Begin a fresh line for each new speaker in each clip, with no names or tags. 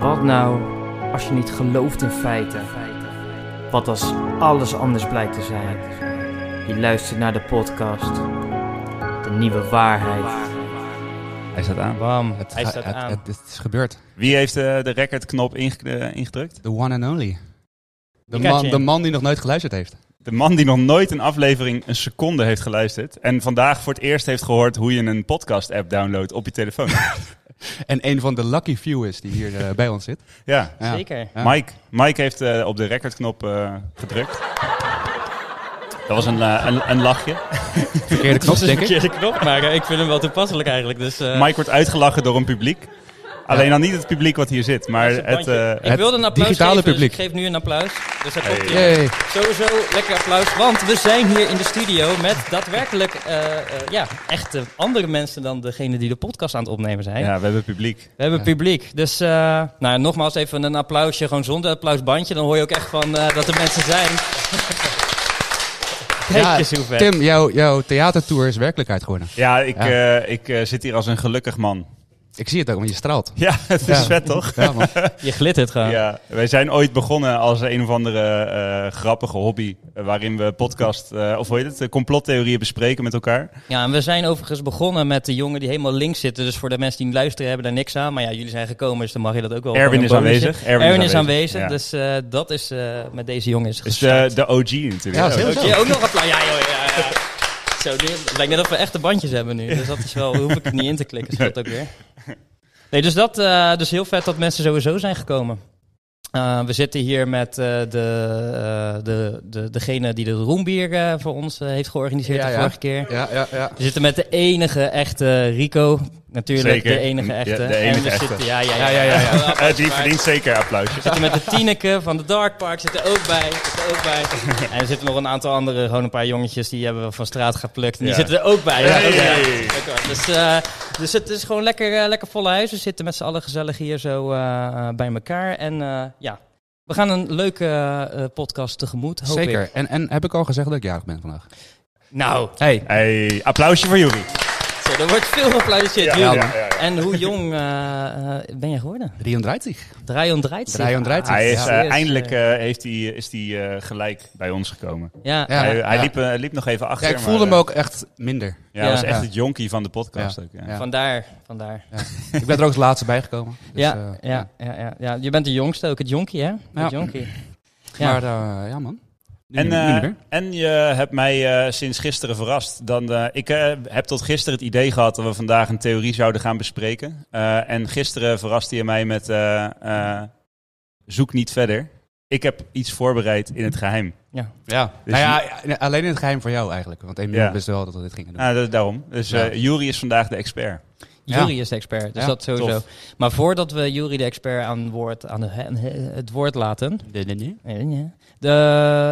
Wat nou als je niet gelooft in feiten? Wat als alles anders blijkt te zijn? Je luistert naar de podcast. De nieuwe waarheid.
Hij staat aan.
Bam,
Het,
hij
ga-
staat
het-
aan.
het- het is gebeurd.
Wie heeft eh, de recordknop inge- eh, ingedrukt?
The one and only. De
Pikachu.
man, de man die nog nooit geluisterd heeft.
De man die nog nooit een aflevering een seconde heeft geluisterd. En vandaag voor het eerst heeft gehoord hoe je een podcast-app downloadt op je telefoon.
En een van de lucky few is die hier eh, bij ons zit.
ja.
Ja.
Zeker.
Ja.
Mike, Mike heeft eh, op de recordknop eh, gedrukt. Dat was een, eh, een, een lachje.
Verkeerde knop,
Dat is een
denk ik.
verkeerde knop, maar eh, ik vind hem wel toepasselijk eigenlijk. Dus, eh,
Mike wordt uitgelachen door een publiek. Alleen dan niet het publiek wat hier zit, maar
zijn
het...
bandje.
eh,
ik wilde een applaus
digitale
geven, dus
publiek.
ik geef nu een applaus. Dus dat komt hier.
Yay.
Sowieso lekker applaus, want we zijn hier in de studio met daadwerkelijk eh, eh, ja, echte andere mensen dan degene die de podcast aan het opnemen zijn.
eh, ja, we hebben publiek.
We hebben
Ja.
publiek, dus eh, nou, nogmaals even een applausje, gewoon zonder applausbandje. Dan hoor je ook echt van eh, dat er mensen zijn. Kijk
Ja,
eens hoe vet.
Tim, jouw, jouw theatertour is werkelijkheid geworden.
Ja, ik,
Ja.
eh, ik eh, zit hier als een gelukkig man.
Ik zie het ook, want je straalt.
Ja, het is
Ja.
vet toch?
Ja, man.
Je glittert gewoon.
Ja, wij zijn ooit begonnen als een of andere eh, grappige hobby. eh, waarin we podcast, eh, of hoe heet het, eh, complottheorieën bespreken met elkaar.
Ja, en we zijn overigens begonnen met de jongen die helemaal links zitten. Dus voor de mensen die luisteren hebben daar niks aan. Maar ja, jullie zijn gekomen, dus dan mag je dat ook wel.
Erwin
gewoon
is
een bonusje.
aanwezig.
Erwin, is aanwezig,
ja.
dus eh, dat is eh, met deze jongen is
Is eh,
gestart.
de, de OG natuurlijk.
Ja, zeker.
Oké, ook nog applaus. Ja, joh, ja, ja. Zo, nu- het lijkt net of we echte bandjes hebben nu. Dus dat is wel, hoef ik het niet in te klikken, scheelt ook weer. Nee, dus dat eh, dus heel vet dat mensen sowieso zijn gekomen. Eh, we zitten hier met eh, de, eh, de, de, degene die de roembier eh, voor ons eh, heeft georganiseerd
Ja,
de
ja.
vorige keer.
Ja, ja, ja.
We zitten met de enige echte Rico. Natuurlijk,
Zeker.
de enige echte.
Ja, de enige
en we
echte.
Zitten, ja, ja, ja.
Ja, ja, ja, ja.
Wel applaus
Eh, die
waard.
verdient zeker applausjes.
We zitten met de Tineke van de Dark Park. Zit er ook bij. Zit er ook bij. En er zitten nog een aantal andere, gewoon een paar jongetjes die hebben we van straat geplukt. En die
Ja.
zitten er ook bij.
Hey.
ook bij. Ook wel. Dus, eh, dus het is gewoon lekker, eh, lekker volle huis. We zitten met z'n allen gezellig hier zo eh, eh, bij elkaar. En eh, ja, we gaan een leuke eh, eh, podcast tegemoet, hoop ik.
Zeker. En, en heb ik al gezegd dat ik jarig ben vandaag?
Nou,
Hey.
Hey, applausje voor jullie.
zo, er wordt veel applaudisseerd.
Ja,
Jeroen.
ja, ja, ja.
En hoe jong eh, eh, ben je geworden?
33.
Draaion draait zich.
33.
Hij is,
Ja.
eh, eindelijk eh, heeft hij is hij eh, gelijk bij ons gekomen.
Ja.
Ja,
hij hij
ja.
liep, eh, liep nog even achter.
Ja, ik
maar,
voelde hem
eh,
ook echt minder.
Ja, hij was
Ja.
echt
Ja.
het jonkie van de podcast ook. Ja.
Ja.
Vandaar, vandaar.
Ik ben er ook als laatste bijgekomen. Dus,
ja,
eh,
ja, ja, ja, ja. Je bent de jongste ook, het jonkie, hè?
Ja.
Het jonkie. Ja.
Maar eh, ja, man. Nu
En,
niet- nu niet
eh,
meer.
en je hebt mij eh, sinds gisteren verrast. Dan, eh, ik eh, heb tot gisteren het idee gehad dat we vandaag een theorie zouden gaan bespreken. Eh, en gisteren verraste je mij met eh, eh, zoek niet verder. Ik heb iets voorbereid in het geheim.
Ja,
Dus
nou ja, ja, alleen in het geheim voor jou eigenlijk. Want Emiel
Ja.
wist wel dat we dit gingen doen.
Nou, dat is daarom. Dus eh
Ja.
Jury is vandaag de expert.
Ja.
Jury is de expert, dus
Ja,
dat sowieso.
tof.
Maar voordat we Jury de expert aan, woord, aan de- aan het woord laten, Nee, nee. De,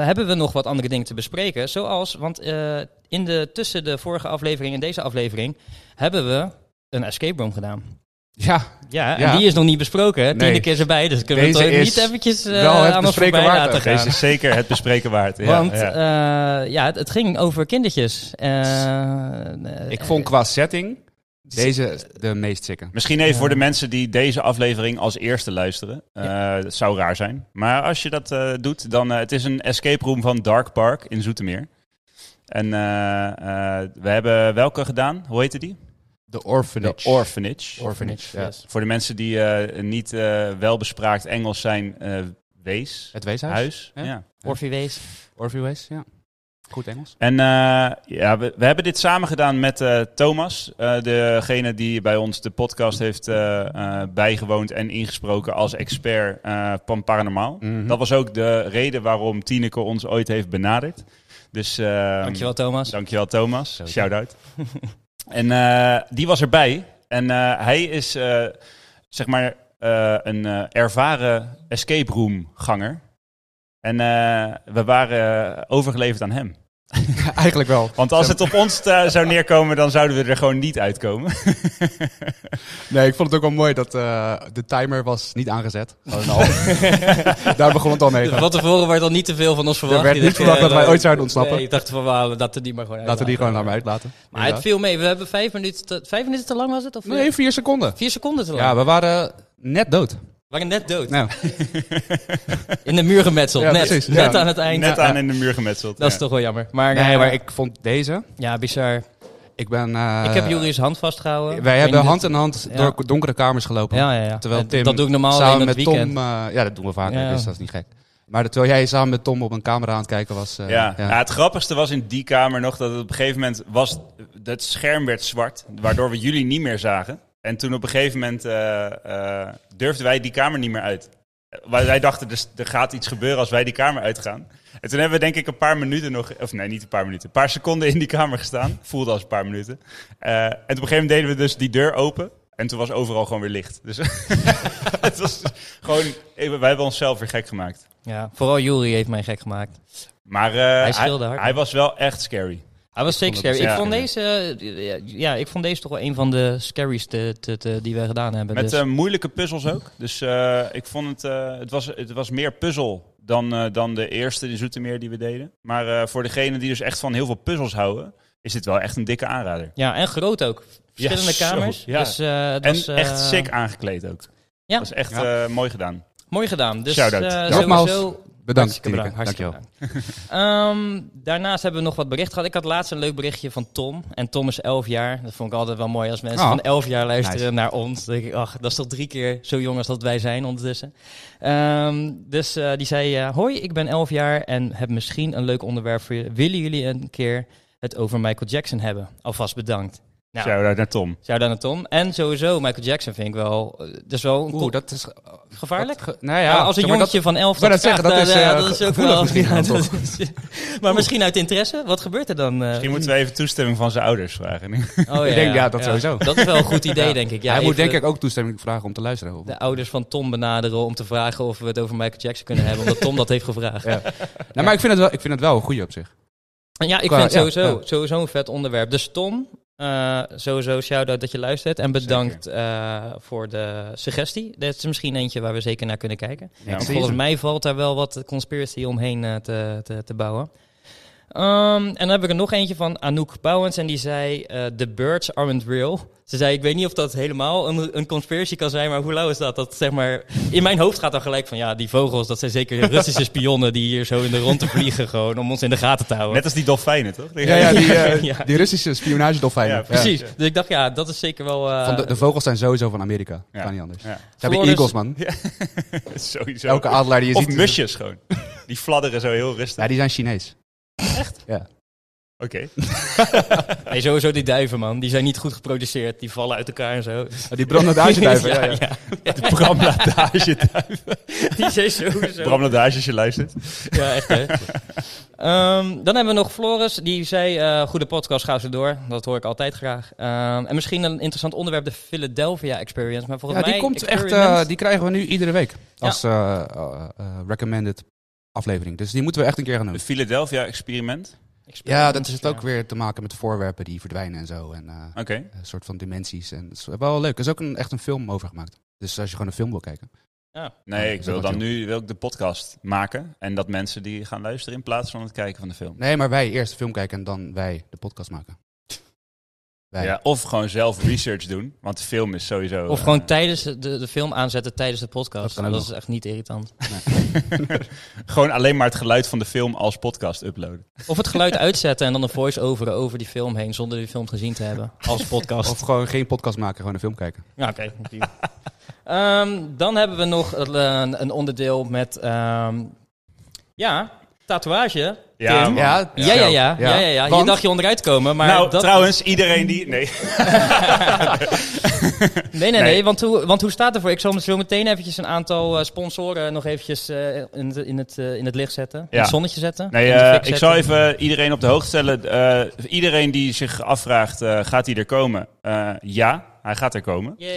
hebben we nog wat andere dingen te bespreken. Zoals, want eh, in de, tussen de vorige aflevering en deze aflevering hebben we een escape room gedaan.
Ja,
Ja, en
Ja.
die is nog niet besproken. hè? Tiende
Nee.
keer erbij, dus kunnen we
Deze
het ook
is
niet eventjes eh,
wel het
aan ons
bespreken
voorbij
waard
laten
ook.
gaan.
Deze is zeker het bespreken waard. Ja,
Want
ja.
ja. ja, het, het ging over kindertjes. Eh,
ik
eh,
vond qua setting
Dus-
deze de meest sikke.
Misschien even
Ja.
voor de mensen die deze aflevering als eerste luisteren. Eh, Dat zou raar zijn. Maar als je dat eh, doet, dan... eh, het is een escape room van Dark Park in Zoetermeer. En eh, eh, we hebben welke gedaan? Hoe heette die?
De Orphanage.
De Orphanage.
Orphanage, ja.
yes.
voor de mensen die eh, niet eh, welbespraakt Engels zijn, eh, wees.
Het weeshuis.
Huis.
Ja.
Ja.
Orphy Wees.
Orpheus Wees, ja. Goed Engels.
En eh, ja, we, we hebben dit samen gedaan met eh, Thomas, eh, degene die bij ons de podcast heeft eh, eh, bijgewoond en ingesproken als expert eh, van Paranormaal.
Mhm.
Dat was ook de reden waarom Tineke ons ooit heeft benaderd. Dus, eh,
Dankjewel Thomas.
Dankjewel Thomas,
Zeker.
shout-out. en eh, die was erbij. En eh, hij is, eh, zeg maar, eh, een eh, ervaren escape room ganger. En eh, we waren eh, overgeleverd aan hem.
Eigenlijk wel.
Want als het op ons eh, zou neerkomen, dan zouden we er gewoon niet uitkomen.
Nee, ik vond het ook wel mooi dat eh, de timer was niet aangezet.
Oh,
Gewoon al. Daar begon het al mee.
Van tevoren werd al niet te veel van ons verwacht.
werd
Ik
niet
dacht,
verwacht
eh,
dat wij ooit zouden ontsnappen.
Nee, ik dacht van, wauw, laten we die maar gewoon
Laten we die gewoon naar me uitlaten.
Maar het viel mee. We hebben vijf minuten te, vijf minuten te lang was het? Of
Nee, vier seconden.
vier seconden te lang?
Ja, we waren net dood.
waren net dood.
Nou,
In de muur gemetseld.
Ja,
net,
precies, ja.
net aan het eind.
Net
Ja,
aan in de muur gemetseld.
Dat
ja.
is toch wel jammer. Maar,
nee,
eh,
maar ik vond deze.
ja, bizar.
Ik ben. eh,
ik heb Juris hand vastgehouden. Ik
Wij
weet
hebben
niet
hand in hand
ja.
door donkere kamers gelopen.
Ja, ja, ja.
Terwijl
Dat-
Tim
dat doe ik normaal alleen
samen
in
met
het weekend.
Tom. eh, ja, dat doen we vaker,
Ja.
dus dat is niet gek. Maar dat- terwijl jij samen met Tom op een camera aan het kijken was. eh,
Ja.
ja.
Ja, het grappigste was in die kamer nog dat het op een gegeven moment was, het scherm werd zwart, waardoor we jullie niet meer zagen. En toen op een gegeven moment eh, eh, durfden wij die kamer niet meer uit. Eh, Wij, wij dachten, dus, er gaat iets gebeuren als wij die kamer uitgaan. En toen hebben we denk ik een paar minuten nog, of nee, niet een paar minuten, een paar seconden in die kamer gestaan. Voelde als een paar minuten. Eh, en op een gegeven moment deden we dus die deur open. En toen was overal gewoon weer licht. Dus het was gewoon, eh, wij hebben onszelf weer gek gemaakt.
Ja, vooral Jury heeft mij gek gemaakt.
Maar eh,
scheelde hard.
hij was wel echt scary.
Hij was zeker
vond het
scary. Ik
dus- ja.
vond deze, eh, ja, ja, ik vond deze toch wel een van de scaries te- te- te- die we gedaan hebben.
Met
dus.
eh, moeilijke puzzels ook. Dus eh, ik vond het, eh, het, was, het was meer puzzel dan, eh, dan de eerste in Zoetermeer die we deden. Maar eh, voor degenen die dus echt van heel veel puzzels houden, is dit wel echt een dikke aanrader.
Ja, en groot ook. Verschillende
Ja, zo,
kamers.
ja.
Dus, eh, het
En
was, eh,
echt sick aangekleed ook.
ja.
Dat is echt
Ja.
eh, mooi gedaan.
Mooi gedaan. Dus
Shout-out.
eh,
Ja. Nogmaals,
sowieso...
Bedankt.
hartstikke bedankt.
Tineke.
Hartstikke
Dankjewel.
bedankt. Ehm, daarnaast hebben we nog wat bericht gehad. Ik had laatst een leuk berichtje van Tom. En Tom is 11 jaar. Dat vond ik altijd wel mooi als mensen
Oh.
van 11 jaar luisteren
Nice.
naar ons. Dan denk ik, ach, dat is toch drie keer zo jong als dat wij zijn ondertussen. Ehm, dus eh, die zei, eh, hoi, ik ben 11 jaar en heb misschien een leuk onderwerp voor je. Willen jullie een keer het over Michael Jackson hebben? Alvast bedankt. Nou,
Shout-out naar Tom.
Shout-out naar Tom. En sowieso, Michael Jackson vind ik wel... eh, Dat is wel een
Oeh,
kop-
dat is.
gevaarlijk.
Ge- nou ja,
Ja, als een
zeg maar
jongetje van 11
Ik wou
dat
net
vraagt,
zeggen, dat
eh,
is,
ja,
eh,
dat is ook
gevoelig
wel...
misschien
ja,
dan
dat is- maar misschien uit interesse, wat gebeurt er dan? eh?
Misschien moeten we even toestemming van zijn ouders vragen.
oh,
Ik denk, ja, dat sowieso.
Dat is wel een goed idee, denk ik. Ja,
Hij moet
even
denk ik ook toestemming vragen om te luisteren. of-
de ouders van Tom benaderen om te vragen of we het over Michael Jackson kunnen hebben, omdat Tom dat heeft gevraagd.
Ja. Nou, maar ik vind het wel, ik vind het wel een goede op zich.
En ja, ik
Qua-
vind het
ja,
sowieso,
ja.
sowieso een vet onderwerp. Dus Tom, eh, sowieso shout-out dat je luistert en bedankt eh, voor de suggestie. Dat is misschien eentje waar we zeker naar kunnen kijken.
Ja,
Precies.
Volgens mij valt daar wel wat conspiracy omheen eh, te, te, te bouwen. Ehm, en dan heb ik er nog eentje van Anouk Bouwens. En die zei, eh, The birds aren't real. Ze zei, ik weet niet of dat helemaal een, een conspiracy kan zijn, maar hoe lauw is dat? dat zeg maar, in mijn hoofd gaat dan gelijk van, ja, die vogels, dat zijn zeker Russische spionnen die hier zo in de rondte vliegen gewoon, om ons in de gaten te houden.
Net als die dolfijnen, toch?
Ja, ja, die, eh,
Ja.
die Russische spionagedolfijnen.
Ja,
Ja.
Precies. Dus ik dacht, ja, dat is zeker wel... eh,
Van de, de vogels zijn sowieso van Amerika.
Ja.
Kan niet anders. Ze
Ja.
hebben
Floris-
eagles, man.
Sowieso.
Elke adelaar die je
of
ziet.
musjes gewoon. Die fladderen zo heel rustig.
Ja, die zijn Chinees.
Oké.
Nee, sowieso die duiven, man. Die zijn niet goed geproduceerd. Die vallen uit elkaar en zo.
Die branden het duiven. ja, ja.
De Bram Ladage thuis.
Die zijn sowieso...
Bram Ladage, als je luistert.
Ja, echt hè. Ehm, dan hebben we nog Floris, die zei, eh, goede podcast, ga ze door. Dat hoor ik altijd graag. Ehm, en misschien een interessant onderwerp, de Philadelphia Experience. Maar volgens
Ja, die
mij...
komt echt,
experiment-
eh, die krijgen we nu iedere week als eh, eh, eh, recommended aflevering. Dus die moeten we echt een keer gaan doen.
Het Philadelphia experiment.
Ja,
experiment,
dat is het
ja.
ook weer te maken met voorwerpen die verdwijnen en zo. En eh,
Oké.
een soort van dimensies. En dat is wel leuk. Er is ook een, echt een film over gemaakt. Dus als je gewoon een film wil kijken.
Ja.
Nee, ik
dat is
wil
ook
dan
chill.
nu wil ik de podcast maken. En dat mensen die gaan luisteren in plaats van het kijken van de film.
Nee, maar wij eerst de film kijken en dan wij de podcast maken. Wij.
Ja, of gewoon zelf research doen. Want de film is sowieso...
Of
eh,
gewoon tijdens de, de film aanzetten tijdens de podcast.
Dat kan
Dat,
ook
is echt niet irritant.
eh, gewoon alleen maar het geluid van de film als podcast uploaden.
Of het geluid uitzetten en dan een voice-over over die film heen zonder die film gezien te hebben. Als podcast.
Of gewoon geen podcast maken, gewoon een film kijken.
Ja, oké. Ehm, dan hebben we nog eh, een, een onderdeel met... ehm, ja, tatoeage.
Ja,
Tim.
man.
Ja,
Ja, ja, ja. ja. ja, ja,
Want-
Je dacht je onderuit komen, maar...
nou,
dat-
trouwens, iedereen die... Nee,
Nee, nee, nee.
nee.
want, hoe, want hoe staat ervoor? Ik zal zo meteen eventjes een aantal eh, sponsoren nog eventjes eh, in, het, in, het, eh, in het licht zetten. In het zonnetje zetten.
nee
in de
eh,
fik
ik
zetten.
zal even iedereen op de hoogte stellen. Eh, iedereen die zich afvraagt, eh, gaat hij er komen? Eh, ja, hij gaat er komen.
Yay.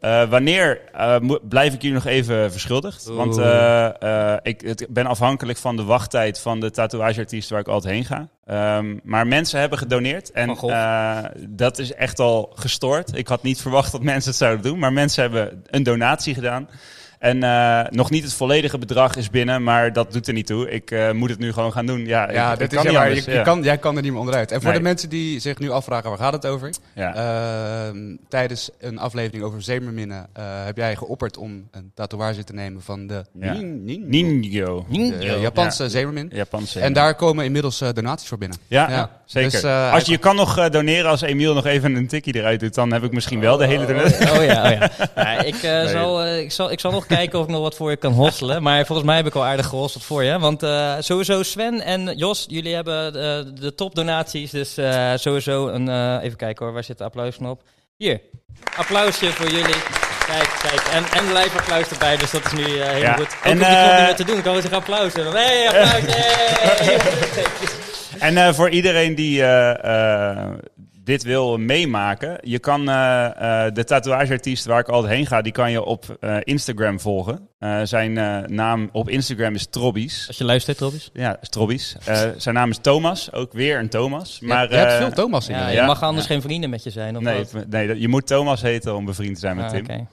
Eh, wanneer eh, mo- blijf ik jullie nog even verschuldigd?
Oeh.
Want eh, eh, ik het ben afhankelijk van de wachttijd van de tatoeageartiest waar ik altijd heen ga. Ehm, maar mensen hebben gedoneerd en
Oh,
Van Golf.
eh, dat is echt al gestoord. Ik had niet verwacht dat mensen het zouden doen, maar mensen hebben een donatie gedaan. Eh, En eh, nog niet het volledige bedrag is binnen, maar dat doet er niet toe. Ik eh, moet het nu gewoon gaan doen. Ja,
Ja,
ik,
dit
ik kan
is ja,
niet
maar
anders,
je,
ja.
je kan, jij kan er niet meer onderuit. En voor
Nee.
de mensen die zich nu afvragen, waar gaat het over?
Ja.
Ehm, tijdens een aflevering over zeemerminnen eh, heb jij geopperd om een tatoeage te nemen van de,
Ja.
nin, nin-
Ninjo.
de Japanse zeemermin.
Japanse.
En daar komen inmiddels eh, donaties voor binnen.
Ja,
Ja.
zeker.
Dus, eh,
als je, je kan nog eh, doneren als Emiel nog even een tikkie eruit doet, dan heb ik misschien wel de hele donatie.
Oh ja, oh ja. Ja, ik, eh,
Nee.
zal, eh, ik, zal, ik zal nog kijken of ik nog wat voor je kan hosselen. Maar volgens mij heb ik al aardig gehosseld voor je. Want eh, sowieso Sven en Jos, jullie hebben eh, de topdonaties. Dus eh, sowieso een... eh, even kijken hoor, waar zit de applausknop? Hier, applausje voor jullie. Kijk, kijk. En, en live applaus erbij, dus dat is nu eh, helemaal
Ja.
goed. Ook
En,
en, die knop
eh,
niet meer te doen, kan we zich applaus hebben. Hey, applaus! hey.
En eh, voor iedereen die eh, eh, dit wil meemaken, je kan eh, eh, de tatoeageartiest waar ik altijd heen ga, die kan je op eh, Instagram volgen. Eh, zijn eh, naam op Instagram is Trobbies.
Als je luistert, Robbies.
Ja, is Trobbies. Eh, zijn naam is Thomas, ook weer een Thomas.
je-
Maar,
je hebt
eh,
veel Thomas in.
Ja,
je.
je
Ja,
mag anders
ja.
geen vrienden met je zijn, of
nee,
wat?
nee, dat- je moet Thomas heten om bevriend te zijn met
Ah,
Tim.
oké.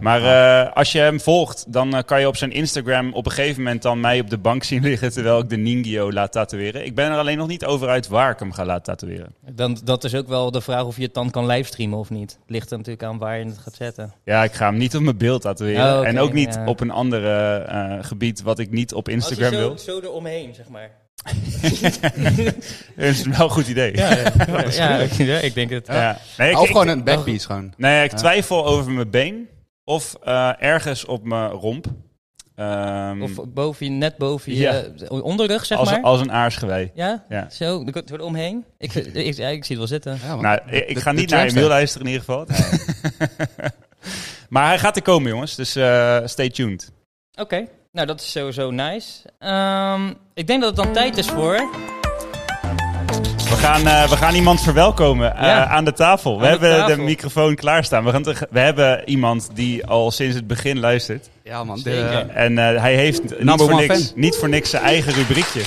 Maar eh, als je hem volgt, dan eh, kan je op zijn Instagram op een gegeven moment dan mij op de bank zien liggen terwijl ik de Ningyo laat tatoeëren. Ik ben er alleen nog niet over uit waar ik hem ga laten tatoeëren.
Dan, dat is ook wel de vraag of je het dan kan livestreamen of niet. Ligt er natuurlijk aan waar je het gaat zetten.
Ja, ik ga hem niet op mijn beeld tatoeëren.
Oh, oké,
en ook niet
ja.
op een ander eh, eh, gebied wat ik niet op Instagram wil.
zo eromheen, zeg maar.
Dat is wel een goed idee. Ja.
ja, ik, ja, ik denk het.
Nee, ik,
of
ik-
gewoon een backpiece gewoon.
nee, ik twijfel over mijn been of eh, ergens op mijn romp. Ehm,
Of boven je, net boven je
Ja.
eh, onderrug, zeg
als,
maar.
als een aarsgewei.
ja?
Ja.
zo, er komt- zo eromheen. Ik, ik, ja, ik zie het wel zitten.
Ja, want
Nou, ik, ik
de-
ga
de
niet naar
tramster.
Emiel luisteren in ieder geval. maar hij gaat er komen, jongens. Dus eh, stay tuned.
Oké, nou dat is sowieso nice. Ehm, ik denk dat het dan tijd is voor...
We gaan, eh, we gaan iemand verwelkomen eh,
Ja.
aan de tafel. we
de
hebben
tafel.
de microfoon klaarstaan. We, gaan te- we hebben iemand die al sinds het begin luistert.
Ja man, de-
Zeker.
En eh, hij heeft niet
Number
voor,
one
niks,
fan.
niet voor niks zijn eigen rubriekje.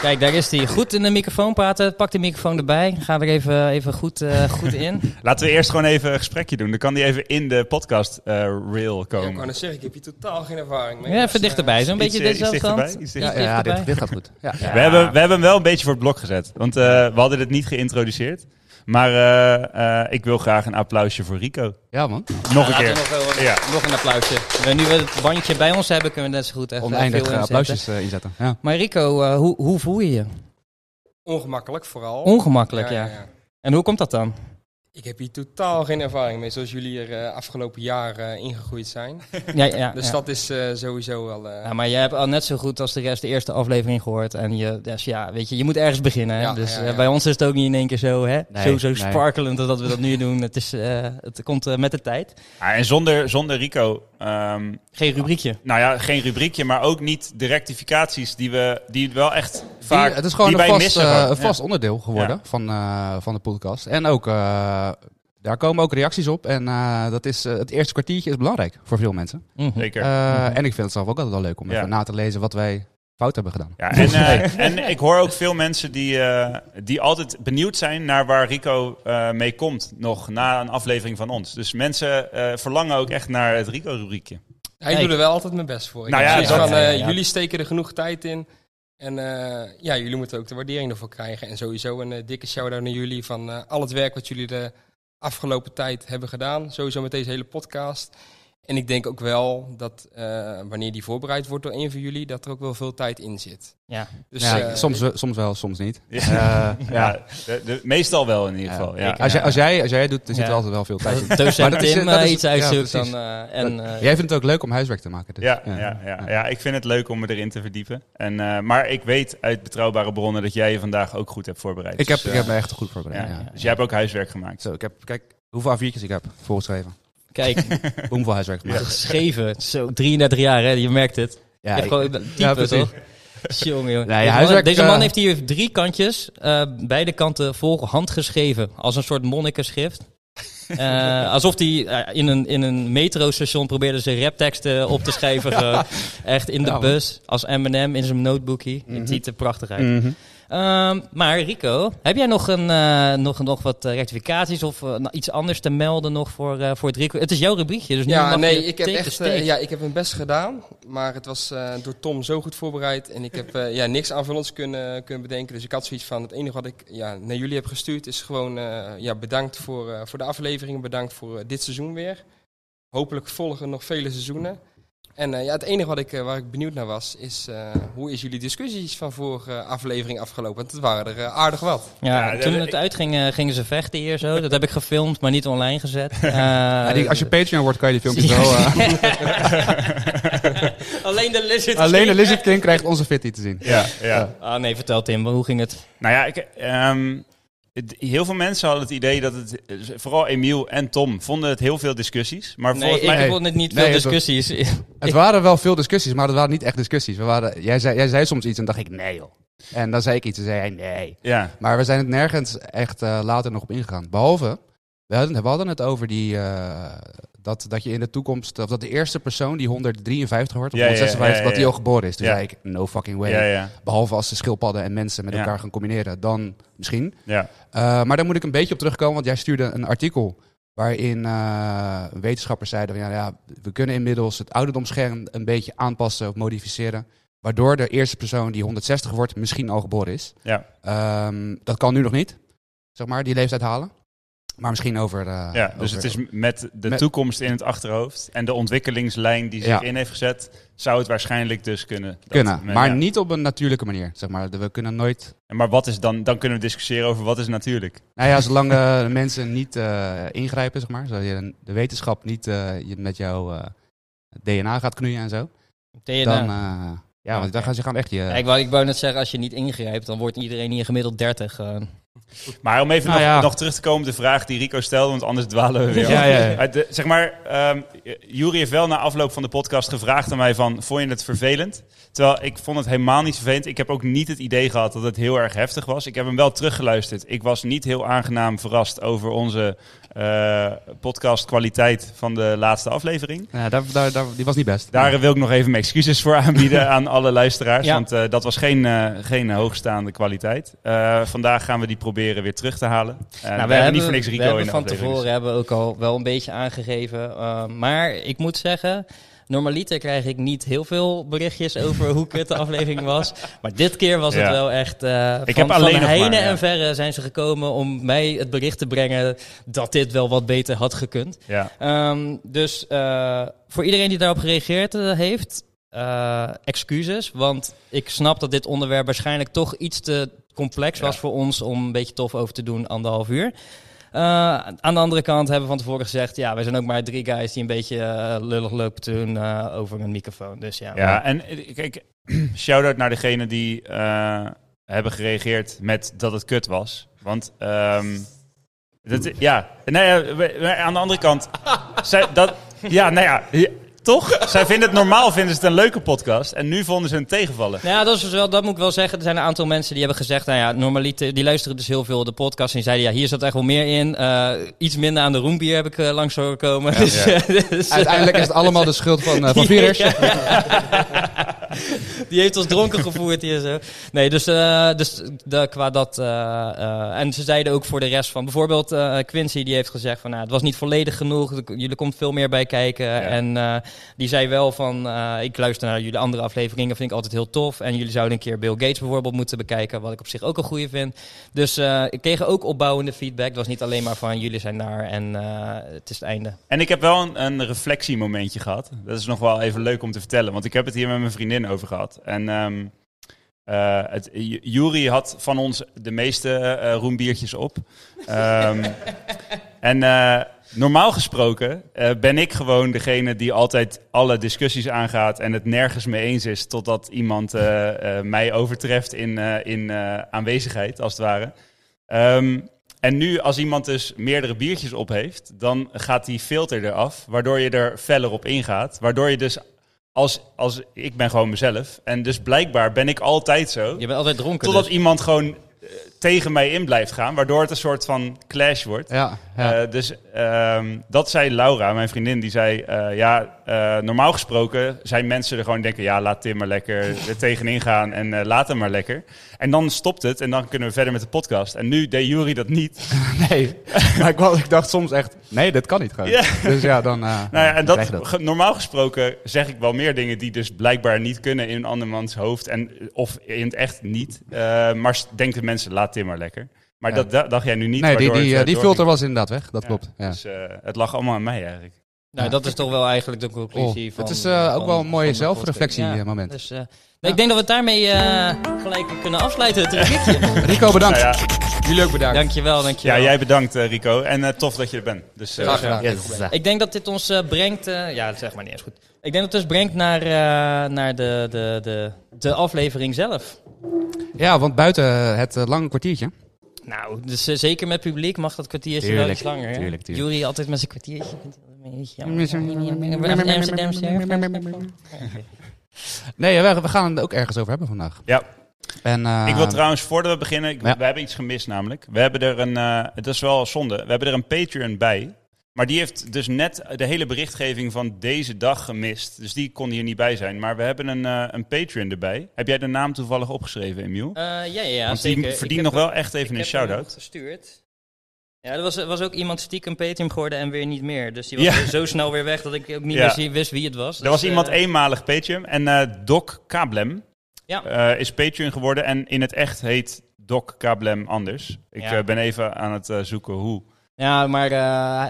Kijk, daar is hij. Goed in de microfoon praten. Pak de microfoon erbij. Ga er even, even goed, eh, goed in.
Laten we eerst gewoon even een gesprekje doen. Dan kan die even in de podcast eh reel
Ja, ik
komen.
kan het zeggen, ik heb hier totaal geen ervaring mee.
Ja,
Dus,
even
eh,
dichterbij. Zo'n
Iets,
beetje
eh, iets
deze
dichterbij,
kant.
iets
ja,
dichterbij.
ja, ja, dit,
dichterbij.
dit gaat goed. Ja.
We, hebben, we hebben hem wel een beetje voor het blok gezet. Want eh, we hadden het niet geïntroduceerd. Maar eh, eh, ik wil graag een applausje voor Rico.
Ja, man.
Nog een
Laten
keer.
we nog, wel-
Ja.
nog een applausje. Nou, Nu we het bandje bij ons hebben, kunnen we net zo goed even
Oneindig
veel
eh,
inzetten.
applausjes eh, inzetten. Ja.
Maar Rico, eh, hoe, hoe voel je je?
Ongemakkelijk vooral.
Ongemakkelijk, ja, En hoe komt dat dan?
Ik heb hier totaal geen ervaring mee, zoals jullie er eh, afgelopen jaar eh, ingegroeid zijn.
Ja, ja,
Dus
ja.
dat is eh, sowieso wel... eh,
Ja, maar jij hebt al net zo goed als de rest de eerste aflevering gehoord. En je, dus ja, weet je, je moet ergens beginnen. hè.
Ja,
dus
ja,
eh,
ja.
bij ons is het ook niet in één keer zo, hè?
Nee,
zo, zo
nee.
sparkelend als dat we dat nu doen. Het, is, eh, het komt eh, met de tijd.
Ah, en zonder, zonder Rico, ehm,
Geen rubriekje.
nou ja, geen rubriekje, maar ook niet de rectificaties die we die wel echt vaak.
Die- het is gewoon
die
een
wij
vast,
missen.
eh,
gewoon.
een
Ja.
vast onderdeel geworden van, eh, van de podcast. En ook, eh, daar komen ook reacties op. En eh, dat is, eh, het eerste kwartiertje is belangrijk voor veel mensen.
Mhm.
Zeker.
Eh, En ik vind het zelf ook altijd wel leuk om
Ja.
even na te lezen wat wij fout hebben gedaan.
Ja, en, eh, en ik hoor ook veel mensen die, eh, die altijd benieuwd zijn naar waar Rico eh, mee komt, nog na een aflevering van ons. Dus mensen eh, verlangen ook echt naar het Rico-rubriekje.
ja, ik
Hey.
doe er wel altijd mijn best voor. Ik
Nou
heb
ja,
zoiets
dat-
van, eh,
ja, ja.
Jullie steken er genoeg tijd in. En eh, ja, jullie moeten ook de waardering ervoor krijgen. En sowieso een eh, dikke shout-out naar jullie van eh, al het werk wat jullie de afgelopen tijd hebben gedaan. Sowieso met deze hele podcast. En ik denk ook wel dat eh, wanneer die voorbereid wordt door een van jullie, dat er ook wel veel tijd in zit.
Ja.
Dus,
ja,
eh,
soms, we- soms wel, soms niet.
Ja.
Eh,
Ja, de, de- meestal wel in ieder
Ja.
geval. Ja.
Ik-
Als, jij, als, jij, als jij het doet, dan zit
Ja.
er altijd wel veel tijd in. Maar
Docent
dat is-
Tim
dat
eh,
is-
iets
ja,
uitzoekt
precies.
dan. eh, en, eh,
Jij vindt het ook leuk om huiswerk te maken. dus-
Ja, ja, ja, ja. ik vind het leuk om me erin te verdiepen. En, eh, maar ik weet uit betrouwbare bronnen dat jij je vandaag ook goed hebt voorbereid.
Ik, heb,
Dus, eh,
ik heb me echt goed voorbereid.
ja.
ja.
dus jij hebt ook huiswerk gemaakt.
Zo, ik heb, kijk hoeveel A4'tjes ik heb voorgeschreven.
Kijk,
Hoeveel huiswerk gemaakt.
geschreven. Zo, 33 jaar, hè? Je merkt het.
Ja,
Ja,
ik-
gewoon typen,
ja, precies.
toch? Jongen,
Nee,
jongen. deze, man,
huiswerk,
deze man
eh,
heeft hier drie kantjes, eh, beide kanten vol handgeschreven, als een soort monnikenschrift. Eh, alsof hij eh, in een, in een metrostation probeerde zijn rapteksten op te schrijven. gewoon. Echt in de
Ja, man.
bus, als Eminem in zijn notebookie. Het ziet er prachtig uit.
Mhm.
Ehm, maar Rico, heb jij nog, een, eh, nog, nog wat eh, rectificaties of eh, nou, iets anders te melden nog voor, eh, voor het Rico? Het is jouw rubriekje, dus nu
ja,
mag
nee,
je
ik heb
take
echt
the stage.
eh, ja, ik heb mijn best gedaan. Maar het was eh, door Tom zo goed voorbereid. En ik heb eh, ja, niks aanvullends kunnen, kunnen bedenken. Dus ik had zoiets van: het enige wat ik ja, naar jullie heb gestuurd is gewoon eh, ja, bedankt voor, eh, voor de aflevering. Bedankt voor eh, dit seizoen weer. Hopelijk volgen nog vele seizoenen. En eh, ja, het enige wat ik, eh, waar ik benieuwd naar was, is eh, hoe is jullie discussies van vorige aflevering afgelopen? Want het waren er eh, aardig wat.
Ja,
Ja,
toen
dat-
het uitging eh, gingen ze vechten hier zo. Dat heb ik gefilmd, maar niet online gezet. Eh,
Ja, die- als je Patreon wordt, kan je die filmpjes wel... eh,
Alleen de lizard.
alleen de Lizard King krijgt onze fitty te zien.
Ja, ja.
Ah nee, vertel Tim, hoe ging het?
Nou ja, ik, ehm, het- heel veel mensen hadden het idee dat het, vooral Emiel en Tom, vonden het heel veel discussies. Maar
Nee,
volgens
ik
mij...
Nee.
vond het niet
Nee,
veel
het was-
discussies.
Het waren wel veel discussies, maar het waren niet echt discussies. We waren, jij, zei, jij zei soms iets en dacht ik, nee joh. En dan zei ik iets en zei hij, nee.
Ja,
Maar we zijn het nergens echt eh, later nog op ingegaan. Behalve, we hadden, we hadden het over die, eh, dat, dat je in de toekomst, of dat de eerste persoon die 153 wordt, of
Ja, ja,
156,
ja, ja,
dat die
ja.
al geboren is. Toen
Ja.
zei ik, no fucking way.
ja, ja.
Behalve als de schildpadden en mensen met
Ja.
elkaar gaan combineren, dan misschien.
ja.
Eh, maar daar moet ik een beetje op terugkomen, want jij stuurde een artikel waarin eh, wetenschappers zeiden van ja, ja, we kunnen inmiddels het ouderdomsscherm een beetje aanpassen of modificeren, waardoor de eerste persoon die 160 wordt misschien al geboren is.
Ja.
Ehm, dat kan nu nog niet, zeg maar, die leeftijd halen. Maar misschien over... eh,
Ja,
over-
dus het is met de
Met-
toekomst in het achterhoofd en de ontwikkelingslijn die zich
Ja.
in heeft gezet, zou het waarschijnlijk dus kunnen. Dat-
Kunnen,
men-
maar
ja.
niet op een natuurlijke manier, zeg maar. We kunnen nooit...
En Maar wat is dan, dan kunnen we discussiëren over wat is natuurlijk.
Nou ja, zolang eh, de mensen niet eh, ingrijpen, zeg maar. Zodat je de wetenschap niet eh, je met jouw eh, DNA gaat knoeien en zo.
DNA.
dan, eh, ja, want dan gaan ze gaan echt je...
Ja, ik, wou, ik wou net zeggen, als je niet ingrijpt, dan wordt iedereen hier gemiddeld 30. eh.
Maar om even
Nou
nog,
ja.
nog terug te komen op de vraag die Rico stelde, want anders dwalen we weer.
Ja,
af.
ja, ja.
Maar de- zeg maar, ehm Jury heeft wel na afloop van de podcast gevraagd aan mij van, vond je het vervelend? Terwijl ik vond het helemaal niet vervelend. Ik heb ook niet het idee gehad dat het heel erg heftig was. Ik heb hem wel teruggeluisterd. Ik was niet heel aangenaam verrast over onze eh podcastkwaliteit van de laatste aflevering.
Ja, daar, daar, daar, die was niet best.
Daar wil ik nog even mijn excuses voor aanbieden aan alle luisteraars.
Ja.
Want eh, dat was geen, eh, geen hoogstaande kwaliteit. Eh, vandaag gaan we die proberen weer terug te halen. Eh, we, hebben niet voor niks Rico
we Nou, hebben
in de
van
aflevering, dus-
tevoren hebben we ook al wel een beetje aangegeven. eh, maar ik moet zeggen, normaliter krijg ik niet heel veel berichtjes over hoe kut de aflevering was. Maar dit keer was het
Ja.
wel echt... eh, van,
Ik heb alleen
van
nog
heine
maar, ja.
en verre zijn ze gekomen om mij het bericht te brengen dat dit wel wat beter had gekund.
dus- Ja.
Ehm, dus eh, voor iedereen die daarop gereageerd eh, heeft, eh, excuses. Want ik snap dat dit onderwerp waarschijnlijk toch iets te complex was
Ja.
voor ons om een beetje tof over te doen, anderhalf uur. Eh, aan de andere kant hebben we van tevoren gezegd, ja, wij zijn ook maar drie guys die een beetje eh, lullig lopen te doen eh, over een microfoon. Dus ja,
ja, en eh, kijk, shout-out naar degene die eh, hebben gereageerd met dat het kut was. Want, ehm, dat, ja, nou ja, we- we- aan de andere kant, zij, dat, ja, nou ja, ja, toch? Zij vinden het normaal, vinden ze het een leuke podcast. En nu vonden ze een tegenvallen.
Nou ja, dat, is dus wel, dat moet ik wel zeggen. Er zijn een aantal mensen die hebben gezegd, nou ja, normaliter, die luisteren dus heel veel de podcast. En die zeiden, ja, hier zat echt wel meer in. Eh, iets minder aan de roombier heb ik eh, langs horen komen. Dus,
ja.
eh, dus, eh,
Uiteindelijk is het allemaal de schuld van, eh, van Virus.
Ja. Die heeft ons dronken gevoerd hier zo. Nee, dus, eh, dus de, qua dat. eh, eh, en ze zeiden ook voor de rest van. Bijvoorbeeld eh, Quincy, die heeft gezegd van. Nou, het was niet volledig genoeg. er- Jullie komt veel meer bij kijken. En eh, die zei wel van. eh, ik luister naar jullie andere afleveringen. Vind ik altijd heel tof. En jullie zouden een keer Bill Gates bijvoorbeeld moeten bekijken. Wat ik op zich ook een goede vind. Dus eh, ik kreeg ook opbouwende feedback. Het was niet alleen maar van. Jullie zijn daar en eh, het is het einde.
En ik heb wel een, een reflectiemomentje gehad. Dat is nog wel even leuk om te vertellen, want ik heb het hier met mijn vriendin over gehad. En ehm eh, het, J- Juri had van ons de meeste eh roembiertjes op. Ehm, en eh, normaal gesproken eh, ben ik gewoon degene die altijd alle discussies aangaat en het nergens mee eens is totdat iemand eh, eh, mij overtreft in, eh, in eh, aanwezigheid, als het ware. Ehm, en nu, als iemand dus meerdere biertjes op heeft, dan gaat die filter eraf, waardoor je er feller op ingaat. Waardoor je dus, als, als ik ben gewoon mezelf, en dus blijkbaar ben ik altijd zo.
Je bent altijd dronken.
Totdat
dus.
iemand gewoon eh, tegen mij in blijft gaan, waardoor het een soort van clash wordt.
Ja, ja.
Eh, dus ehm, dat zei Laura, mijn vriendin, die zei: eh, Ja, eh, normaal gesproken zijn mensen er gewoon denken: Ja, laat Tim maar lekker er tegenin gaan en eh, laat hem maar lekker. En dan stopt het en dan kunnen we verder met de podcast. En nu deed Jury dat niet.
nee. maar ik, wou- ik dacht soms echt, nee, dat kan niet gewoon.
Ja.
Dus ja, dan eh
Nou ja, en
krijg
dat,
je dat.
ge- normaal gesproken zeg ik wel meer dingen die dus blijkbaar niet kunnen in een andermans hoofd. En, of in het echt niet. Eh, maar s- denken mensen: Laat Tim maar lekker. Maar
Ja.
dat, da- dacht jij nu niet.
Nee, die,
waardoor
die,
het,
eh,
eh,
die
doorging.
filter was inderdaad weg, dat
Ja.
klopt. Ja.
Dus eh, het lag allemaal aan mij eigenlijk.
Nou, dat is toch wel eigenlijk de conclusie
Oh,
van...
het is, eh, ook
van-
wel een mooie
van de
zelfreflectie,
podcast.
eh, moment.
Dus, eh, Ik denk dat we het daarmee eh, gelijk kunnen afsluiten, het rubriekje.
Rico, bedankt.
Nou ja,
Jullie ook bedankt.
Dankjewel, dankjewel.
Ja, jij bedankt eh, Rico. En eh, tof dat je er bent. Dus, eh,
Graag gedaan.
Ik denk dat dit ons eh, brengt... eh, ja, zeg maar niet eens goed. Ik denk dat het ons brengt naar, eh, naar de, de, de, de aflevering zelf.
Ja, want buiten het eh, lange kwartiertje.
Nou, dus eh, zeker met publiek mag dat kwartiertje wel
Tuurlijk,
iets langer. hè?
tuurlijk, tuurlijk.
Jury altijd met zijn kwartiertje. Vindt hij wel een beetje jammer. Amsterdamse-
Nee, we, we gaan het ook ergens over hebben vandaag.
Ja.
En, eh,
Ik wil trouwens, voordat we beginnen, ik,
Ja.
we hebben iets gemist namelijk. We hebben er een, eh het is wel zonde, we hebben er een Patreon bij. Maar die heeft dus net de hele berichtgeving van deze dag gemist. Dus die kon hier niet bij zijn. Maar we hebben een, eh, een Patreon erbij. Heb jij de naam toevallig opgeschreven, Emiel?
Eh, ja, ja, ja,
Want
zeker.
die
Ik
verdient nog
heb hem-
wel echt even een
ik heb hem
shout-out.
gestuurd. Ja, er was, er was ook iemand stiekem Patreon geworden en weer niet meer. Dus die was
Ja.
weer zo snel weer weg dat ik ook niet
Ja.
meer zie- wist wie het was. Dus, eh,
Er was iemand e-
één.
eenmalig Patreon. En eh, Doc Kablem
Ja.
eh, is Patreon geworden. En in het echt heet Doc Kablem anders. Ik
Ja.
eh, ben even aan het eh, zoeken hoe.
Ja, maar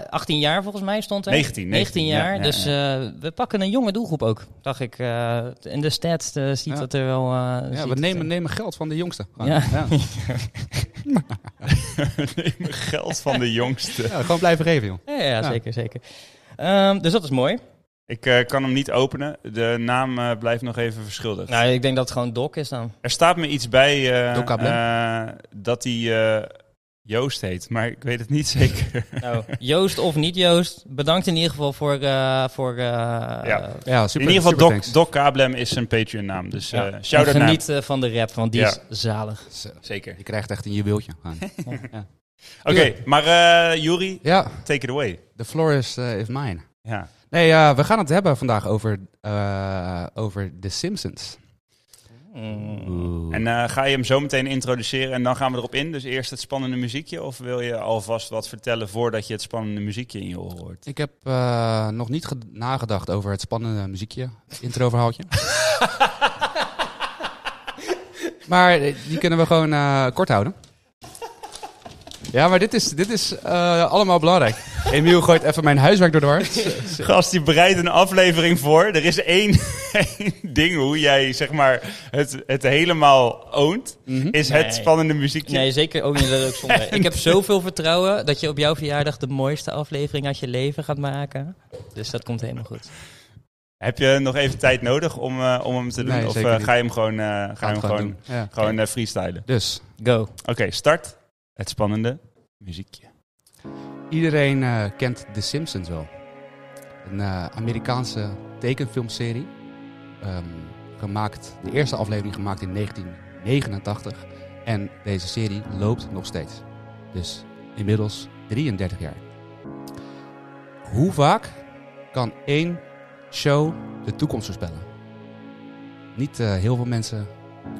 eh, 18 jaar volgens mij stond er.
19, 19,
jaar,
ja, ja,
dus eh, we pakken een jonge doelgroep ook, dacht ik. eh in de stats eh, ziet
Ja.
dat er wel... eh, ziet
ja, we
het
nemen,
er-
nemen geld van de jongste. Gewoon.
Ja.
Ja.
Neem geld van de jongste.
Ja, gewoon blijven geven, joh.
Ja, ja, zeker, zeker. Ehm, dus dat is mooi.
Ik eh, kan hem niet openen. De naam eh, blijft nog even verschuldigd.
Nou, ik denk dat het gewoon Doc is dan.
Er staat me iets bij eh,
Doc Kablem?
eh, dat hij eh, Joost heet, maar ik weet het niet zeker.
Nou, Joost of niet Joost, bedankt in ieder geval voor... eh, voor eh,
Ja, super,
In ieder
super
geval, Doc,
thanks.
Doc Kablem is zijn Patreon-naam. Dus eh
Ja.
shout-out
en
naar
geniet eh, van de rap, want die
Ja.
is zalig.
Zo,
Zeker.
Je krijgt echt een juweeltje. gewoon.
Oké, maar eh Juri,
ja,
take it away.
the floor is, eh, is mine.
Ja.
Nee, eh, we gaan het hebben vandaag over, eh, over The Simpsons.
En eh, ga je hem zo meteen introduceren en dan gaan we erop in? Dus eerst het spannende muziekje? Of wil je alvast wat vertellen voordat je het spannende muziekje in je oren hoort?
Ik heb eh, nog niet ge- nagedacht over het spannende muziekje, het introverhaaltje. maar eh, die kunnen we gewoon eh, kort houden. Ja, maar dit is, dit is eh, allemaal belangrijk. Emiel gooit even mijn huiswerk door de war.
Gast, die bereidt een aflevering voor. Er is één, één ding hoe jij zeg maar, het, het helemaal oont.
Mhm.
Is
Nee.
het spannende muziekje.
Nee, zeker Oh, ook niet dat ook zonder. Ik heb zoveel vertrouwen dat je op jouw verjaardag de mooiste aflevering uit je leven gaat maken. Dus dat komt helemaal goed.
Heb je nog even tijd nodig om, eh, om hem te doen?
Nee,
of
zeker
eh,
niet.
ga je hem gewoon, eh, ga je hem gewoon, gewoon,
doen. Ja.
eh, freestylen?
Dus,
Go.
Oké, start. Het spannende muziekje.
iedereen eh, kent The Simpsons wel. Een eh, Amerikaanse tekenfilmserie. Ehm, gemaakt, de eerste aflevering gemaakt in 1989. En deze serie loopt nog steeds. Dus inmiddels 33 jaar. Hoe vaak kan één show de toekomst voorspellen? Niet eh, heel veel mensen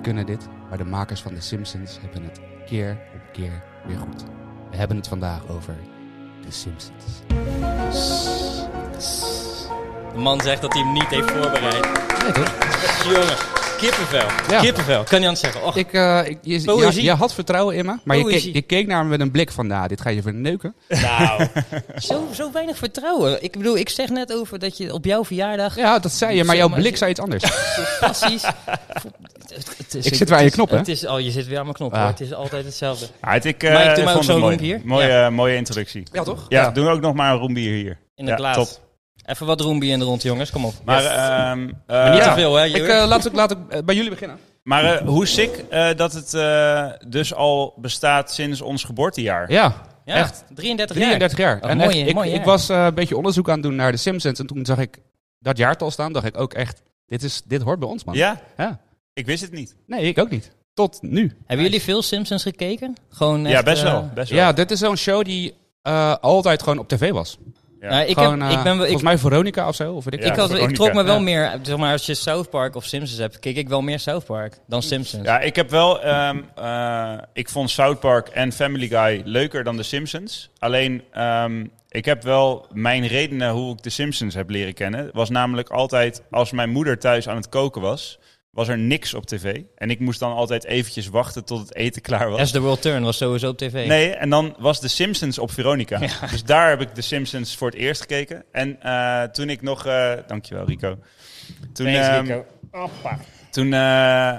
kunnen dit, maar de makers van The Simpsons hebben het keer op keer weer goed. We hebben het vandaag over The Simpsons.
De man zegt dat hij hem niet heeft voorbereid.
Nee, toch?
Jongen, kippenvel.
Ja.
Kippenvel. Kan niet anders zeggen. Och,
Ik, eh, ik, je, je,
Poëzie.
je had vertrouwen in me, maar je keek,
Poëzie.
je keek naar me met een blik van, nou, dit ga je verneuken.
nou. zo, zo weinig vertrouwen. Ik bedoel, ik zeg net over dat je op jouw verjaardag...
Ja, dat zei je, maar
Zo,
jouw
maar
blik
je-
zei iets anders.
Precies. Het- het is-
Ik zit weer aan je
het is-
knop, hè?
Het is, oh, je zit weer aan mijn knop,
Ah.
hoor. Het is altijd hetzelfde.
Ah, het- ik eh,
Mike, doe maar ook
vond
zo'n
het mooi.
roempie hier.
Mooie, mooie introductie.
Ja, toch?
Ja, doen we ook nog maar een roembier hier.
In de
ja,
glaas.
Top.
Even wat roombier in de rond, jongens. Kom op.
Maar,
Yes.
ehm, eh,
niet
ja.
te veel, hè, Jur?
Ik, eh, laat ik, laat ik eh, bij jullie beginnen.
maar eh, hoe sick eh, dat het eh, dus al bestaat sinds ons geboortejaar.
Ja,
ja,
echt.
33 jaar.
33 jaar.
Oh,
en
mooi,
echt, ik,
mooi
ik
jaar.
was eh, een beetje onderzoek aan het doen naar The Simpsons en toen zag ik dat jaartal staan, dacht ik ook echt, dit, is, dit hoort bij ons, man.
Ja,
Ja.
ik wist het niet.
Nee, ik ook niet. tot nu.
Hebben jullie veel Simpsons gekeken? Gewoon
ja,
echt,
best
eh,
wel. Best wel.
Ja, dus- dit is zo'n show die eh, altijd gewoon op tv was.
Ja.
nou, ik,
gewoon,
heb,
eh,
ik ben wel- ik
volgens mij Veronica of zo. Of weet ik.
Ja,
ik, had,
Veronica.
ik trok me wel
Ja.
meer, zeg maar, als je South Park of Simpsons hebt, keek ik wel meer South Park dan Simpsons.
Ja, ik heb wel. ehm, eh, ik vond South Park en Family Guy leuker dan The Simpsons. Alleen, ehm, ik heb wel mijn redenen hoe ik The Simpsons heb leren kennen. Was namelijk altijd als mijn moeder thuis aan het koken was, was er niks op tv. En ik moest dan altijd eventjes wachten tot het eten klaar was.
As the World Turn was sowieso op tv.
Nee, en dan was The Simpsons op Veronica. Dus daar heb ik The Simpsons voor het eerst gekeken. En eh, toen ik nog... eh, dankjewel, Rico. Toen, ehm, Toen eh,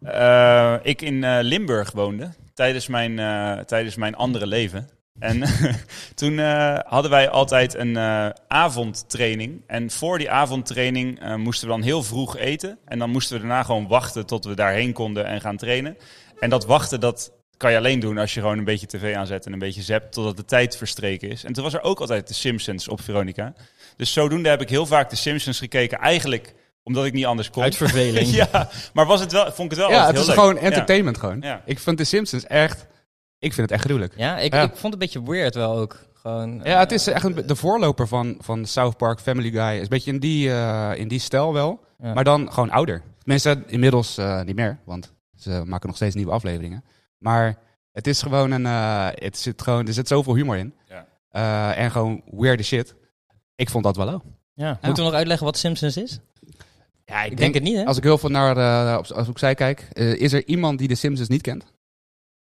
eh, ik in eh, Limburg woonde, tijdens mijn, eh, tijdens mijn andere leven. En toen eh, hadden wij altijd een eh, avondtraining. En voor die avondtraining eh, moesten we dan heel vroeg eten. En dan moesten we daarna gewoon wachten tot we daarheen konden en gaan trainen. En dat wachten, dat kan je alleen doen als je gewoon een beetje tv aanzet en een beetje zapt totdat de tijd verstreken is. En toen was er ook altijd de Simpsons op Veronica. Dus zodoende heb ik heel vaak de Simpsons gekeken. Eigenlijk omdat ik niet anders kon.
Uit verveling.
ja, maar was het wel, vond ik het wel
Ja,
altijd
het is
Oh, heel
gewoon
leuk.
entertainment gewoon.
Ja.
Ik vind de Simpsons echt... Ik vind het echt gruwelijk.
Ja, ik,
Ja.
ik vond het een beetje weird wel ook. Gewoon, eh,
Ja, het is echt een be- de voorloper van, van South Park, Family Guy. Is een beetje in die, eh, in die stijl wel.
Ja.
Maar dan gewoon ouder. Mensen inmiddels eh, niet meer, want ze maken nog steeds nieuwe afleveringen. Maar het is gewoon een... eh, het zit gewoon, er zit zoveel humor in.
Ja.
Eh, en gewoon weird shit. Ik vond dat wel ook.
Ja. Moeten we nog uitleggen wat Simpsons is?
Ja,
Ik denk het niet, hè?
Als ik heel veel naar eh, op, als ik zij kijk, eh, is er iemand die de Simpsons niet kent?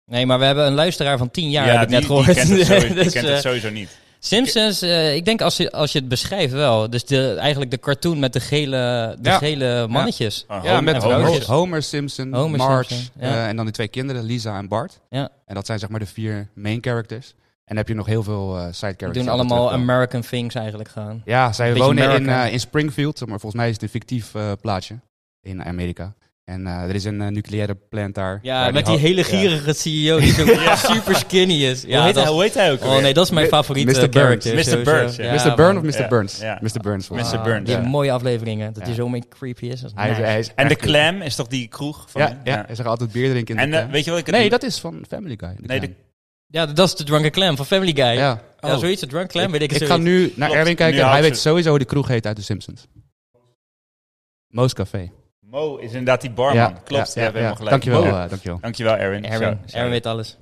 Nee, maar we hebben een luisteraar van 10 jaar, heb ik
die-
net gehoord.
Die kent het sowieso, die
Dus,
kent
eh,
het sowieso niet.
Simpsons, eh, ik denk als je, als je het beschrijft wel. Dus de, eigenlijk de cartoon met de gele, de
Ja.
gele mannetjes.
Maar
ja, met
Homer.
oh.
Ho- Homer Simpson,
Homer
Marge
Simpson, ja.
eh, en dan die twee kinderen, Lisa en Bart.
Ja.
En dat zijn zeg maar de vier main characters. En dan heb je nog heel veel eh, side characters.
Die
die
doen
altijd
allemaal
terugkomen.
American things eigenlijk gewoon.
Ja, zij
beetje
wonen in,
American.
eh, in Springfield, maar volgens mij is het een fictief eh, plaatsje in Amerika. En eh, er is een eh, nucleaire plant daar.
Ja,
Waar
met die
ho-
hele gierige CEO die zo super skinny is. Ja,
hoe, heet
dat-
hij, hoe heet hij ook
oh
alweer?
nee, dat is mijn
Mi-
favoriete
Mr. Burns.
character.
Mr.
sowieso.
Burns, ja.
Mr. Burn of
man.
Mr.
Ja,
Burns?
ja.
Mr. Burns. volgens
Mr.
mij.
Ah,
Burns,
Die
ja.
mooie afleveringen, dat hij
Ja.
zo mee creepy is. Dat is
Hij is-
nice.
hij is
En de
echt-
Clam is toch die kroeg? Van,
Ja, ja, Hij zegt altijd bier drinken in
En
de
eh,
clam.
weet je wat ik het
Nee, dat is van Family Guy. de
Nee, Oh. de-
clam.
Ja, dat is de Drunken Clam van Family Guy. Ja,
Ja.
zoiets, de Drunken Clam, weet ik
Ik
het
ga nu naar
Klopt, nu
Erwin kijken. en Hij
houdt
weet
ze-
sowieso hoe de kroeg heet uit de Simpsons. Moos Café.
Mo is inderdaad die barman. Klopt, ja, we hebben helemaal gelijk.
Dankjewel,
Mo.
eh, dankjewel.
Dankjewel, Aaron.
Aaron,
Zo, zo.
Aaron weet alles.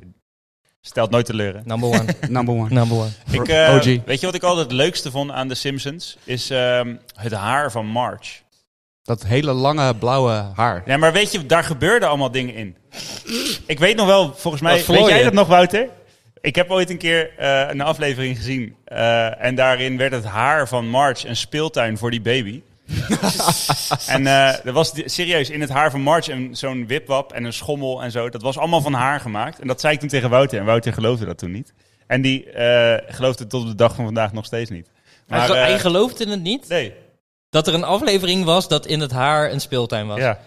Stelt nooit teleur.
Number one,
Number one.
number one.
Ik, eh,
OG.
Weet je wat ik altijd het leukste vond aan The Simpsons? Is ehm, het haar van Marge.
Dat hele lange blauwe haar.
Ja, maar weet je, daar gebeurden allemaal dingen in. Ik weet nog wel, volgens mij...
Wat vlooi
Weet jij
je?
dat nog, Wouter? Ik heb ooit een keer eh, een aflevering gezien. eh, en daarin werd het haar van Marge een speeltuin voor die baby. en eh, er was di- serieus in het haar van Marge een- zo'n wipwap en een schommel en zo. Dat was allemaal van haar gemaakt. En dat zei ik toen tegen Wouter. En Wouter geloofde dat toen niet. En die eh, geloofde het tot op de dag van vandaag nog steeds niet.
Maar, hij,
eh,
geloofde het niet
nee,
dat er een aflevering was dat in het haar een speeltuin was.
ja.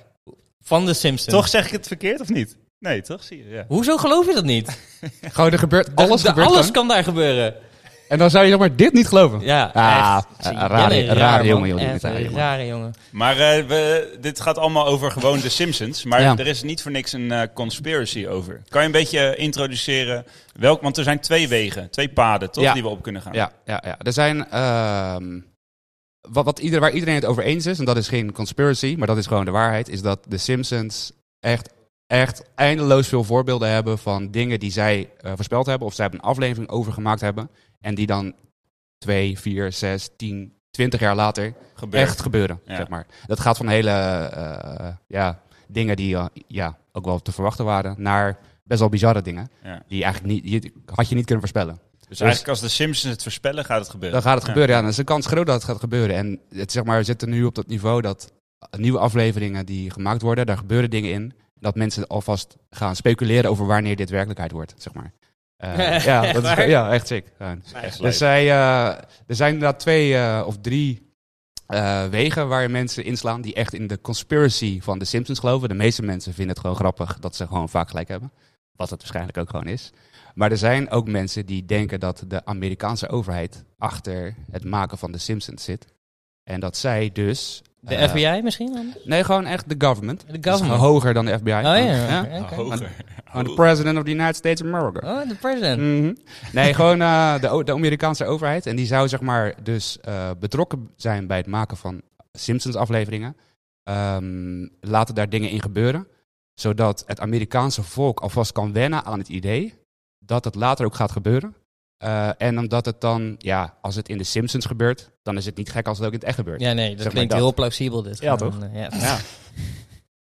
Van de Simpsons.
Toch zeg ik het verkeerd of niet? Nee, toch zie je. Ja.
Hoezo geloof je dat niet?
Gewoon, er gebeurt alles.
De-
gebeurt
alles
gewoon.
kan daar gebeuren.
En dan zou je zeg maar dit niet geloven.
Ja,
Ah,
echt.
eh, rare-
Ja, nee,
rare
raar,
jongen,
man.
joh, die
Echt
met haar,
een
jongen.
Rare jongen.
Maar eh, we, dit gaat allemaal over gewoon de Simpsons. Maar
Ja.
er is niet voor niks een eh, conspiracy over. Kan je een beetje eh, introduceren welk? Want er zijn twee wegen, twee paden, toch?
Ja.
Die we op kunnen gaan.
Ja, ja, ja. Er zijn. ehm, wat, wat ieder, waar iedereen het over eens is, en dat is geen conspiracy, maar dat is gewoon de waarheid, is dat de Simpsons echt, echt eindeloos veel voorbeelden hebben van dingen die zij eh, voorspeld hebben, of zij hebben een aflevering over gemaakt hebben, en die dan twee, vier, zes, tien, twintig jaar later
Gebeurt.
echt gebeuren.
Ja.
Zeg maar. Dat gaat van hele eh, ja, dingen die eh, ja, ook wel te verwachten waren, naar best wel bizarre dingen,
Ja.
die eigenlijk niet, die had je niet kunnen voorspellen.
Dus eigenlijk als de Simpsons het voorspellen, gaat het gebeuren.
Dan gaat
Ja.
het gebeuren, ja. Dan is de kans groot dat het gaat gebeuren. En het, zeg maar, we zitten nu op dat niveau dat nieuwe afleveringen die gemaakt worden, daar gebeuren dingen in. Dat mensen alvast gaan speculeren over wanneer dit werkelijkheid wordt, zeg maar. Eh, ja, dat is,
Waar?
ja, echt sick. Ja.
Echt leuk.
Dus zij, eh, er zijn inderdaad twee eh, of drie eh, wegen waar mensen inslaan die echt in de conspiracy van de Simpsons geloven. De meeste mensen vinden het gewoon grappig dat ze gewoon vaak gelijk hebben. Wat het waarschijnlijk ook gewoon is. Maar er zijn ook mensen die denken dat de Amerikaanse overheid achter het maken van de Simpsons zit. En dat zij dus
De
Eh,
FBI misschien? dan?
Nee, gewoon echt de government.
De
Dat is
government.
gewoon hoger dan de FBI.
Oh ja, oké, oké.
Hoger.
Gewoon de president of the United States of America.
Oh, de president.
Mhm. Nee, gewoon eh, de, o- de Amerikaanse overheid. En die zou zeg maar dus eh, betrokken zijn bij het maken van Simpsons afleveringen. Ehm, laten daar dingen in gebeuren. Zodat het Amerikaanse volk alvast kan wennen aan het idee dat het later ook gaat gebeuren. Eh, en omdat het dan, ja, als het in de Simpsons gebeurt, dan is het niet gek als het ook in het echt gebeurt.
Ja, nee, dat
Zeg maar
klinkt
dat.
heel plausibel dit.
Ja,
Gewoon, eh, Ja,
Ja.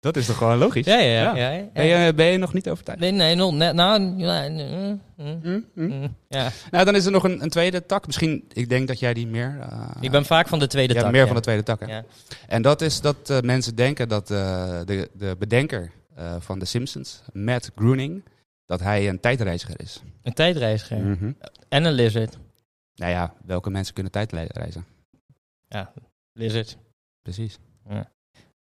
Dat is toch gewoon logisch?
ja, ja. ja,
Ja.
ja, ja.
Ben, je, ben je nog niet overtuigd?
Nee, nee, nog net. Nou, nee, nee, mm, mm,
Hm? Hm?
mm, ja.
Nou, dan is er nog een, een tweede tak. Misschien, ik denk dat jij die meer... eh,
Ik ben vaak van de tweede
ja,
tak.
meer
ja.
van de tweede tak. Hè?
Ja.
En dat is dat eh, mensen denken dat eh, de, de bedenker eh, van The Simpsons, Matt Groening, dat hij een tijdreiziger is.
Een tijdreiziger.
Mhm.
En een lizard.
Nou ja, welke mensen kunnen tijdreizen?
Lizard.
Precies.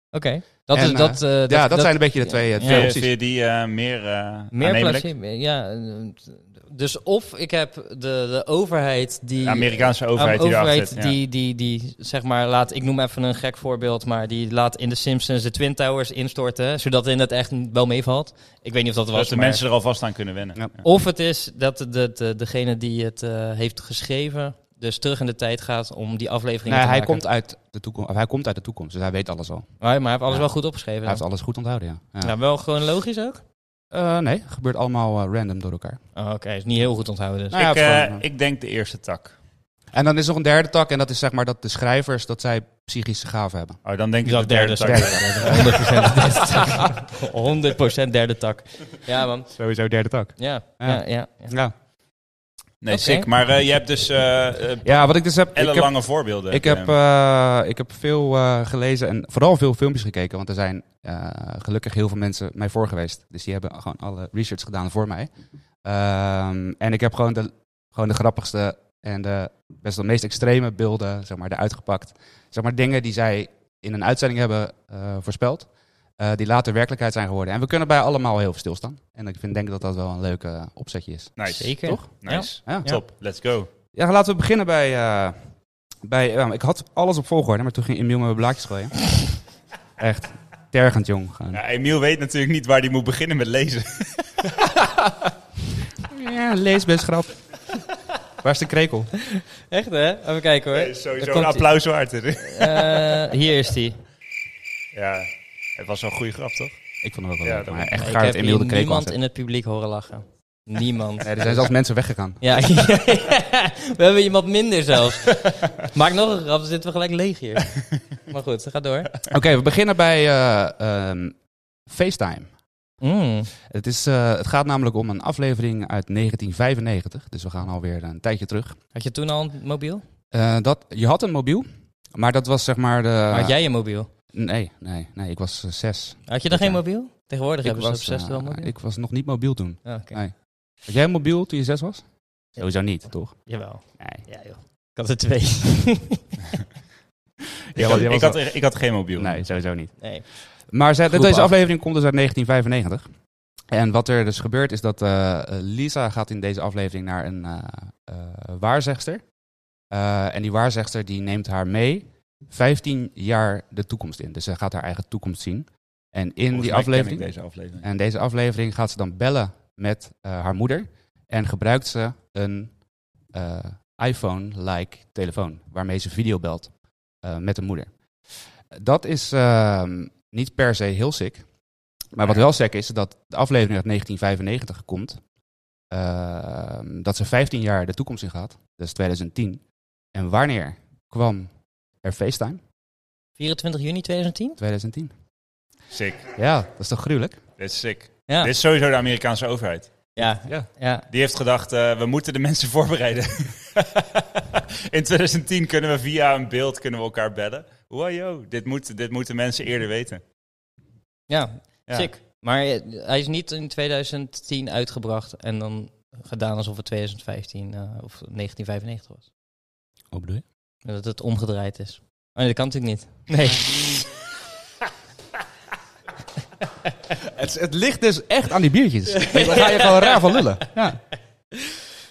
Oké. Dat,
En,
is
eh,
dat, eh, dat,
ja, dat,
dat-
zijn een beetje de twee, eh,
Ja,
twee
Vind je- vind
opties.
je die eh, meer eh
Meer
aannemelijk?
placebo. Ja, eh, dus of ik heb de, de overheid die...
De Amerikaanse overheid
Aan
die
de
erachter zit.
overheid
ja.
die, die, die, zeg maar, laat, ik noem even een gek voorbeeld, maar die laat in de Simpsons de Twin Towers instorten, zodat in het echt wel meevalt. Ik weet niet of dat was,
Zodat de
maar-
mensen er alvast aan kunnen wennen.
Ja.
Ja.
Of het is dat de, de, degene die het eh, heeft geschreven, dus terug in de tijd gaat om die aflevering
Nee,
te
hij,
maken.
komt uit de toekomst, of hij komt uit de toekomst, dus hij weet alles al.
Maar, maar hij heeft alles
Ja.
wel goed opgeschreven.
Hij
dan.
heeft alles goed onthouden, ja. ja.
Nou, wel gewoon logisch ook?
Eh, nee, gebeurt allemaal eh, random door elkaar.
Oh, Oké, is niet heel goed onthouden dus.
Nou ja,
ik,
het is
eh,
gewoon, eh.
ik denk de eerste tak.
En dan is er nog een derde tak, en dat is zeg maar dat de schrijvers, dat zij psychische gaven hebben.
Oh, dan denk ik
Ja,
de derde,
derde
tak.
100% derde tak. 100% derde tak. Ja, man.
Sowieso derde tak.
Ja, ja,
Ja.
ja. ja,
Ja,
Nee,
Oké.
sick. Maar eh, je hebt dus eh eh,
ja wat ik dus heb... ik heb-
ellenlange voorbeelden.
Ik heb,
eh,
eh, ik heb veel eh, gelezen en vooral veel filmpjes gekeken. Want er zijn eh, gelukkig heel veel mensen mij voor geweest. Dus die hebben gewoon alle research gedaan voor mij. Ehm, en ik heb gewoon de, gewoon de grappigste en de best wel meest extreme beelden zeg maar, eruit gepakt. Zeg maar dingen die zij in een uitzending hebben eh, voorspeld. eh, die later werkelijkheid zijn geworden. En we kunnen bij allemaal heel veel stilstaan. En ik vind, denk dat dat wel een leuke eh, opzetje is.
nice.
Zeker.
Toch?
Nice.
Ja.
Top. Let's go.
Ja, laten we beginnen bij... eh, bij ja, ik had alles op volgorde, maar toen ging Emiel met mijn blaadjes gooien. Echt tergend jong. Gewoon.
Ja, Emiel weet natuurlijk niet waar hij moet beginnen met lezen.
Ja, lees best grap. Waar is de krekel?
Echt, hè? Even kijken, hoor. Daar
Sowieso
Eh, komt
een
ie.
applaus waard. hè?
Eh, hier is die.
Ja, het was wel een goede grap, toch?
Ik vond hem ook wel
Ja,
leuk,
dat
maar
moet-
echt
Ik
gaar dat
heb
Emiel de
hier
krekel
niemand
aanzet.
in het publiek horen lachen. Niemand.
Nee, er zijn zelfs mensen weggegaan.
Ja, we hebben iemand minder zelfs. Maak nog een grap, dan zitten we gelijk leeg hier. Maar goed, ga door.
Oké, we beginnen bij eh, ehm, FaceTime.
Mm.
Het, is, eh, het gaat namelijk om een aflevering uit 1995, dus we gaan alweer een tijdje terug.
Had je toen al een mobiel?
Eh, dat, je had een mobiel, maar dat was zeg maar de...
Had jij een mobiel?
Nee, nee, nee, ik was eh, zes.
Had je dan geen
Ja.
mobiel? Tegenwoordig
ik
hebben ze op
was,
60 wel
eh,
mobiel.
ik was nog niet mobiel toen.
Ah, oké.
Nee. Was jij mobiel toen je zes was? Sowieso niet, toch?
Jawel.
Nee.
Ja, joh. Ik had er twee.
Ik, had, ik, had, ik had geen mobiel.
Nee, sowieso niet.
nee.
Maar zij-
Groep
deze
acht.
aflevering komt dus uit 1995. En wat er dus gebeurt is dat eh, eh, Lisa gaat in deze aflevering naar een eh, eh, waarzegster. Eh, en die waarzegster die neemt haar mee 15 jaar de toekomst in. Dus ze gaat haar eigen toekomst zien. En in
Volgens
die
mij ken
aflevering...
ik deze aflevering.
En deze aflevering gaat ze dan bellen met eh, haar moeder. En gebruikt ze een eh, iPhone-like telefoon. Waarmee ze video belt eh, met de moeder. Dat is ehm, niet per se heel sick. Maar wat wel sick is, is dat de aflevering uit 1995 komt. ehm, dat ze 15 jaar de toekomst in gaat. Dat is 2010. En wanneer kwam er FaceTime?
24 juni 2010?
2010.
Sick.
Ja, dat is toch gruwelijk?
Dit is sick.
Ja.
Dit is sowieso de Amerikaanse overheid.
Ja.
Ja.
ja.
Die heeft gedacht, eh, we moeten de mensen voorbereiden. In 2010 kunnen we via een beeld kunnen we elkaar bellen. Wow, yo, dit, moet, dit moeten mensen eerder weten.
Ja,
Ja.
sick. Maar eh, hij is niet in 2010 uitgebracht en dan gedaan alsof het 2015 eh, of 1995 was.
Wat bedoel je?
En Dat het omgedraaid is. Oh nee, dat kan natuurlijk niet. Nee.
Het, het ligt dus echt aan die biertjes. Dus Daar ga je gewoon raar van lullen. Ja.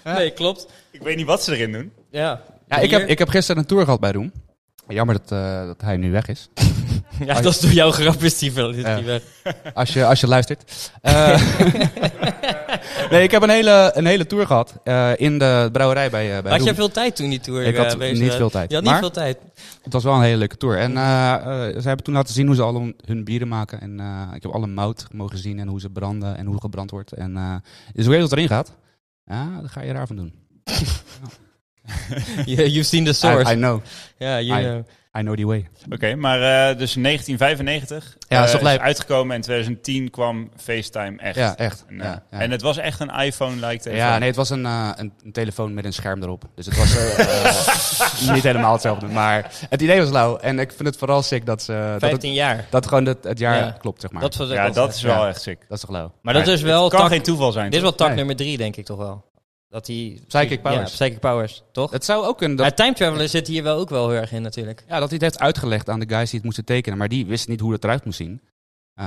Nee, klopt.
Ik weet niet wat ze erin doen.
Ja.
Ja, ik, heb,
Hier-
ik heb gisteren een tour gehad bij Roem. Jammer dat, eh, dat hij nu weg is.
Ja, dat is door jouw grap is die, wel- is
Ja.
die weg.
Als je, als je luistert. Eh, nee, ik heb een hele, een hele tour gehad eh, in de brouwerij bij, eh, bij
Had jij
Roem.
veel tijd toen die tour
Ik had
eh, bezig
niet
was?
veel tijd.
Je had niet
Maar-
veel tijd.
Het was wel een hele leuke tour. En eh, eh, ze hebben toen laten zien hoe ze al hun- hun bieren maken. En eh, ik heb alle mout mogen zien en hoe ze branden en hoe het gebrand wordt. En eh dus hoe je dat erin gaat, ja, daar ga je raar van doen.
You- You've seen the
I, I
source.
know.
Ja, you
I-
know.
I know the way.
Oké, maar eh, dus 1995
Ja, dat is
eh,
toch lijp.
uitgekomen en 2010 kwam FaceTime echt.
Ja, echt.
En, eh,
ja, ja.
en het was echt een iPhone-like telefoon.
Ja, nee, het was een, eh, een, een telefoon met een scherm erop. Dus het was eh, eh, niet helemaal hetzelfde. Maar het idee was lauw. En ik vind het vooral sick dat ze... dat, het,
15 jaar.
dat gewoon het, het jaar
Ja.
klopt, zeg maar.
Dat
Dat,
was
Ja, dat is wel
Ja.
echt sick.
is toch lauw.
Maar dat
Maar
is wel
kan
tak,
geen toeval zijn.
dit is wel tak
Nee.
nummer 3 denk ik toch wel. Dat die
Psychic
Ja,
Powers.
psychic powers, toch?
Het zou ook kunnen dat...
Maar time traveler zit hier wel ook wel heel erg in natuurlijk.
Ja, dat hij het heeft uitgelegd aan de guys die het moesten tekenen. Maar die wisten niet hoe het eruit moest zien. Eh,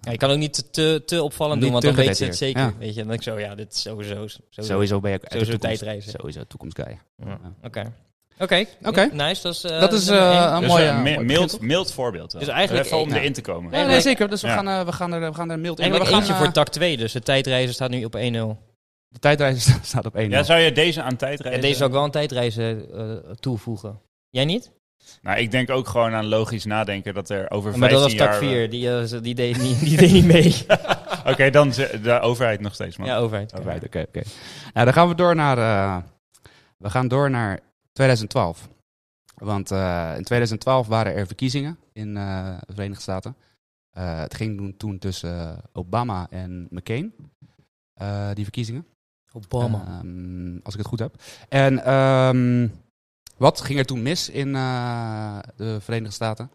Ja, je kan ook niet te, te opvallend
Niet
doen, want
te
dan weet je het
gedateerd,
zeker.
ja.
Weet je, dan denk ik zo, ja, dit is sowieso... Sowieso.
sowieso ben je ook uit de
sowieso
toekomst.
tijdreizen.
Sowieso toekomstguy.
Ja.
Ja.
Oké. Oké,
Oké.
nice. Dat is, eh,
Dat is,
nummer
eh,
één.
een
Dus,
mooi,
eh,
eh,
mi-
mooi
mild,
begin,
mild voorbeeld. wel.
Oh, Dus eigenlijk
Even om
één-
erin te komen.
Nee,
Nee,
nee.
nee, zeker. Dus we,
Ja.
gaan, eh, we, gaan er, we gaan er mild in.
Eigenlijk
we gaan,
eentje
eh,
voor tak 2, dus de tijdreizer staat nu op 1-0.
De tijdreizen staat op één.
Ja, zou je deze aan tijdreizen?
En deze zou ik wel een tijdreizen eh, toevoegen. Jij niet?
Nou, ik denk ook gewoon aan logisch nadenken dat er over
maar
15
dat was tak
jaar... eh,
4, die, eh, die, deed niet, die deed niet mee.
Oké, dan ze- de overheid nog steeds, man.
ja, overheid.
Oké, oké. oké. Nou, dan gaan we door naar, eh, we gaan door naar 2012. Want eh, in 2012 waren er verkiezingen in eh, de Verenigde Staten. Eh, het ging toen, toen tussen eh, Obama en McCain, eh, die verkiezingen.
Obama.
Ehm, als ik het goed heb. En ehm, wat ging er toen mis in eh, de Verenigde Staten?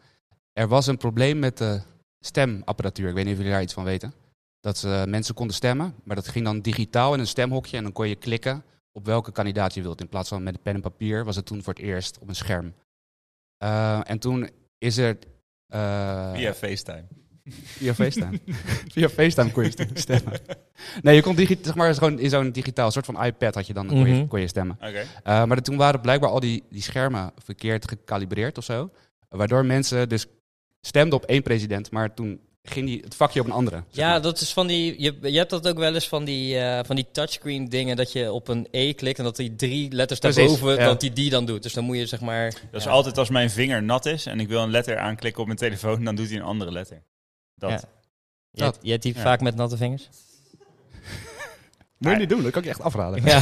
Er was een probleem met de stemapparatuur. Ik weet niet of jullie daar iets van weten. Dat eh, mensen konden stemmen, maar dat ging dan digitaal in een stemhokje. En dan kon je klikken op welke kandidaat je wilt. In plaats van met een pen en papier was het toen voor het eerst op een scherm. Eh, en toen is er... eh,
Via FaceTime.
Via FaceTime. Via FaceTime kon je stem- stemmen. Nee, je kon digi- zeg maar, gewoon in zo'n digitaal soort van iPad had je dan, kon, je,
Mhm.
kon je stemmen.
Oké.
Eh, maar toen waren blijkbaar al die, die schermen verkeerd gecalibreerd of zo. Waardoor mensen dus stemden op één president, maar toen ging die het vakje op een andere. zeg
Ja,
maar.
dat is van die. Je, je hebt dat ook wel eens van die, eh, van die touchscreen dingen dat je op een E klikt en dat die drie letters
Precies,
daarboven,
ja.
dat die die dan doet. Dus dan moet je zeg maar.
Dat is
ja.
altijd als mijn vinger nat is en ik wil een letter aanklikken op mijn telefoon, dan doet hij een andere letter. Dat.
Ja. Je,
Dat.
je typt
Ja.
vaak met natte vingers.
Moet je niet doen, dat kan ik je echt afraden.
Ja.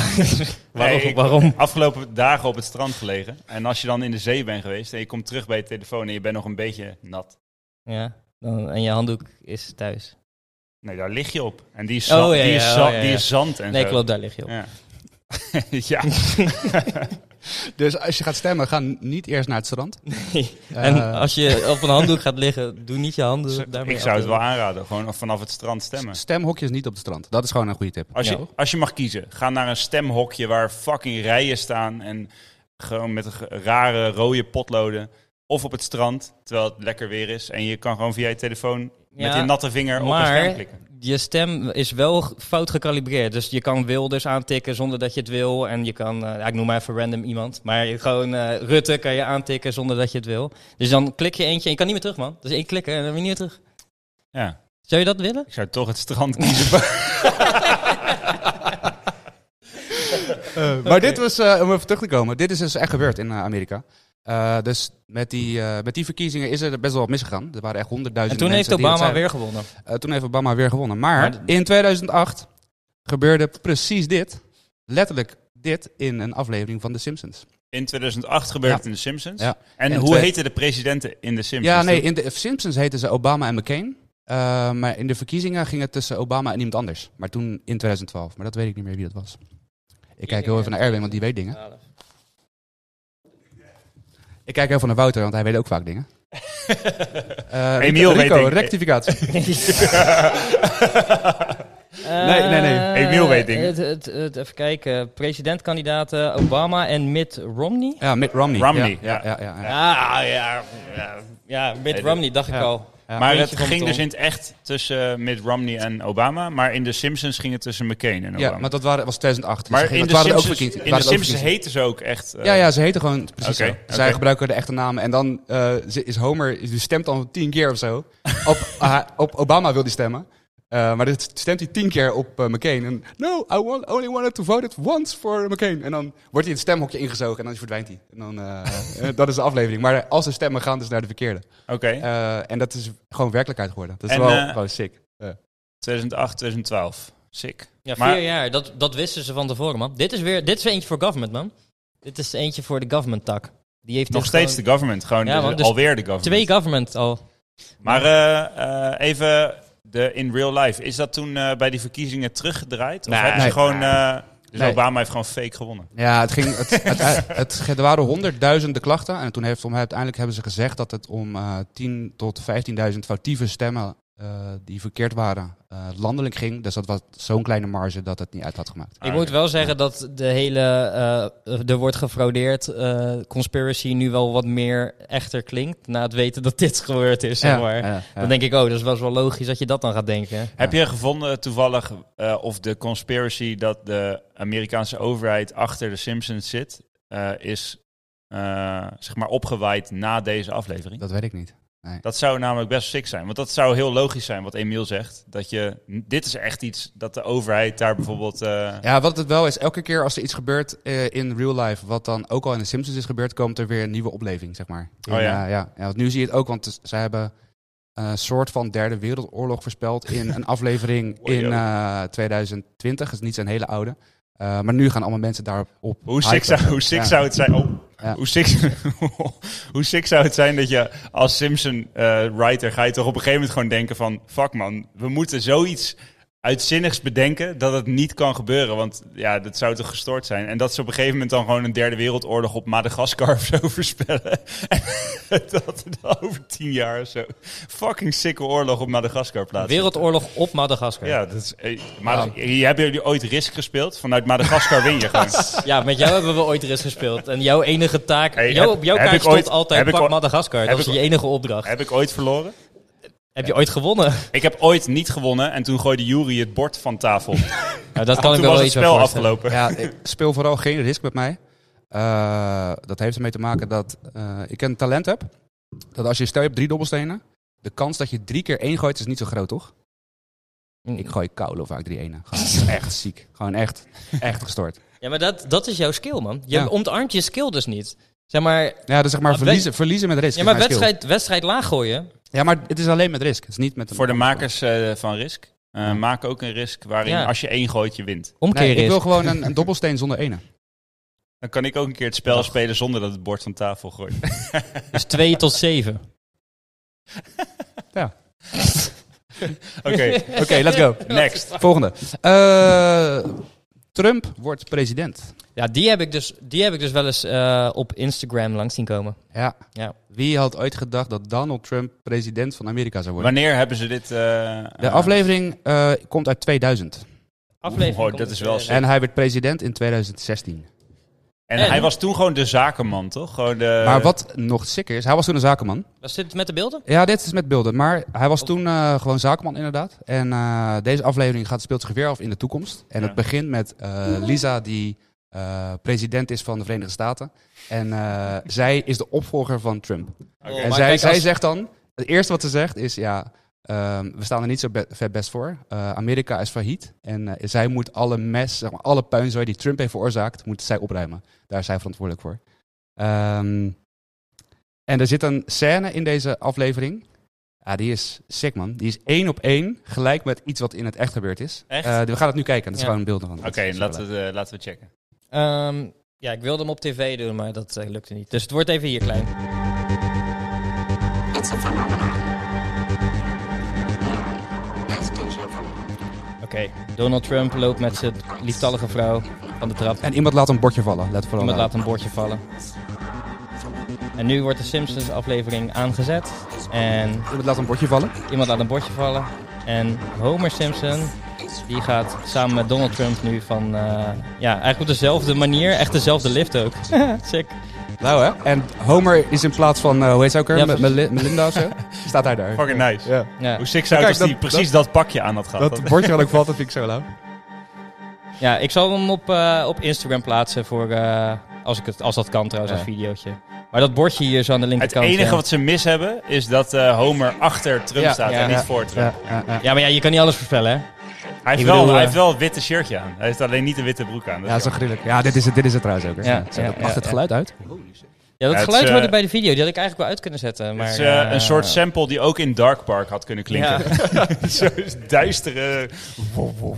waarom?
Nee, ik-
waarom?
Afgelopen dagen op het strand gelegen. En als je dan in de zee bent geweest en je komt terug bij je telefoon en je bent nog een beetje nat.
Ja. Dan, en je handdoek is thuis.
Nee, daar lig je op. En die is,
Oh,
za-
ja,
die
ja,
is,
oh,
za-
ja,
Die
ja.
is zand en
nee,
zo.
klopt, daar lig je op.
Ja. ja.
Dus als je gaat stemmen, ga niet eerst naar het strand.
Nee. en
Eh,
als je op een handdoek gaat liggen, doe niet je handen daarmee.
ik zou het wel
afdoen.
aanraden. Gewoon vanaf het strand stemmen.
Stemhokjes niet op het strand. Dat is gewoon een goede tip.
Als,
Ja.
je, als je mag kiezen, ga naar een stemhokje waar fucking rijen staan en gewoon met een ge- rare rode potloden. Of op het strand, terwijl het lekker weer is. En je kan gewoon via je telefoon met
Ja,
je natte vinger op een
maar-
stem klikken.
Je stem is wel g- fout gecalibreerd. Dus je kan Wilders aantikken zonder dat je het wil. En je kan, eh, ja, ik noem maar even random iemand. Maar je- gewoon eh, Rutte kan je aantikken zonder dat je het wil. Dus dan klik je eentje en je kan niet meer terug, man. Dus één klikken en dan ben je niet meer terug.
Ja,
Zou je dat willen?
ik zou toch het strand kiezen.
Eh, Maar dit was, eh, om even terug te komen, dit is dus echt gebeurd in eh, Amerika. Eh, dus met die, eh, met die verkiezingen is er best wel wat misgegaan. Er waren echt
En
honderdduizenden
toen heeft
mensen die het
Obama
zeiden.
weer gewonnen.
Eh, toen heeft Obama weer gewonnen. Maar,
Maar
in 2008 gebeurde precies dit. Letterlijk dit in een aflevering van The Simpsons.
In 2008 gebeurde
Ja.
het in The Simpsons.
Ja.
En,
En
hoe
twee-
heten de presidenten in The Simpsons?
Ja, nee,
toen?
in de Simpsons heten ze Obama en McCain. Eh, maar in de verkiezingen ging het tussen Obama en iemand anders. Maar toen in 2012. Maar dat weet ik niet meer wie dat was. Ik kijk heel even naar Erwin, want die weet dingen. Ik kijk heel even naar Wouter, want hij weet ook vaak dingen. Eh,
Emiel weet
Rico,
ik-
rectificatie. Nee, nee, nee.
Eh,
Emiel weet dingen.
het- het- het- even kijken. Presidentkandidaten Obama en Mitt Romney.
ja, Mitt Romney.
Romney, Ah,
Ja, ja, ja, ja, ja.
Ja, ja, ja, ja Mitt
Nee,
Romney dacht ik
ja.
al.
Ja,
maar
eentje
het
van de
ging dus
tol.
in het echt tussen eh, Mitt Romney en Obama. Maar in de Simpsons ging het tussen McCain en Obama.
Ja, maar dat waren, was 2008.
Maar
Dus
in
dat
de
waren ook
Simpsons,
verkiezingen.
in de
waren ook
Simpsons
verkiezingen.
heten ze ook echt... eh,
Ja, ja, ze heten gewoon precies
Oké,
zo. Zij
oké.
gebruiken de echte namen. En dan eh, ze- is Homer, die stemt al tien keer of zo. Op, ah, op Obama wil hij stemmen. Eh, maar dan stemt hij tien keer op eh, McCain. En, no, I want, only wanted to vote it once for McCain. En dan wordt hij het stemhokje ingezogen en dan verdwijnt hij. En dan, eh, eh, dat is de aflevering. Maar als de stemmen gaan dus naar de verkeerde.
Oké,
Eh, en dat is gewoon werkelijkheid geworden. Dat is
En,
wel
eh,
gewoon sick. Eh.
2008, 2012. Sick.
Ja,
Maar-
vier jaar. Dat, dat wisten ze van tevoren, man. Dit is weer dit is weer eentje voor government, man. Dit is eentje voor de government tak. Die heeft
Nog
dit
steeds
gewoon-
de government. Gewoon
Ja,
dus
want dus
alweer de government.
twee government al.
Maar eh, eh, even de in real life. Is dat toen eh, bij die verkiezingen teruggedraaid? Of
Nee.
hebben ze
Nee.
gewoon... eh, dus
Nee.
Obama heeft gewoon fake gewonnen.
Ja, het ging, het, het, het, het- er waren honderdduizenden klachten. En toen heeft om, uiteindelijk hebben ze gezegd dat het om eh 10 tot 15.000 foutieve stemmen eh, die verkeerd waren, eh, landelijk ging. Dus dat was zo'n kleine marge dat het niet uit had gemaakt.
Ah,
Ik moet wel zeggen dat de hele, eh, er wordt gefraudeerd, eh, conspiracy nu wel wat meer echter klinkt. Na het weten dat dit gebeurd is, zeg maar.
ja,
Dan denk ik, oh, dat is best wel logisch dat je dat dan gaat denken.
Heb je gevonden toevallig eh, of de conspiracy dat de Amerikaanse overheid achter de Simpsons zit, eh, is eh, zeg maar opgewaaid na deze aflevering?
Dat weet ik niet.
Dat zou namelijk best sick zijn, want dat zou heel logisch zijn wat Emiel zegt. Dat je, dit is echt iets dat de overheid daar bijvoorbeeld... eh,
Ja, wat het wel is, elke keer als er iets gebeurt eh, in real life, wat dan ook al in de Simpsons is gebeurd, komt er weer een nieuwe opleving, zeg maar.
Oh
En,
ja.
eh, ja. ja, want nu zie je het ook, want ze hebben een soort van derde wereldoorlog voorspeld in een aflevering
Wow.
in eh, 2020. Dat is niet zo'n hele oude. Eh, maar nu gaan allemaal mensen daarop op.
Hoe sick,
hypen.
zou, hoe sick
Ja.
zou het zijn? oh,
Ja.
hoe, sick, hoe sick zou het zijn dat je als Simpson eh, writer ga je toch op een gegeven moment gewoon denken van fuck man, we moeten zoiets uitzinnigs bedenken dat het niet kan gebeuren, want ja, dat zou toch gestoord zijn. En dat ze op een gegeven moment dan gewoon een derde wereldoorlog op Madagaskar of zo voorspellen. En dat er dan over tien jaar of zo fucking sicke oorlog op Madagaskar plaatsvindt.
Wereldoorlog op Madagaskar. Ja.
Ja, dat is, eh, Madag- hier hebben jullie ooit Risk gespeeld? Vanuit Madagaskar win je gewoon.
met jou hebben we ooit er eens gespeeld. En jouw enige taak,
Hey,
jou,
heb-
op jouw
heb
kaart
ik
stond
ooit- heb
altijd
ik
pak
ooit-
Madagaskar.
heb
Dat was
ik
je enige opdracht.
Heb ik ooit verloren?
Heb je ooit gewonnen?
Ik heb ooit niet gewonnen en toen gooide Jury het bord van tafel.
Nou, dat kan
toen
ik me
was
wel
het
iets bij
spel
voorstellen.
afgelopen.
Ja, ik speel vooral geen risk met mij. Eh, dat heeft ermee te maken dat eh, ik een talent heb. Dat als je, stel je hebt drie dobbelstenen, de kans dat je drie keer één gooit is niet zo groot, toch? Ik gooi koude vaak drie enen. Gewoon echt ziek. Gewoon echt, echt gestoord.
Ja, maar dat, dat is jouw skill, man. Je
Ja.
omarmt je skill dus niet. Zeg maar,
Ja, dus zeg maar
Maar
verliezen, verliezen met risk.
ja,
is
maar
mijn skill.
wedstrijd, wedstrijd laag gooien.
Ja, maar het is alleen met risk. Het is niet met een-
Voor de makers eh, van Risk. eh, Maak ook een Risk waarin
Ja.
als je één gooit, je wint.
Omkeren
Nee, ik
is.
wil gewoon een, een dobbelsteen zonder enen.
Dan kan ik ook een keer het spel spelen zonder dat het bord van tafel gooit.
Dus 2 tot 7.
Oké,
Oké, let's go.
next.
Volgende. Eh, Trump wordt president.
Ja, die heb ik dus, die heb ik dus wel eens eh, op Instagram langs zien komen.
Ja.
Ja.
Wie had ooit gedacht dat Donald Trump president van Amerika zou worden?
Wanneer hebben ze dit... eh,
De
eh,
Ah.
aflevering eh, komt uit 2000.
Aflevering
Oh,
komt
dat
er
is wel
weer.
sick.
En hij werd president in 2016.
En,
En?
hij was toen gewoon de zakenman, toch? Gewoon de...
Eh.
maar wat nog sicker is, hij was toen een zakenman.
Was dit met de beelden?
Ja, dit is met beelden. Maar hij was toen eh, gewoon zakenman inderdaad. En eh, deze aflevering gaat, speelt zich weer af in de toekomst. En
Ja.
het begint met eh, Lisa die eh, president is van de Verenigde Staten. En eh, zij is de opvolger van Trump.
Oh,
en
maar
zij,
kijk,
zij
als-
zegt dan, het eerste wat ze zegt is ja... ehm, we staan er niet zo be- vet best voor. Eh, Amerika is failliet. En eh, zij moet alle mes, zeg maar, alle puinzooi die Trump heeft veroorzaakt, moet zij opruimen. Daar is zij verantwoordelijk voor. Ehm, en er zit een scène in deze aflevering. Ja, die is sick, man. Die is één op één gelijk met iets wat in het echt gebeurd is.
Echt?
Eh, we gaan het nu kijken. Dat is
Ja.
gewoon beelden van.
Oké, laten, we, eh, laten we checken.
Ehm, ja, ik wilde hem op tv doen, maar dat eh, lukte niet. Dus het wordt even hier klein.
It's a phenomenon. Has been shown.
Oké, Donald Trump loopt met zijn lieftallige vrouw van de trap.
En iemand laat een bordje vallen. Let vooral
Iemand
uit.
laat een bordje vallen. En nu wordt de Simpsons aflevering aangezet. En
iemand laat een bordje vallen.
iemand laat een bordje vallen. En Homer Simpson, die gaat samen met Donald Trump nu van... eh, ja, eigenlijk op dezelfde manier. Echt dezelfde lift ook. Sick.
Dat Blauw, hè? En Homer is in plaats van, eh, hoe heet ze ook weer?
Ja,
Me- Meli- Melinda of zo? Staat hij daar.
Fucking nice.
Ja.
Ja.
Hoe sick zou het
Kijk,
als die
dat-
precies dat pakje aan had gehad.
Dat bordje wel ook valt, dat vind ik zo lauw.
ja, ik zal hem op, eh, op Instagram plaatsen voor, eh, als, ik het, als dat kan trouwens,
Ja.
als videootje. Maar dat bordje hier zo aan de
Het
linkerkant. eh.
enige
ja.
wat ze mis hebben is dat eh, Homer achter Trump
Ja,
staat
ja,
en niet
ja,
voor Trump.
ja, ja.
Ja, maar ja, je kan niet alles voorspellen, hè?
Hij, heeft
Ik
wel,
bedoel,
hij
eh,
heeft wel een witte shirtje aan. Hij heeft alleen niet een witte broek aan. Dat
Ja,
is
zo gruwelijk. Ja, dit is het, dit is het trouwens ook. hè.
Ja,
Zo,
ja,
dat-
ja,
mag het
ja.
geluid uit?
Ja, dat
Ja, het is,
geluid hoorde
eh,
bij de video. Die had ik eigenlijk wel uit kunnen zetten. Maar,
Het is eh,
eh,
een soort sample die ook in Dark Park had kunnen
ja.
klinken. Zo'n duistere...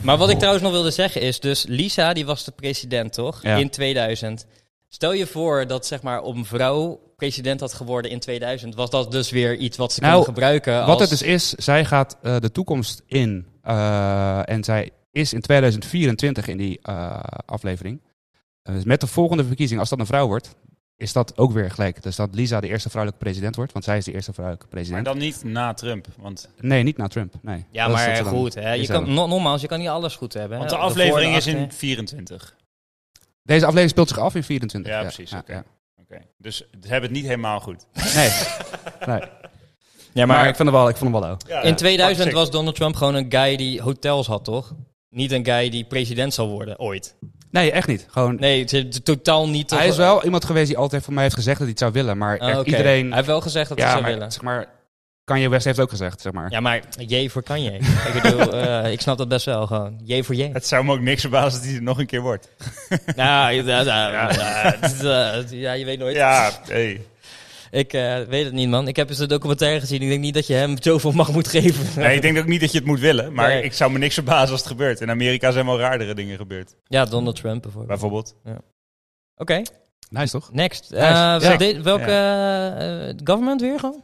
Maar
Oh.
wat ik trouwens nog wilde zeggen is, dus Lisa die was de president toch?
Ja.
In 2000. Stel je voor dat zeg maar om vrouw president had geworden in 2000, was dat dus weer iets wat ze
Nou,
konden gebruiken als...
Wat het dus is, zij gaat eh, de toekomst in. eh, en zij is in 2024 in die eh, aflevering. Eh, dus met de volgende verkiezing, als dat een vrouw wordt, is dat ook weer gelijk. Dus dat Lisa de eerste vrouwelijke president wordt, want zij is de eerste vrouwelijke
Maar
president.
dan niet na Trump. Want,
Nee, niet na Trump. Nee.
Ja,
Dat is
maar
dat ze dan-
goed, hè? Je
is
kan,
hebben.
no- nogmaals, je kan niet alles goed hebben. hè.
want de
Op voor-
aflevering is
achter.
in 24.
Deze aflevering speelt zich af in 24.
Ja, precies, oké.
ja.
Oké. Dus ze hebben het niet helemaal goed.
Nee. nee.
Ja,
Maar,
maar,
ik vond hem wel, ik vond hem wel ook.
Ja,
in
ja.
2000
Sick.
was Donald Trump gewoon een guy die hotels had, toch? Niet een guy die president zal worden, ooit.
Nee, echt niet. Gewoon,
Nee, het is totaal niet...
hij is wel iemand geweest die altijd voor mij heeft gezegd dat hij het zou willen. Maar
Ah,
echt
oké.
iedereen...
Hij heeft wel gezegd dat
ja,
hij zou
maar,
willen.
Zeg maar, Kanye West heeft ook gezegd, zeg maar.
Ja, maar J voor Kanye. ik bedoel, eh, ik snap dat best wel gewoon. J voor J.
Het zou me ook niks verbazen dat hij er nog een keer wordt.
nou, ja, ja, ja, het is, eh, het- ja, je weet nooit.
Ja, hey.
Ik eh, weet het niet, man. Ik heb eens een documentaire gezien. Ik denk niet dat je hem zoveel mag moet geven.
Nee, ik denk ook niet dat je het moet willen. Maar
Nee.
ik zou me niks verbazen als het gebeurt. In Amerika zijn wel raardere dingen gebeurd.
Ja, Donald Trump bijvoorbeeld.
Bijvoorbeeld.
Oké,
Nice, toch?
next. Eh,
Ja.
wel- de- welke eh, eh, government weer gewoon?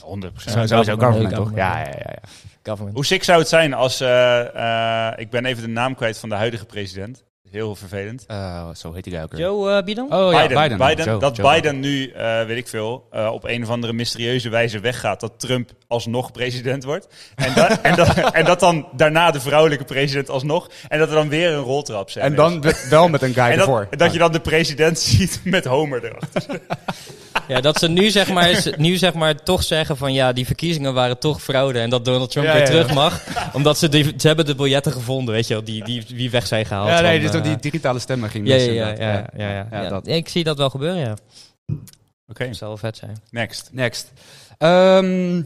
100
Zo- Sowieso
government,
government, toch?
government.
Ja, ja, ja. ja.
Government.
Hoe sick zou het zijn als... eh, eh, ik ben even de naam kwijt van de huidige president. Heel vervelend.
Eh, zo heet hij daar ook. weer.
Joe eh, Biden?
Oh ja, Biden. Joe,
dat
Joe
Biden nu, eh, weet ik veel, eh, op een of andere mysterieuze wijze weggaat. Dat Trump alsnog president wordt. En, da- en, dat, en dat dan daarna de vrouwelijke president alsnog. En dat er dan weer een roltrap zijn.
En dan met- wel met een guy
En dat,
ervoor.
dat je dan de president ziet met Homer erachter.
Ja, dat ze nu zeg, maar, ze- nu zeg maar toch zeggen van ja, die verkiezingen waren toch fraude. En dat Donald Trump
Ja,
weer
ja, ja.
terug mag. Omdat ze, die, ze hebben de biljetten gevonden, weet je wel, die, die, die weg zijn gehaald.
Ja, nee,
van,
dus dat
eh,
die digitale stemmen ging
Ja,
mis,
ja, ja,
inderdaad.
ja, ja, ja, ja.
dat.
Ik zie dat wel gebeuren, ja.
Oké,
Dat zou wel vet zijn.
next.
Next. Ehm,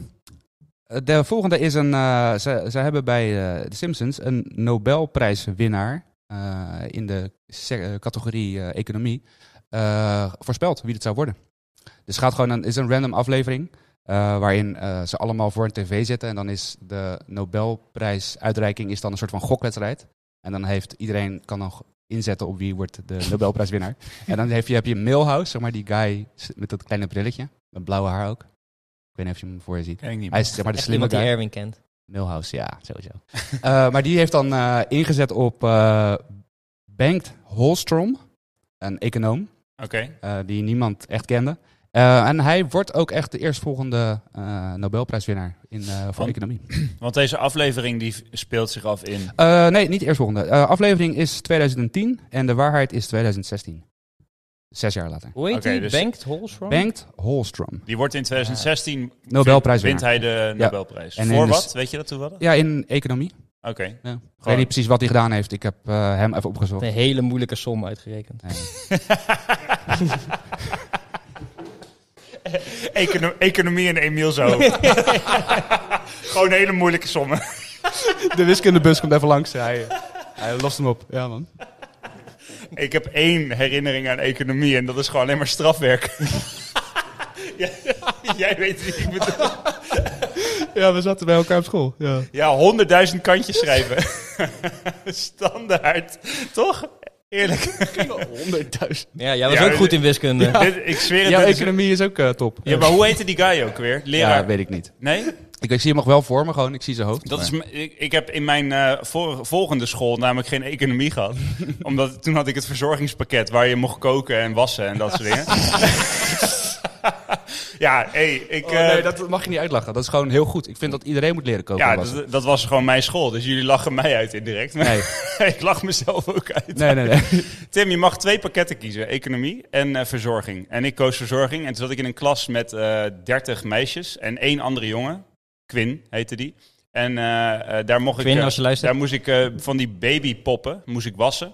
de volgende is een... eh, ze, ze hebben bij eh, The Simpsons een Nobelprijswinnaar eh, in de se- eh, categorie eh, economie eh, voorspeld wie het zou worden. Dus het gaat gewoon een, is een random aflevering eh, waarin eh, ze allemaal voor een tv zitten. En dan is de Nobelprijsuitreiking is dan een soort van gokwedstrijd. En dan heeft iedereen kan dan go- inzetten op wie wordt de Nobelprijswinnaar. en dan heb je, heb je Milhouse, zeg maar die guy s- met dat kleine brilletje. Met blauwe haar ook. Ik weet niet of je hem voor je ziet.
Ken ik niet.
Hij is zeg maar de
Echt
slimme
iemand die
guy.
Erwin kent.
Milhouse, ja, sowieso. Eh, maar die heeft dan eh, ingezet op eh, Bengt Holstrom, een econoom
Oké,
eh, die niemand echt kende. Eh, en hij wordt ook echt de eerstvolgende eh, Nobelprijswinnaar in, eh, voor
Van-
economie.
want deze aflevering die speelt zich af in...
Eh, nee, niet eerstvolgende. Eh aflevering is 2010 en de waarheid is 2016. Zes jaar later.
Hoe heet
Oké,
die?
dus-
Bengt Holstrom?
Bengt Holstrom.
Die wordt in 2016...
Nobelprijswinnaar.
Wint hij de Nobelprijs.
En in
Voor
de-
wat? Weet je dat toen wel?
Ja, in economie.
Oké.
Ja. Ik weet
Gewoon-
niet precies wat hij gedaan heeft. Ik heb eh, hem even
Met
opgezocht.
Een hele moeilijke som uitgerekend.
Econo- economie en Emiel zo. Gewoon hele moeilijke sommen.
De wiskundebus komt even langs. Hij, hij lost hem op. Ja, man.
Ik heb één herinnering aan economie en dat is gewoon alleen maar strafwerk. Ja, Jij weet wie ik bedoel.
Ja, we zaten bij elkaar op school. Ja.
Ja, honderdduizend kantjes schrijven. Standaard. Toch? Eerlijk.
Ja, jij was
Ja,
ook goed
de-
in wiskunde.
Dit- ik zweer het.
Jouw
dit is-
economie is ook eh, top.
Ja, maar hoe heette die guy ook weer? Leraar.
Ja, weet ik niet.
Nee?
Ik, ik zie hem nog wel voor me, gewoon. Ik zie zijn hoofd.
Dat
maar-
is, m- ik, ik heb in mijn eh, vor- volgende school namelijk geen economie gehad. Omdat toen had ik het verzorgingspakket waar je mocht koken en wassen en dat soort dingen. Ja, hey, ik...
Oh, nee,
eh,
dat mag je niet uitlachen. Dat is gewoon heel goed. Ik vind dat iedereen moet leren koken.
ja,
lassen.
dat, dat was gewoon mijn school. Dus jullie lachen mij uit indirect. Maar
nee,
ik lach mezelf ook uit.
nee, nee. nee.
Tim, je mag twee pakketten kiezen: economie en eh, verzorging. En ik koos verzorging. En toen zat ik in een klas met eh 30 meisjes en één andere jongen. Quinn heette die. En eh, eh, daar mocht ik.
Quinn,
eh,
als je luistert.
Daar moest ik eh, van die babypoppen moest ik wassen.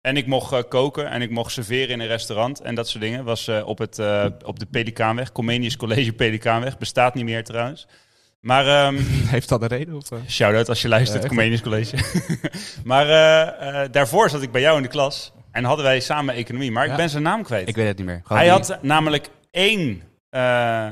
En ik mocht eh, koken en ik mocht serveren in een restaurant en dat soort dingen. Was eh, op, het, eh, op de Pelikaanweg, Comenius College Pelikaanweg. Bestaat niet meer trouwens. Maar ehm,
Heeft dat een reden? Of, eh?
Shout-out als je luistert,
Ja, echt.
Comenius College. maar eh, eh, daarvoor zat ik bij jou in de klas en hadden wij samen economie. Maar ik
Ja.
ben zijn naam kwijt.
Ik Oh, weet het niet meer. Gewoon
Hij
die-
had namelijk één eh,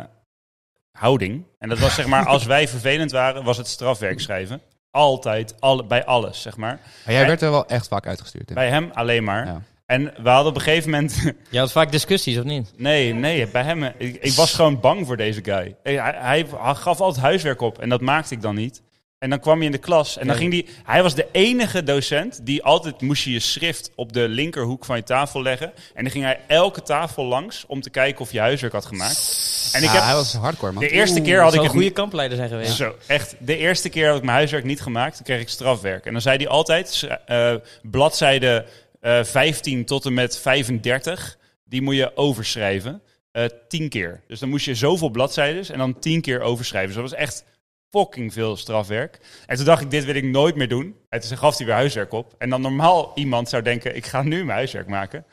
houding. En dat was zeg maar, als wij vervelend waren, was het strafwerk schrijven. Altijd, alle, bij alles, zeg maar.
Maar jij werd er wel echt vaak uitgestuurd. Tim.
Bij hem alleen maar.
Ja.
En we hadden op een gegeven moment
Je had vaak discussies, of niet?
Nee, nee, bij hem. Ik, ik was gewoon bang voor deze guy. Hij, hij, hij gaf altijd huiswerk op en dat maakte ik dan niet. En dan kwam hij in de klas en dan ging die. Hij was de enige docent die altijd moest je je schrift op de linkerhoek van je tafel leggen. En dan ging hij elke tafel langs om te kijken of je huiswerk had gemaakt. En ik
Ja,
heb
Hij was hardcore, man.
de eerste keer had ik
zou
het
een goede kampleider zijn geweest.
zo, echt. De eerste keer had ik mijn huiswerk niet gemaakt, toen kreeg ik strafwerk. En dan zei hij altijd, s- eh, bladzijde eh, 15 tot en met 35, die moet je overschrijven. eh tien keer. Dus dan moest je zoveel bladzijden en dan tien keer overschrijven. Dus dat was echt fucking veel strafwerk. En toen dacht ik, dit wil ik nooit meer doen. En toen gaf hij weer huiswerk op. En dan normaal iemand zou denken, ik ga nu mijn huiswerk maken.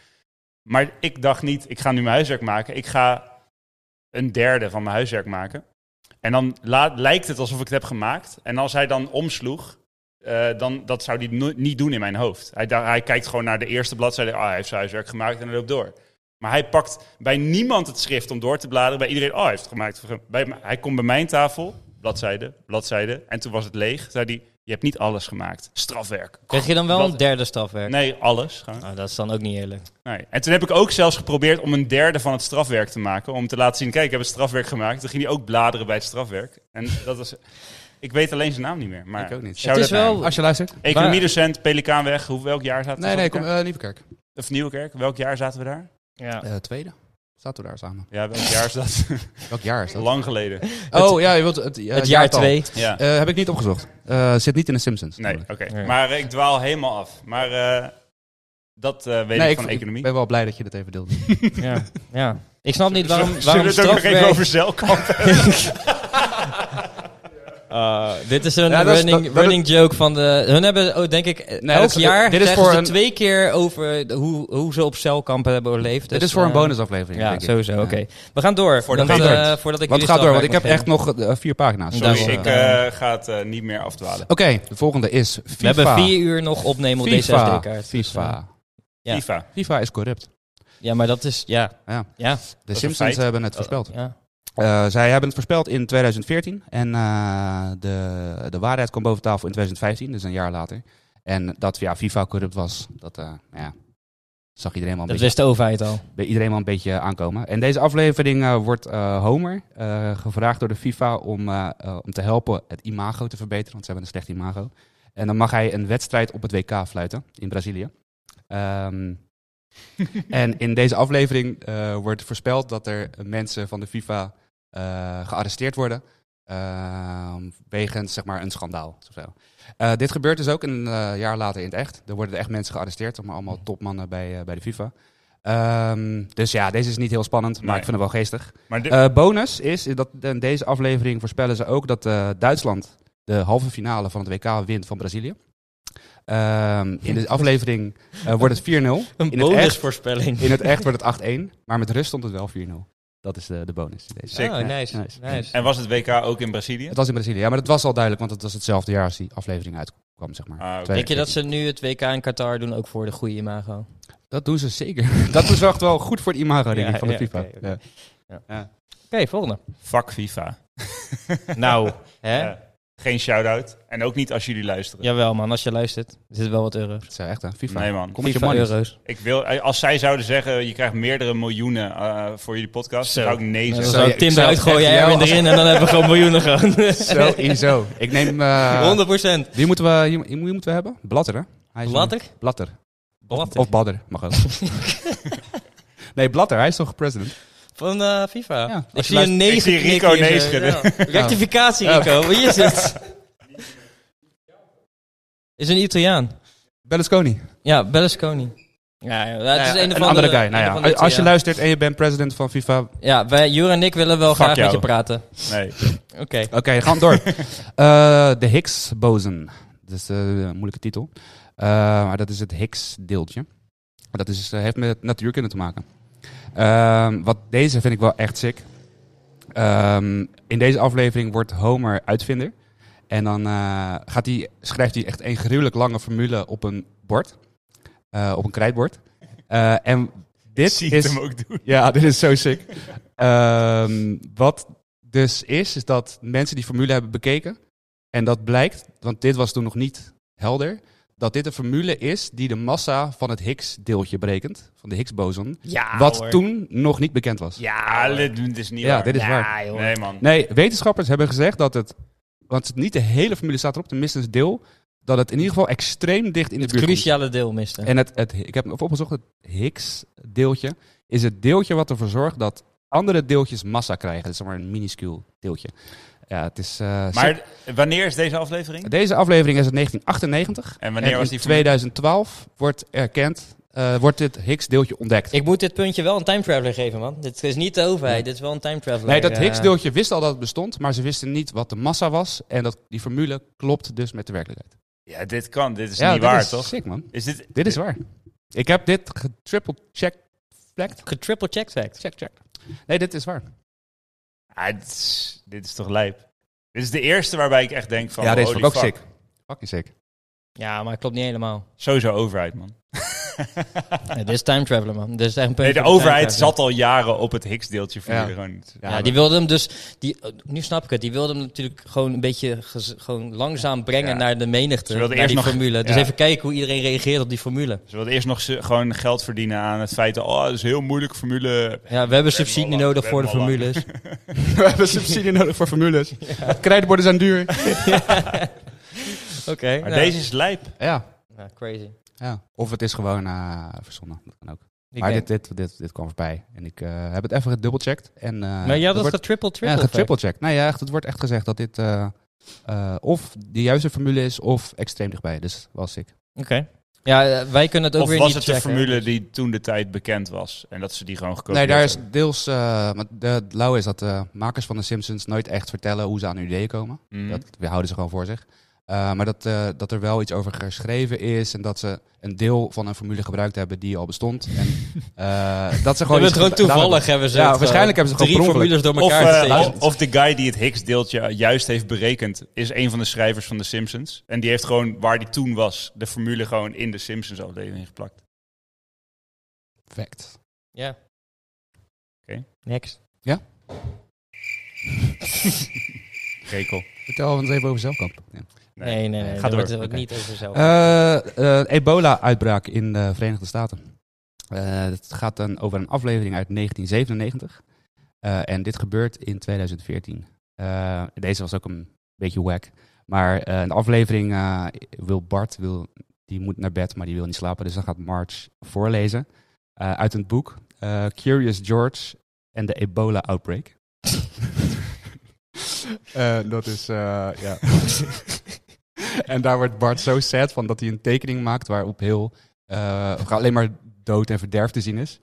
Maar ik dacht niet, ik ga nu mijn huiswerk maken. Ik ga een derde van mijn huiswerk maken. En dan la- lijkt het alsof ik het heb gemaakt. En als hij dan omsloeg, eh, dan, dat zou hij no- niet doen in mijn hoofd. Hij, da- hij kijkt gewoon naar de eerste bladzijde. Ah, hij heeft zijn huiswerk gemaakt en hij loopt door. Maar hij pakt bij niemand het schrift om door te bladeren. Bij iedereen, oh, hij heeft het gemaakt. Bij, m- hij komt bij mijn tafel, bladzijde, bladzijde. En toen was het leeg. Zei hij, je hebt niet alles gemaakt. Strafwerk.
Kreeg je dan wel
Blad-
een derde stafwerk?
Nee, alles. gewoon.
Nou, dat is dan ook niet eerlijk.
Nee. En toen heb ik ook zelfs geprobeerd om een derde van het strafwerk te maken. Om te laten zien, kijk, ik heb het strafwerk gemaakt. Toen ging hij ook bladeren bij het strafwerk. En dat was... Ik weet alleen zijn naam niet meer. Maar
Ik ook niet.
shout-out
Het is
naar
wel-
hem.
Als je luistert.
Economiedocent, Pelikaanweg. Hoe, welk jaar zaten we
Nee, nee,
daar?
kom, eh Nieuwekerk.
Of Nieuwkerk. Welk jaar zaten we daar?
Ja.
Eh, tweede. Zaten we daar samen.
Ja, welk jaar is dat?
Welk jaar is dat?
Lang geleden.
Oh ja, je wilt het,
Het jaar
twee.
twee.
Ja.
Eh, heb ik niet opgezocht. Eh, zit niet in de Simpsons.
Nee,
namelijk.
oké.
Nee.
Maar eh, ik dwaal helemaal af. Maar eh, dat eh, weet
Nee,
ik van
ik
economie. Dus,
ben wel blij dat je dat even deelde.
Ja. ja. Ik snap niet
Zullen
waarom,
we
waarom
het ook nog even
strafwerk...
over zeilkamp hebben?
Ah, dit is een
Ja, dat is-
running,
dat- dat-
running joke van de... Hun hebben, oh, denk ik, eh,
Nee,
elk
dat is-
jaar
dit is
zeggen
voor
ze
een-
twee keer over de- hoe, hoe ze op celkampen hebben overleefd.
Dit
Dus,
is voor een
eh,
bonusaflevering.
Ja,
denk ik.
sowieso.
Ja.
Oké. We gaan door.
Voor de
want,
winter.
eh, voordat ik
Want
jullie
het gaat door, want ik
strafwerk
heb
mag
echt nog eh, vier pagina's.
Daarom.
Sorry,
Dus,
ik
eh,
eh, ga het eh, niet meer afdwalen.
Oké, de volgende is FIFA.
geven. We hebben vier uur nog opnemen op deze
FIFA.
SD-kaart. dus, eh,
FIFA.
Ja.
FIFA.
FIFA is corrupt.
ja, maar dat is... Ja.
Ja.
Ja.
De
een
Simpsons
feit.
hebben het voorspeld.
Ja.
Eh, zij hebben het voorspeld in 2014 en eh, de, de waarheid kwam boven tafel in 2015, dus een jaar later. En dat ja, FIFA corrupt was, dat eh, ja, zag iedereen wel, een
Dat
beetje,
wist de overheid al.
bij iedereen wel een beetje aankomen. En deze aflevering eh, wordt eh, Homer eh, gevraagd door de FIFA om, eh, eh, om te helpen het imago te verbeteren, want ze hebben een slecht imago. En dan mag hij een wedstrijd op het WK fluiten in Brazilië. Ehm, en in deze aflevering eh, wordt voorspeld dat er mensen van de FIFA eh, gearresteerd worden. ehm, wegens zeg maar een schandaal. of zo. Eh, dit gebeurt dus ook een eh, jaar later in het echt. Er worden echt mensen gearresteerd, zeg maar allemaal topmannen bij, eh, bij de FIFA. Ehm, dus ja, deze is niet heel spannend, maar
Nee.
ik vind hem wel geestig.
Maar dit-
Eh, bonus is dat in deze aflevering voorspellen ze ook dat eh, Duitsland de halve finale van het WK wint van Brazilië. Ehm, in de aflevering eh, wordt het 4-0.
Een
In het, echt,
bonusvoorspelling.
in het echt wordt het 8-1, maar met rust stond het wel 4-0. Dat is de, de bonus. in Deze.
Sick.
Oh, nice.
Nice.
nice.
En was het WK ook in Brazilië?
Het was in Brazilië, ja, maar dat was al duidelijk, want het was hetzelfde jaar als die aflevering uitkwam, zeg maar.
Ah, oké.
Denk je dat ze nu het WK in Qatar doen ook voor de goede imago?
Dat doen ze zeker. dat doen ze echt wel goed voor het imago, denk ik,
Ja,
van de
ja,
FIFA.
oké, oké.
Ja.
Oké, volgende.
Fuck FIFA.
Nou, hè?
Ja. Geen shout-out. En ook niet als jullie luisteren.
Jawel man, als je luistert, er zit wel wat euro's.
Het is echt, hè? FIFA.
Nee, man.
Kom met je
FIFA
money.
euro's.
Ik wil, eh, als zij zouden zeggen, je krijgt meerdere miljoenen eh, voor jullie podcast,
Zo.
zou ik nee
Dan
zeggen.
zou
je-
Tim
ik zou
eruit
echt
gooien, jij
jou
Erwin
als-
erin en dan hebben we gewoon miljoenen gewoon.
Sowieso. Ik neem... eh,
100 procent.
Wie moeten we, hier- hier moeten we hebben? Blatter, hè? Hij is-
Blatter?
Blatter.
Blatter.
Of Badder, mag ook. nee, Blatter, hij is toch president?
Van eh, FIFA.
Ja.
Ik
Als je
zie
luistert-
een negen
ik zie
knikken
Rico
hier
nee
zo.
schudden.
Ja. Rectificatie, Rico. Wie is het? Is een Italiaan.
Berlusconi.
Ja, Berlusconi. Ja, ja, het is
Ja,
een,
een
of
andere guy.
een
Nou
of
ja,
andere
als je
Italiaan.
luistert en je bent president van FIFA, oké,
Ja, wij, Jure en ik willen wel
Fuck
graag met
jou.
je praten.
Nee.
Oké.
gaan we door. Eh, de Higgs boson. Dat is eh, een moeilijke titel. Eh, maar dat is het Higgs deeltje. Dat is, eh, heeft met natuurkunde te maken. Ehm, wat deze vind ik wel echt sick. Ehm, in deze aflevering wordt Homer uitvinder. En dan eh, gaat hij, schrijft hij echt een gruwelijk lange formule op een bord. Eh, op een krijtbord. Eh, en dit
Zie
is...
hem ook doen.
Ja, dit is zo sick. Ehm, wat dus is, is dat mensen die formule hebben bekeken. En dat blijkt, want dit was toen nog niet helder. Dat dit een formule is die de massa van het Higgs-deeltje berekent. Van de Higgs-boson.
Ja,
wat
hoor.
toen nog niet bekend was.
Ja,
Ah,
hoor.
dit, dit is niet
Ja,
waar.
dit is waar.
Ja, joh.
Nee, man.
Nee, wetenschappers hebben gezegd dat het. Want het- niet de hele formule staat erop, tenminste een deel. Dat het in ieder geval extreem dicht in de
Het
buurt komt.
cruciale deel miste.
En het, het, ik heb hem opgezocht, het Higgs-deeltje is het deeltje wat ervoor zorgt dat andere deeltjes massa krijgen. Dat is zeg maar een minuscuul deeltje. Ja, het is... eh, sick.
Maar wanneer is deze aflevering?
Deze aflevering is het 1998.
En wanneer
en
was
in
die formule?
2012 wordt erkend, eh, wordt dit Higgs-deeltje ontdekt.
Ik moet dit puntje wel een time traveler geven, man. Dit is niet de overheid, dit is wel een time traveler.
Nee, dat
eh.
Higgs-deeltje wist al dat het bestond, maar ze wisten niet wat de massa was. En dat, die formule klopt dus met de werkelijkheid.
Ja, dit kan. Dit is
ja,
niet
dit
waar,
is
toch?
sick, man.
Is dit...
Dit is waar. Ik heb dit getriple-check... Fact?
Getriple check fact.
Check, check. Nee, dit is waar.
Ah, dit, is, dit is toch lijp? Dit is de eerste waarbij ik echt denk van...
ja,
oh,
deze vond
holy
ik ook
fuck.
sick. Fucking sick.
Ja, maar klopt niet helemaal.
Sowieso overheid, man.
Nee, dit is time traveler, man. Dit is echt een
Nee,
puntje
de
voor time
overheid
traveler.
zat al jaren op het Higgs-deeltje.
Ja.
Ja. Gewoon...
Ja, die wilde hem dus, die, eh, nu snap ik het, die wilde hem natuurlijk gewoon een beetje gez- gewoon langzaam brengen
Ja.
naar de menigte,
Ze wilden
naar
eerst
die
nog-
formule. Dus
ja.
even kijken hoe iedereen reageert op die formule.
Ze wilden eerst nog ze- gewoon geld verdienen aan het feit... dat, Oh, dat is een heel moeilijke formule.
Ja, we hebben subsidie
al lang,
nodig
we
voor de
hebben hem al
formules.
We hebben subsidie nodig voor formules. Krijtborden zijn duur.
Oké.
Maar
nou.
deze is lijp.
Ja.
Ja, crazy.
ja. Of het is gewoon eh, verzonnen. Dat kan ook.
Ik
maar
denk-
dit, dit, dit, dit kwam voorbij. En ik eh, heb het even gedubbelcheckt. En, eh,
maar jij
er
had het
wordt,
getriple
ja,
triple
getrippelcheckt. Nou ja, echt, het wordt echt gezegd dat dit eh, eh, of de juiste formule is of extreem dichtbij. Dus was ik.
Oké. Ja, eh, wij kunnen het ook
Of
weer
was
niet
het de
checken. dus-
formule die toen de tijd bekend was? En dat ze die gewoon gekopieerd
Nee, daar is
hebben?
deels. eh, maar de, het lauwe is dat de makers van de Simpsons nooit echt vertellen hoe ze aan hun ideeën komen.
Mhm.
Dat we houden ze gewoon voor zich. Eh, maar dat, eh, dat er wel iets over geschreven is en dat ze een deel van een formule gebruikt hebben die al bestond. En, eh, dat ze gewoon
We hebben
iets
het gewoon
gedaan
toevallig
hebben.
hebben ze
Ja,
het
waarschijnlijk
gewoon
hebben ze het
drie
gewoon per
formules door
Of,
elkaar
eh,
gestegen.
of, of de guy die het Higgs-deeltje juist heeft berekend, is een van de schrijvers van The Simpsons. En die heeft gewoon, waar die toen was, de formule gewoon in de Simpsons-afdeling geplakt.
Perfect.
Ja.
Oké.
Next.
Rekel.
Vertel ons even over zelfkamp. Ja.
Nee, nee, nee.
Ga
daar
door.
wordt het ook
Oké.
niet over zelf.
Eh, eh, Ebola-uitbraak in de Verenigde Staten. Eh, het gaat dan over een aflevering uit 1997. Eh, en dit gebeurt in 2014. Eh, deze was ook een beetje wack. Maar eh, een aflevering eh, wil Bart, wil, die moet naar bed, maar die wil niet slapen. Dus dan gaat Marge voorlezen eh, uit een boek. eh, Curious George en de Ebola-outbreak. Eh, dat is, eh, ja. en daar wordt Bart zo sad van dat hij een tekening maakt waarop heel eh, alleen maar dood en verderf te zien is.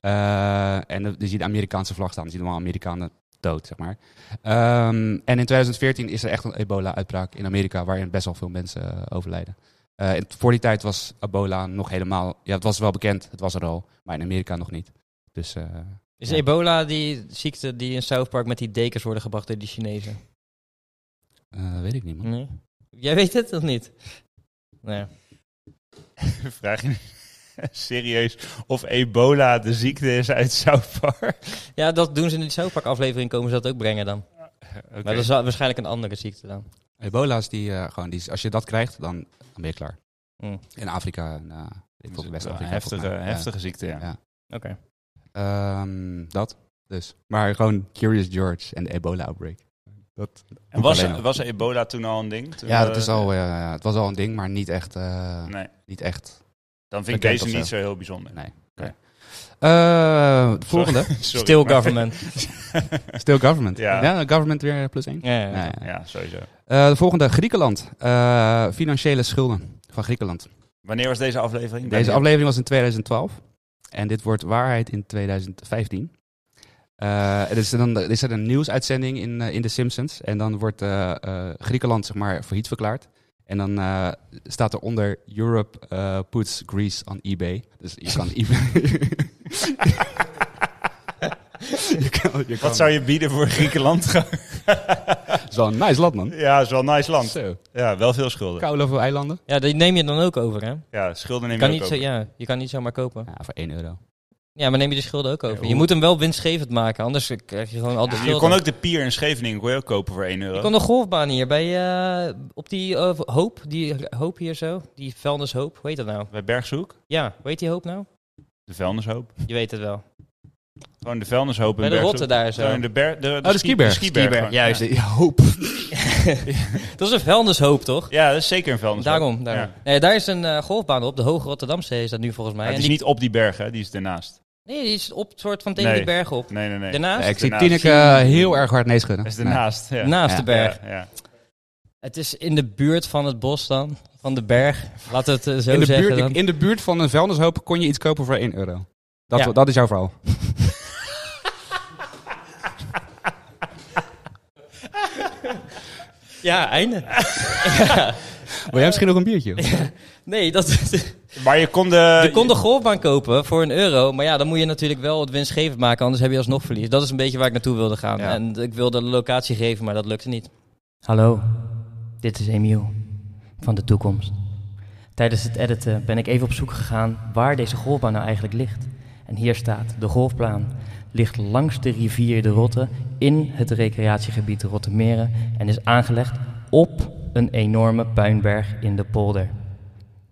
Eh, en dan zie je de Amerikaanse vlag staan. Dan zie je allemaal Amerikanen dood, zeg maar. Ehm, en in 2014 is er echt een ebola-uitbraak in Amerika... waarin best wel veel mensen eh, overlijden. Eh, en voor die tijd was ebola nog helemaal... Ja, het was wel bekend, het was er al. Maar in Amerika nog niet. Dus eh,
Is
Ja.
ebola die ziekte die in South Park met die dekens worden gebracht door die Chinezen?
eh, weet ik niet, man.
Nee. Jij weet het of niet? Nee.
Vraag je serieus of ebola de ziekte is uit South Park?
Ja, dat doen ze in die South Park aflevering, komen ze dat ook brengen dan.
Oké.
Maar dat is wa- waarschijnlijk een andere ziekte dan.
Ebola is die, eh, gewoon, die, is- als je dat krijgt, dan, dan ben je klaar.
Mm.
In Afrika, en, eh, ik
Dat
vond
Dus is
West-Afrika.
een heftige,
volgens mij. Ja.
heftige ziekte, ja.
Ja.
Oké.
Ehm, dat, dus. Maar gewoon Curious George en de ebola-outbreak. Dat,
En was,
Alleen al.
was ebola toen al een ding? Toen,
ja,
eh,
dat is al, eh, het was al een ding, maar niet echt... eh,
Nee,
niet echt.
dan vind ik
Bekend
deze
of zo.
niet zo heel bijzonder.
Nee.
Oké.
Nee. Eh, de volgende.
Sorry,
Still
maar-
government.
Still government.
Ja.
Ja, government weer eh, plus één.
Ja, ja, ja.
Nee, nee.
Ja, sowieso.
Eh, de volgende, Griekenland. Eh, financiële schulden van Griekenland.
Wanneer was deze aflevering?
Deze
Wanneer?
aflevering was in 2012. En dit wordt waarheid in 2015. Eh, er, is dan, er is een nieuwsuitzending in, eh, in The Simpsons. En dan wordt eh, eh, Griekenland zeg maar failliet verklaard. En dan eh, staat eronder Europe eh, puts Greece on eBay. Dus je kan eBay... je kan, je kan-
Wat zou je bieden voor Griekenland?
Dat is wel een nice land, man.
ja, is wel een nice land.
Zo.
Ja, wel veel schulden.
Koude veel eilanden.
ja, die neem je dan ook over, hè?
Ja, schulden neem
Je
je
kan,
ook
niet zo,
over.
ja, je kan niet zomaar kopen.
Ja, voor 1 euro.
Ja, maar neem je de schulden ook over.
hoe-
Je moet hem wel winstgevend maken, anders krijg je gewoon al de
Je
schulden.
kon ook de pier in Scheveningen kon je ook kopen voor 1 euro.
Ik kon de golfbaan hier bij, eh, op die eh, hoop, die hoop hier zo, die vuilnishoop, hoe heet dat nou?
Bij Bergshoek,
Ja, hoe heet die hoop nou?
de vuilnishoop.
Je weet het wel.
Gewoon de vuilnishoop in
Bij de
Bergshoek.
rotte daar zo.
Gewoon de, ber, de,
de skiberg.
gewoon. Ja.
hoop.
Dat is een vuilnishoop, toch?
Ja, dat is zeker een vuilnishoop.
Daarom, daarom. Nee, daar is een eh, golfbaan op, de Hoge Rotterdamse is dat nu volgens mij.
Maar het
En
is
die,
niet op die berg, hè? die is ernaast.
Nee, die is op het soort van tegen
Nee.
die bergen op.
Nee, nee, nee.
Daarnaast?
ik zie
Daarnaast.
Tineke eh, heel erg hard nee schudden.
Dat is ernaast. Ja.
Naast
Ja.
de berg.
Ja, ja.
Het is in de buurt van het bos dan, van de berg. Laat het eh, zo
in, de
zeggen
buurt,
dan.
in de buurt van een vuilnishoop kon je iets kopen voor 1 euro. Dat,
Ja.
dat is jouw verhaal.
Ja, einde.
Wil jij misschien nog een biertje?
Nee, dat,
Maar Eh, je kon de...
je kon de golfbaan kopen voor een euro. Maar ja, dan moet je natuurlijk wel het winstgevend maken, anders heb je alsnog verlies. Dat is een beetje waar ik naartoe wilde gaan.
Ja.
En ik wilde de locatie geven, maar dat lukte niet. Hallo, dit is Emiel van de toekomst. Tijdens het editen ben ik even op zoek gegaan waar deze golfbaan nou eigenlijk ligt. En hier staat, de golfbaan ligt langs de rivier de Rotte in het recreatiegebied Rottemeren en is aangelegd op een enorme puinberg in de polder.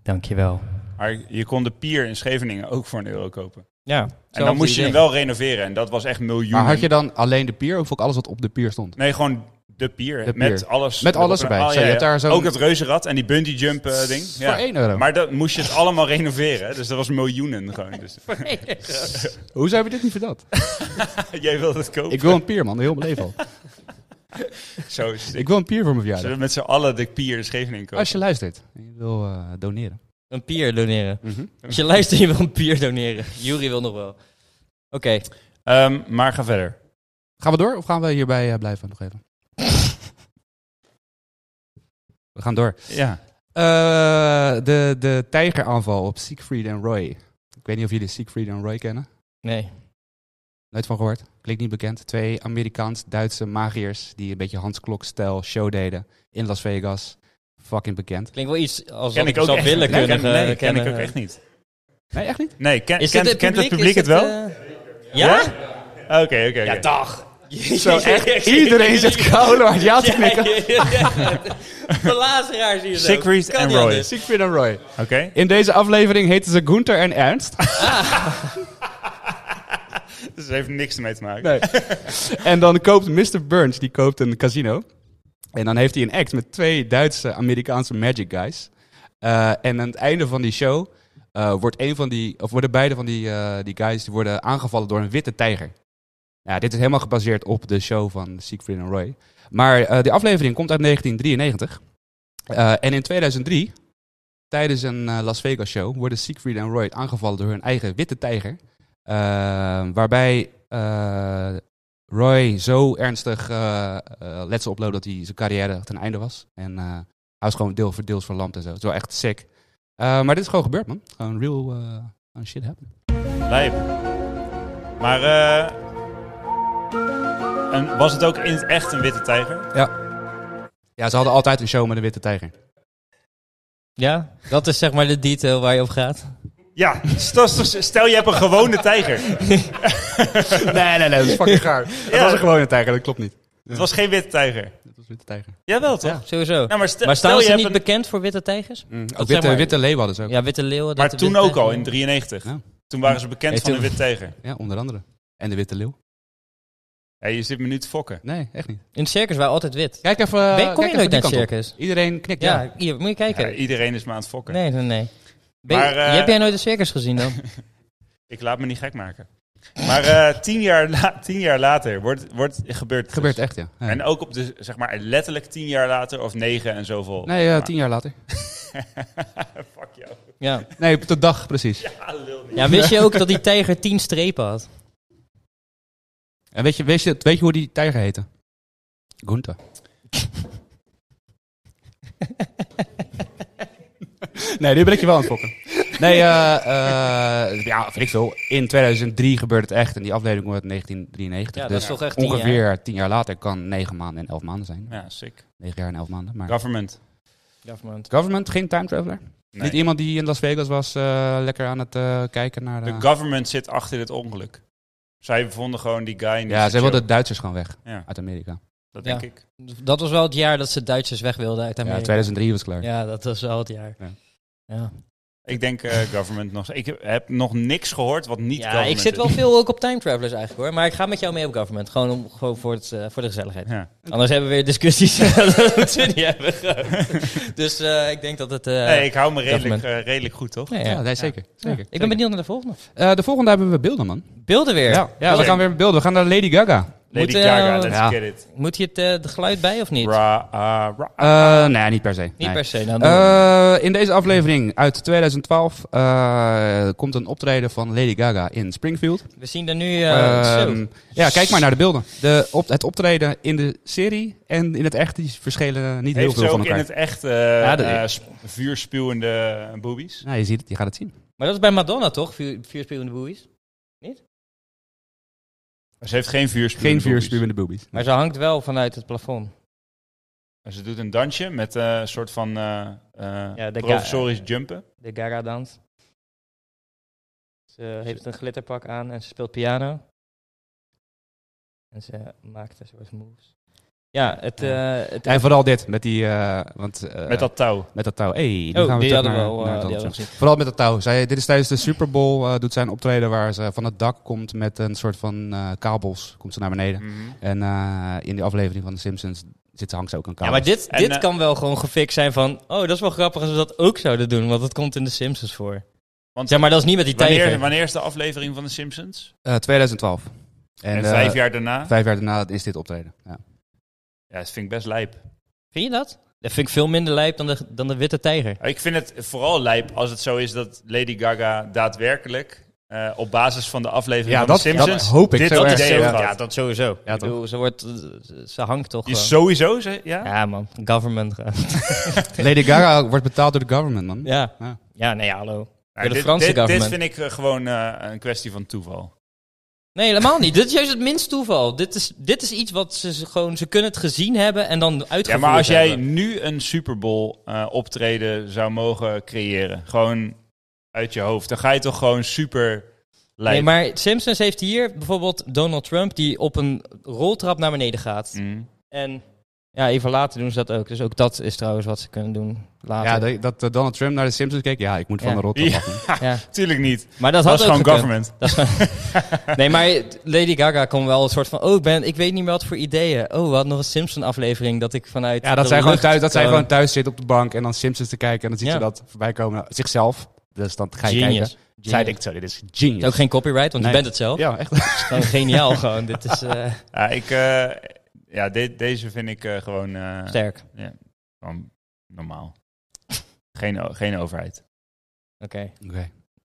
Dankjewel.
Maar je kon de pier in Scheveningen ook voor een euro kopen.
Ja,
En dan moest je hem wel renoveren. En dat was echt miljoenen.
Maar had je dan alleen de pier of ook alles wat op de pier stond?
Nee, gewoon de pier.
De
Met
pier.
alles.
Met alles erbij. Zo, je hebt daar zo'n-
Ah, Ook het reuzenrad en die bungee jump eh, ding. Ja.
Voor 1 euro.
Maar dat moest je het allemaal renoveren. Dus dat was miljoenen gewoon. Dus,
Hoezo heb je dit niet verteld?
jij wilde het kopen.
Ik wil een pier, man. Heel mijn leven al.
Zo is het.
Ik wil een pier voor mijn
Zullen
verjaardag.
we met z'n allen de pier in Scheveningen kopen?
Als je luistert Mhm. en je wil eh, doneren.
Een pier doneren. Als je luistert, je wil een pier doneren. Jury wil nog wel. Oké,
Ehm, maar ga verder.
Gaan we door of gaan we hierbij eh, blijven nog even? We gaan door.
Ja.
Eh, de, de tijgeraanval op Siegfried en Roy. Ik weet niet of jullie Siegfried en Roy kennen.
nee.
Nooit van gehoord. Klinkt niet bekend. Twee Amerikaans-Duitse magiërs die een beetje Hans Klok-stijl show deden in Las Vegas. Fucking bekend.
Klinkt wel iets als
Ken
wat
ik
ik
ook
zou
echt
willen
niet. Nee,
kunnen
ken- nee,
eh,
ken ik
kennen.
ook echt niet.
Nee, echt niet?
Nee, ken-
Is
Eh, kent,
dit
kent het publiek het
Is
wel?
dit, eh, ja?
Oké, oké. oké.
Ja, dag.
Zo echt. Iedereen zegt koude hard ja te knikken.
De lazeraars hier zo.
Siegfried
Kan
en
niet
Roy.
anders.
Siegfried en Roy.
Oké.
In deze aflevering heten ze Gunther en Ernst.
Dus het heeft niks ermee te maken.
Nee. en dan koopt Mr. Burns, die koopt een casino. En dan heeft hij een act met twee Duitse Amerikaanse magic guys. Eh, en aan het einde van die show eh, wordt een van die, of worden beide van die, eh, die guys die worden aangevallen door een witte tijger. Ja, dit is helemaal gebaseerd op de show van Siegfried en Roy. Maar eh die aflevering komt uit 1993. Eh, en in 2003, tijdens een eh, Las Vegas show, worden Siegfried en Roy aangevallen door hun eigen witte tijger. Eh, waarbij eh, Roy zo ernstig eh, eh, letsel oploop dat hij zijn carrière ten einde was. En eh, hij was gewoon deel voor deels verlamd en zo. Het is wel echt sick. Eh, maar dit is gewoon gebeurd, man. Gewoon real eh, gewoon shit happen.
Lijp. Maar eh, een- was het ook in het echt een witte tijger?
Ja, ze hadden altijd een show met een witte tijger.
Ja, dat is zeg maar de detail waar je op gaat.
Ja, stel, stel- stel je hebt een gewone tijger.
nee, nee, nee, dat is fucking gaar. Het
Ja.
was een gewone tijger, dat klopt niet.
Het was geen witte tijger.
Dat was een witte tijger.
Jawel toch?
Sowieso.
Nou, maar stel,
maar
stel
staan
je
ze
hebt
niet
een-
bekend voor witte tijgers?
Ook
zeg
witte,
maar-
witte leeuwen hadden ze ook. Ja.
Ja, witte leeuwen.
Maar
dat de
toen
witte
ook al, in
tijgers-
93.
Ja.
Toen waren ze bekend
Nee,
van de
toen-
witte tijger.
onder andere. En de witte leeuw.
Ja, je zit me nu te fokken.
Nee, echt niet.
In het circus waren altijd wit.
Kijk even... eh,
Ben- kom
kijk
je
even
nooit
die
naar het
kant op.
circus?
Iedereen knikt ja.
Ja, hier, moet je kijken.
Ja, iedereen is me aan het fokken.
nee, nee, nee. Ben je-
Maar, eh,
heb jij nooit een circus gezien dan?
Ik laat me niet gek maken. Maar eh, tien, jaar la- tien jaar later wordt, wordt, gebeurt het.
Gebeurt
dus.
echt, ja. Ja.
En ook op de, zeg maar, letterlijk tien jaar later of negen en zoveel.
nee, eh, tien jaar later.
Fuck jou.
Ja.
Nee, op de dag precies.
Ja, lul niet.
ja, wist je ook dat die tijger tien strepen had?
En weet je, weet, je, weet je hoe die tijger heette? Gunther. Nee, nu ben ik je wel aan het fokken. Nee, eh, eh, ja, vind ik veel. In 2003 gebeurt het echt en die aflevering wordt in 1993.
Ja, dat
dus
is toch echt tien jaar.
ongeveer tien jaar later kan negen maanden en elf maanden zijn.
Ja, sick.
Negen jaar en elf maanden. Maar
Government.
Government.
government, geen time traveler?
Nee.
Niet iemand die in Las Vegas was eh, lekker aan het eh, kijken naar...
De
eh,
government zit achter dit ongeluk. Zij vonden gewoon die guy niet.
ja,
zo
ze wilden de Duitsers gewoon weg
chill. Ja,
uit Amerika.
dat
Ja.
denk ik.
Dat was wel het jaar dat ze Duitsers weg wilden uit
Ja,
Amerika.
2003 was klaar.
Ja, dat was wel het jaar.
Ja.
Ja,
Ik denk eh, government nog. Ik heb nog niks gehoord wat niet
ja
government
ik zit
is.
wel veel ook op time travelers eigenlijk hoor. Maar ik ga met jou mee op government. Gewoon, om, gewoon voor, het, eh, voor de gezelligheid.
Ja.
Anders hebben we weer discussies. dat moeten we niet hebben. dus eh, ik denk dat het... eh,
Nee, ik hou me redelijk,
government.
eh, redelijk goed, toch?
nee, ja.
Ja, nee, zeker. zeker,
Ik ben benieuwd naar de volgende.
Eh, de volgende hebben we beelden, man.
Beelden weer.
Ja, ja we
Oké.
gaan weer beelden. We gaan naar Lady Gaga.
Lady
Moet, eh,
Gaga, let's
Ja.
get it.
Moet je het eh, de geluid bij of niet?
Ra, ah, ra.
Eh, nee, Eh, niet per se.
Niet per se. Nou,
in deze aflevering uit 2012 eh, komt een optreden van Lady Gaga in Springfield.
we zien er nu... eh,
Ehm,
zo.
ja, kijk maar naar de beelden. De op, het optreden in de serie en in het echt die verschillen niet heel
Heeft
veel
ze
van
ook in
elkaar.
het echt eh
dat-
eh, sp- vuurspuwende boobies?
Nou, je ziet het, je gaat het zien.
Maar dat is bij Madonna toch? Vuur, vuurspelende boeis.
Ze heeft geen vuurspuwende
Geen
boobies.
vuurspuwende boobies.
Maar ze hangt wel vanuit het plafond.
En Ze doet een dansje met eh, een soort van eh, eh,
Ja, de
provisorisch jumpen.
de Gaga dans. Ze
Dus,
heeft
eh,
een glitterpak aan en ze speelt piano. En ze maakt een soort moves. Ja, het... eh, het
En vooral dit, met die... eh, want, eh,
met dat touw.
Met dat touw. Hey, dan
oh,
gaan we
die
terug
hadden
naar,
we al
naar
eh,
het
die hadden we
antwoord.
gezien.
Vooral met dat touw. Zij, dit is tijdens de Super Bowl. eh, doet zij een optreden waar ze van het dak komt met een soort van eh, kabels. Komt ze naar beneden.
Mhm.
En eh, in die aflevering van The Simpsons zit, hangt ze ook aan
Ja,
kabels.
maar dit,
En,
dit
eh,
kan wel gewoon gefixt zijn van... Oh, dat is wel grappig als we dat ook zouden doen, want dat komt in de Simpsons voor.
Want
Zeg maar, dat is niet met die
wanneer,
tijger.
wanneer is de aflevering van The Simpsons?
Eh, 2012.
En,
eh,
vijf jaar daarna?
vijf jaar daarna is dit optreden. Ja.
Ja, dat vind ik best lijp.
Vind je dat? Dat vind ik veel minder lijp dan de, dan de witte
Oh,
tijger.
Ik vind het vooral lijp als het zo is dat Lady Gaga daadwerkelijk eh, op basis van de aflevering
Ja,
van
dat-
The Simpsons
dat hoop ik
dit
zo
idee
erg.
heeft
Ja.
gehad.
Ja,
dat sowieso.
Ja,
ik bedoel, ze, wordt, ze- ze hangt toch
Die is
gewoon.
sowieso, ze- ja? Nou,
Ja man, government. eh. gewoon.
Lady Gaga wordt betaald door de government, man.
ja.
Ja.
Ja, nee, hallo.
Ja,
Door de
dit,
Franse
dit, dit
government.
vind ik eh, gewoon eh, een kwestie van toeval.
Nee, helemaal niet. Dit is juist het minst toeval. Dit is, dit is iets wat ze ze gewoon... Ze kunnen het gezien hebben en dan uitgevoerd
Ja, maar als jij
hebben.
nu een Super Bowl eh, optreden zou mogen creëren, gewoon uit je hoofd, dan ga je toch gewoon super lijp.
Nee, maar Simpsons heeft hier bijvoorbeeld Donald Trump... die op een roltrap naar beneden gaat.
Mm.
En ja, even later doen ze dat ook. Dus ook dat is trouwens wat ze kunnen doen later.
Ja, dat, dat eh, Donald Trump naar de Simpsons keek. Ja, ik moet van
Ja.
de rot
Ja.
af.
Ja.
Tuurlijk niet.
Maar dat had
Dat is
ook
gewoon
gekund.
government.
Dat is gewoon- nee, maar Lady Gaga kon wel een soort van... Oh, ik, ben, ik weet niet meer wat voor ideeën. Oh, we hadden nog een Simpson-aflevering dat ik vanuit
Ja, dat
de
zij gewoon
lucht
thuis, dat zij
gewoon-
gewoon thuis zit op de bank en dan Simpsons te kijken. En dan ziet
Ja.
ze dat voorbij komen. Nou, Zichzelf. Dus dan ga je
Genius.
kijken. Zij
Genius.
denkt zo, dit is
Het
genius.
is Ook geen copyright, want
Nee.
je bent het zelf.
Ja, echt.
Gewoon geniaal gewoon. Dit is eh,
Ja, ik, eh, ja de- deze vind ik eh, gewoon, eh,
sterk. Oké.
gewoon normaal. geen, o- geen overheid. Eerst,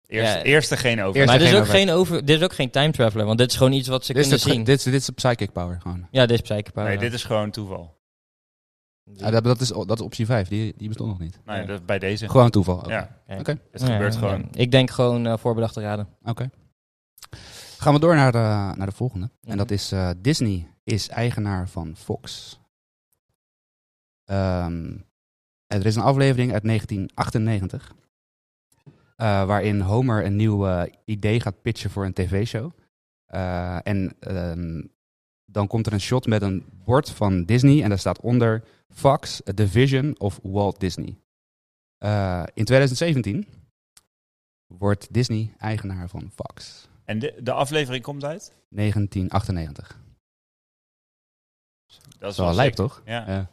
Ja.
Eerste geen overheid.
Eerst-
Maar dit is,
geen
ook geen over, dit is ook geen time traveler, want dit is gewoon iets wat ze
Dit is,
kunnen
het, ge-
zien.
dit, is, dit is de psychic power gewoon.
Ja, dit is psychopaar.
Nee, dit is gewoon toeval.
Ja, Ah, dat, dat, is, dat is optie 5, die, die bestond nog niet.
Nou ja,
Ja.
dat is bij deze.
Gewoon toeval. Oké.
Ja,
Oké.
het gebeurt gewoon.
Ik denk gewoon eh, voorbedachte raden.
Oké. Gaan we door naar de, naar de volgende.
Mhm.
En dat is eh, Disney is eigenaar van Fox. Ehm, er is een aflevering uit 1998. eh, waarin Homer een nieuw eh, idee gaat pitchen voor een tv-show. Eh, en ehm, dan komt er een shot met een bord van Disney. En daar staat onder Fox, The Vision of Walt Disney. Eh, in 2017 wordt Disney eigenaar van Fox.
En de, de aflevering komt uit?
1998.
Dat
Dat is wel
sick.
lijp, toch?
Ja.
Ja.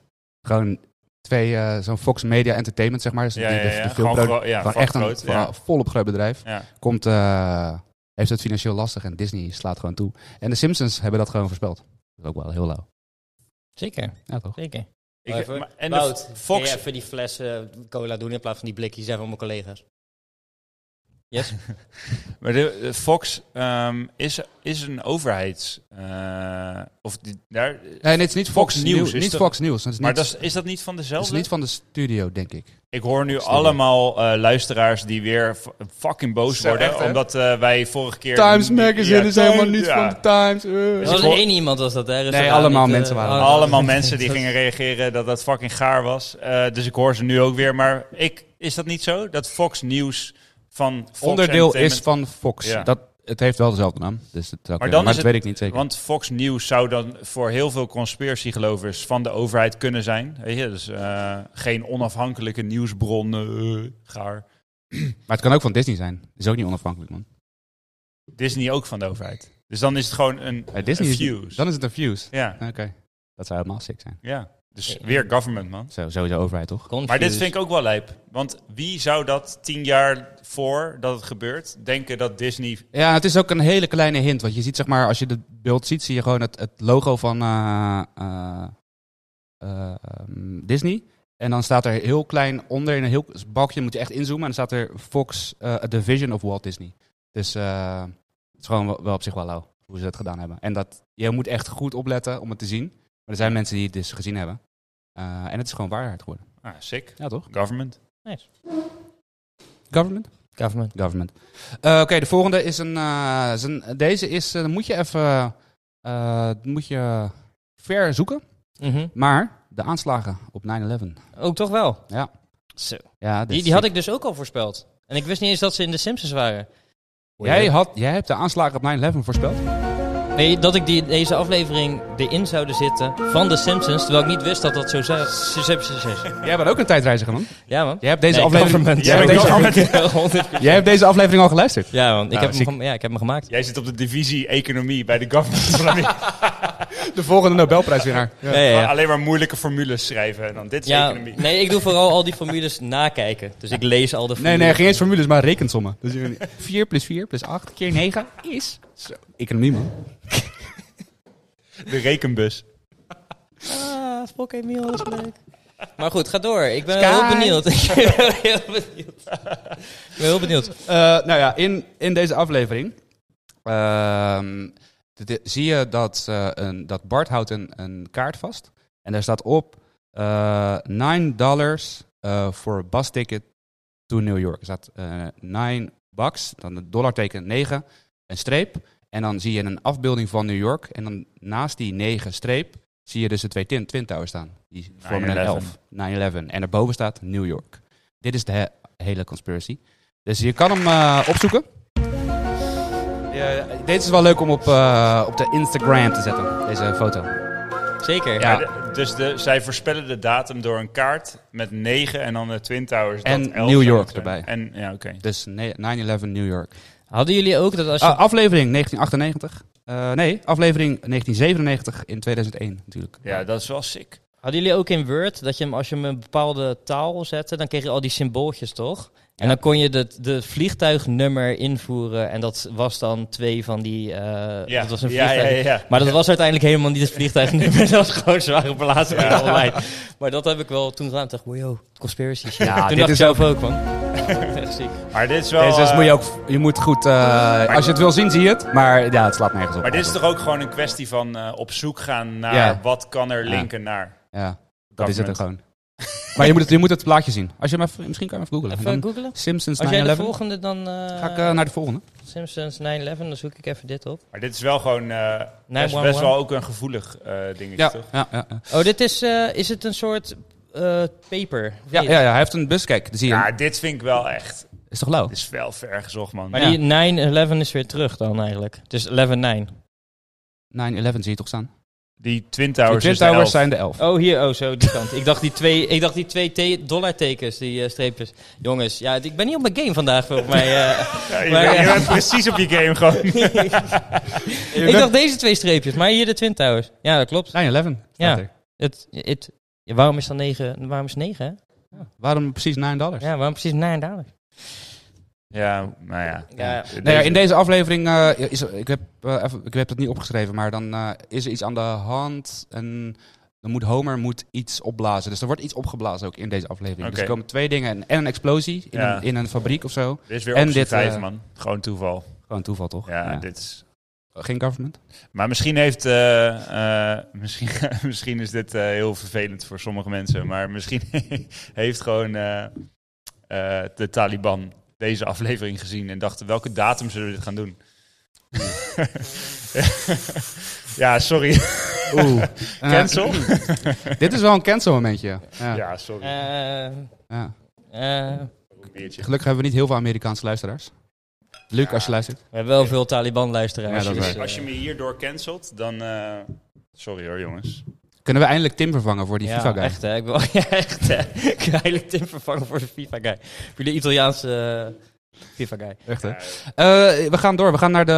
Gewoon twee, eh, zo'n Fox Media Entertainment, zeg maar. Dus
Ja,
die-
ja,
de-
ja.
de
Gewoon
filmpro-
gro- ja,
gewoon
van
echt een
groot,
van-
ja.
volop groot bedrijf.
Ja.
Komt eh, heeft het financieel lastig en Disney slaat gewoon toe. En de Simpsons hebben dat gewoon voorspeld. Dat is ook wel heel lauw.
Zeker,
Ja, toch?
zeker.
Ik-
Even.
maar- en de
Wout,
F-
Fox.
Fox.
even die flessen cola doen in plaats van die blikjes even voor mijn collega's?
Maar de, de Fox ehm, is, is een overheids. eh, of die, daar,
Nee, nee, het is niet Fox,
Fox Nieuws
Nieuws.
is
Niet
toch-
Fox Nieuws. want Het is
maar
niet,
dat is, is dat niet van
het is
dezelfde?
niet van de studio, denk ik.
Ik hoor nu
Studio.
allemaal eh, luisteraars die weer f- fucking boos
Zo,
worden.
echt, hè?
omdat eh, wij vorige keer.
Times Magazine
Ja,
is helemaal
Time-
niet
ja.
van Times. eh.
Er
ik
was
hoor-
één iemand was dat, hè? Dus
Nee,
dat waren
allemaal
eh,
mensen waren
oh,
het.
Allemaal mensen die gingen reageren dat dat fucking gaar was. Eh, dus ik hoor ze nu ook weer. Maar ik, is dat niet zo? Dat Fox Nieuws van Fox
Onderdeel is
Entertainment-
van Fox.
Ja.
Dat, het heeft wel dezelfde naam. Dus dat, zou
Maar
kunnen. maar
dan
dat
is het-
weet ik niet zeker.
Want Fox Nieuws zou dan voor heel veel conspiratiegelovers van de overheid kunnen zijn. Weet je, dus eh, geen onafhankelijke nieuwsbron, eh, gaar.
maar het kan ook van Disney zijn. Is ook niet onafhankelijk, man.
Disney ook van de overheid. Dus dan is het gewoon een,
Bij Eh, Disney
een
is-
views.
Dan is het een views.
Ja,
Oké. Dat zou helemaal sick zijn.
ja. Dus weer government, man.
Zo, sowieso overheid, toch?
Maar dit vind ik ook wel lijp. Want wie zou dat tien jaar voor dat het gebeurt, denken dat Disney...
Ja, het is ook een hele kleine hint. Want je ziet, zeg maar, als je het beeld ziet, zie je gewoon het, het logo van eh, eh, eh, ehm, Disney. En dan staat er heel klein onder, in een heel balkje, moet je echt inzoomen. En dan staat er Fox, eh The Vision of Walt Disney. Dus eh, het is gewoon wel, wel op zich wel lauw, hoe ze dat gedaan hebben. En dat, je moet echt goed opletten om het te zien. Maar er zijn mensen die het dus gezien hebben. Eh, en het is gewoon waarheid geworden.
Ah, sick.
Ja, toch?
Government.
Government?
Government.
Government. Eh, Oké, de volgende is een. eh, is een- deze is. eh, moet je even. eh, moet je ver zoeken. Maar de aanslagen op 9-11.
Ook Mhm. Oh, toch wel.
Ja.
Zo.
Ja, dit
Die,
is
die had
sick.
ik dus ook al voorspeld. En ik wist niet eens dat ze in de Simpsons waren.
eh,
Jij, had, jij hebt de aanslagen op 9-11 voorspeld?
Nee, dat ik die, deze aflevering erin zouden zitten van de Simpsons, terwijl ik niet wist dat dat zo zou zo- zo- zo- zo- zo-
Jij bent ook een tijdreiziger, man.
Ja man.
Jij hebt deze
Nee,
aflevering.
government.
Jij, hebt
Ja,
deze,
government.
jij hebt deze aflevering al geluisterd.
Ja man, ik,
Nou,
heb hem,
ziek.
gem- ja, ik heb hem gemaakt.
Jij zit op de divisie economie bij de government. van Amerika.
De volgende Nobelprijswinnaar. Ja.
Ja, ja, ja.
Alleen maar moeilijke formules schrijven. En dan dit is
Ja,
economie.
nee, ik doe vooral al die formules nakijken. Dus ik lees al de
Nee,
formules.
nee, geen eens formules, maar rekensommen. Dus 4 plus 4 plus 8 keer 9 is. Zo. Economie, man.
De rekenbus.
Ah, Spock en Miel is leuk. Maar goed, ga door. Ik ben heel benieuwd. ik ben heel benieuwd. Ik ben heel benieuwd.
Eh, nou ja, in, in deze aflevering ehm, de- de- zie je dat, eh, een, dat Bart houdt een, een kaart vast. En daar staat op eh 9 dollars eh, voor een bus ticket to New York. Er staat eh 9 bucks, dan een dollarteken 9, een streep. En dan zie je een afbeelding van New York. En dan naast die 9 streep zie je dus de twee Twin, twin Towers staan. Die vormen een 11. 9-11. En daarboven staat New York. Dit is de he- hele conspiracy. Dus je kan hem eh, opzoeken. Ja, deze is wel leuk om op, eh, op de Instagram te zetten, deze foto.
Zeker.
Ja.
Maar de- dus de, zij voorspellen de datum door een kaart met 9 en dan de Twin Towers. dat
En
11
New
zou
York
zijn.
erbij.
En, ja, oké.
Dus ne- 9-11 New York.
Hadden jullie ook dat als je...
Ah, aflevering 1998. Eh, nee, aflevering 1997 in 2001 natuurlijk.
Ja, dat is wel sick.
Hadden jullie ook in Word dat je hem, als je hem een bepaalde taal zette, dan kreeg je al die symbooltjes, toch? En dan kon je de, de vliegtuignummer invoeren en dat was dan twee van die... eh,
Ja,
Dat was een
ja,
vliegtuig.
ja, ja, ja.
Maar dat was uiteindelijk helemaal niet het vliegtuignummer. dat was gewoon zware plaatsen online. Maar dat heb ik wel toen gedaan. Toen dacht ik, wow, yo, conspiracies.
Ja, dit
toen dacht ik
is
zelf ook, man. Echt ziek.
Maar dit is wel...
deze is-
eh,
moet je ook... Je moet goed... eh, als je het wil zien, zie je het. Maar ja, het slaat nergens op.
maar dit is toch ook gewoon een kwestie van eh, op zoek gaan naar
Ja.
wat kan er
Ja.
linken naar.
Ja, dat is het er
Government.
gewoon. maar je moet het, je moet het plaatje zien. Als je hem even, misschien kan je hem even googlen.
Even
En dan
googlen.
Simpsons 9-11.
Als jij de volgende dan... eh,
Ga ik eh, naar de volgende.
Simpsons 9-11, dan zoek ik even dit op.
Maar dit is wel gewoon eh, best,
911.
best wel ook een gevoelig eh, dingetje,
Ja,
toch?
ja, ja, ja.
Oh, dit is... eh, is het een soort eh, paper? of
Ja,
niet?
ja, ja, hij heeft een bus, kijk, dat zie je.
Ja,
hem.
dit vind ik wel echt...
Is toch lauw?
Dit is wel ver gezocht, man.
Maar
Ja.
die 9-11 is weer terug dan eigenlijk. Dus 11-9.
9-11 zie je toch staan?
Die Twin
De
Towers,
Twin
is de
Towers
elf.
zijn de 11.
Oh, hier, oh, zo, die kant. ik dacht die twee, ik dacht die twee te- dollartekens, die eh, streepjes. Jongens, ja, ik ben niet op mijn game vandaag volgens mij. eh.
Ja, je,
Maar
bent,
ja.
je bent precies op je game gewoon.
ik dacht deze twee streepjes, maar hier de Twin Towers. Ja, dat klopt.
9-11.
Ja.
Ja.
Het, het, ja, waarom is dan 9? Waarom is 9?
Waarom precies 9 dollars?
Ja, waarom precies 9 dollar?
Ja, nou ja.
Ja.
Nou ja, in deze aflevering, eh, is, er- ik, heb, eh, even, ik heb dat niet opgeschreven, maar dan eh, is er iets aan de hand en dan moet Homer moet iets opblazen. Dus er wordt iets opgeblazen ook in deze aflevering. Dus er
Oké.
komen twee dingen en, en een explosie in,
Ja.
een, in een fabriek of zo.
Er is weer
En
optie
dit,
vijf,
eh,
man. Gewoon toeval.
Gewoon toeval toch?
Ja,
Ja.
dit is...
Geen government?
Maar misschien heeft... eh, eh, misschien, misschien is dit eh, heel vervelend voor sommige mensen. Maar misschien heeft gewoon eh, eh, de Taliban deze aflevering gezien. En dachten, welke datum zullen we dit gaan doen? ja, sorry.
Oeh.
Cancel?
Eh, dit is wel een cancel momentje. Ja. Ja.
ja, sorry.
Eh, eh,
Een biertje.
Gelukkig hebben we niet heel veel Amerikaanse luisteraars. Luc, als je luistert.
we hebben wel veel Taliban-luisteraars.
Ja, dat is
dus,
waar.
Als je me hierdoor cancelt, dan... eh, sorry hoor, jongens.
Kunnen we eindelijk Tim vervangen voor die
ja,
FIFA-guy?
echt hè. Ik wil ja, echt hè. Ik wil eigenlijk Tim vervangen voor de FIFA-guy. Voor de Italiaanse eh, FIFA-guy.
Echt, hè? Eh, we gaan door. We gaan naar de,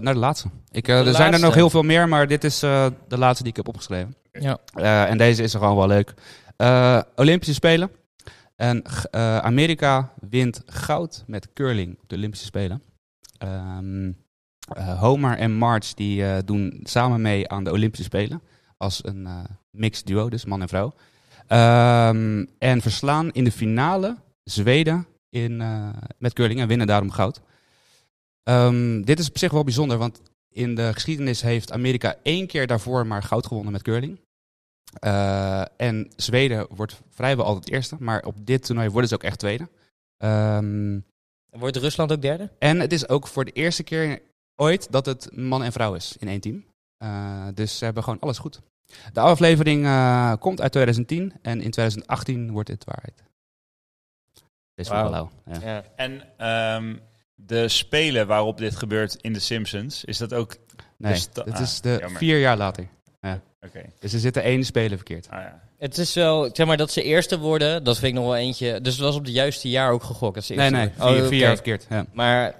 naar de laatste. Ik, eh, er
De
zijn er
laatste.
nog heel veel meer, maar dit is eh, de laatste die ik heb opgeschreven.
Ja.
Eh, en deze is er gewoon wel leuk. Eh, Olympische Spelen. En g- eh, Amerika wint goud met curling op de Olympische Spelen. Ehm, eh, Homer en Marge die, eh, doen samen mee aan de Olympische Spelen. Als een eh, mixed duo, dus man en vrouw. Ehm, en verslaan in de finale Zweden in, eh, met curling en winnen daarom goud. Ehm, dit is op zich wel bijzonder, want in de geschiedenis heeft Amerika één keer daarvoor maar goud gewonnen met curling. Eh, en Zweden wordt vrijwel altijd eerste, maar op dit toernooi worden ze ook echt tweede. Ehm,
Wordt Rusland ook derde?
en het is ook voor de eerste keer ooit dat het man en vrouw is in één team. Eh, dus ze hebben gewoon alles goed. De aflevering eh, komt uit 2010 en in 2018 wordt het waarheid. Dit is wel
Wauw.
lauw, ja.
Ja.
En ehm, de spelen waarop dit gebeurt in The Simpsons, is dat ook...
Nee,
Dus da-
het
ah,
is de
jammer.
vier jaar later.
Oké,
Dus er zitten één speler verkeerd.
ah ja.
Het is wel, zeg maar, dat ze eerste worden, dat vind ik nog wel eentje. Dus het was op het juiste jaar ook gegokt. Dat ze
Nee,
eerste
nee, vier,
worden. Oh,
vier
oké.
jaar verkeerd. Ja.
Maar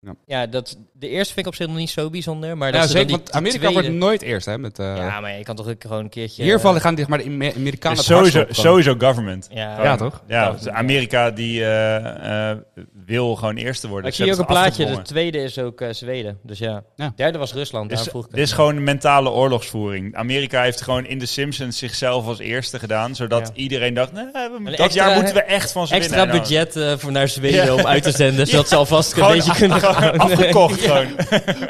Ja.
ja, dat, de eerste vind ik op zich nog niet zo bijzonder. Maar dat
Ja,
ze
nou, zeker, want
dan die
Amerika
tweede-
wordt nooit eerst. Hè, met, eh,
Ja, maar je kan toch ook gewoon een keertje... eh,
Hiervan gaan die, maar de Amer- Amerikanen
Dus
het hardst
sowieso,
op gewoon.
sowieso government.
Ja,
Ja, toch?
Ja, dus Amerika die eh, eh, wil gewoon eerste worden.
Maar ik
dus Ze
zie hier ook een
hebben het
plaatje. De
afgedwongen.
tweede is ook eh, Zweden. Dus ja.
Ja.
Derde was Rusland. Daar
Dit
vroeg
is,
ik
dit is gewoon mentale oorlogsvoering. Amerika heeft gewoon in The Simpsons zichzelf als eerste gedaan, zodat
Ja.
iedereen dacht, nee, we- dat
extra-
jaar moeten we echt van ze
Extra
winnen. En dan-
budget eh, voor naar Zweden
Ja.
om uit te zenden. Zodat ze alvast een
Gewoon
beetje
af-
kunnen
gewoon
gaan.
afgekocht gewoon.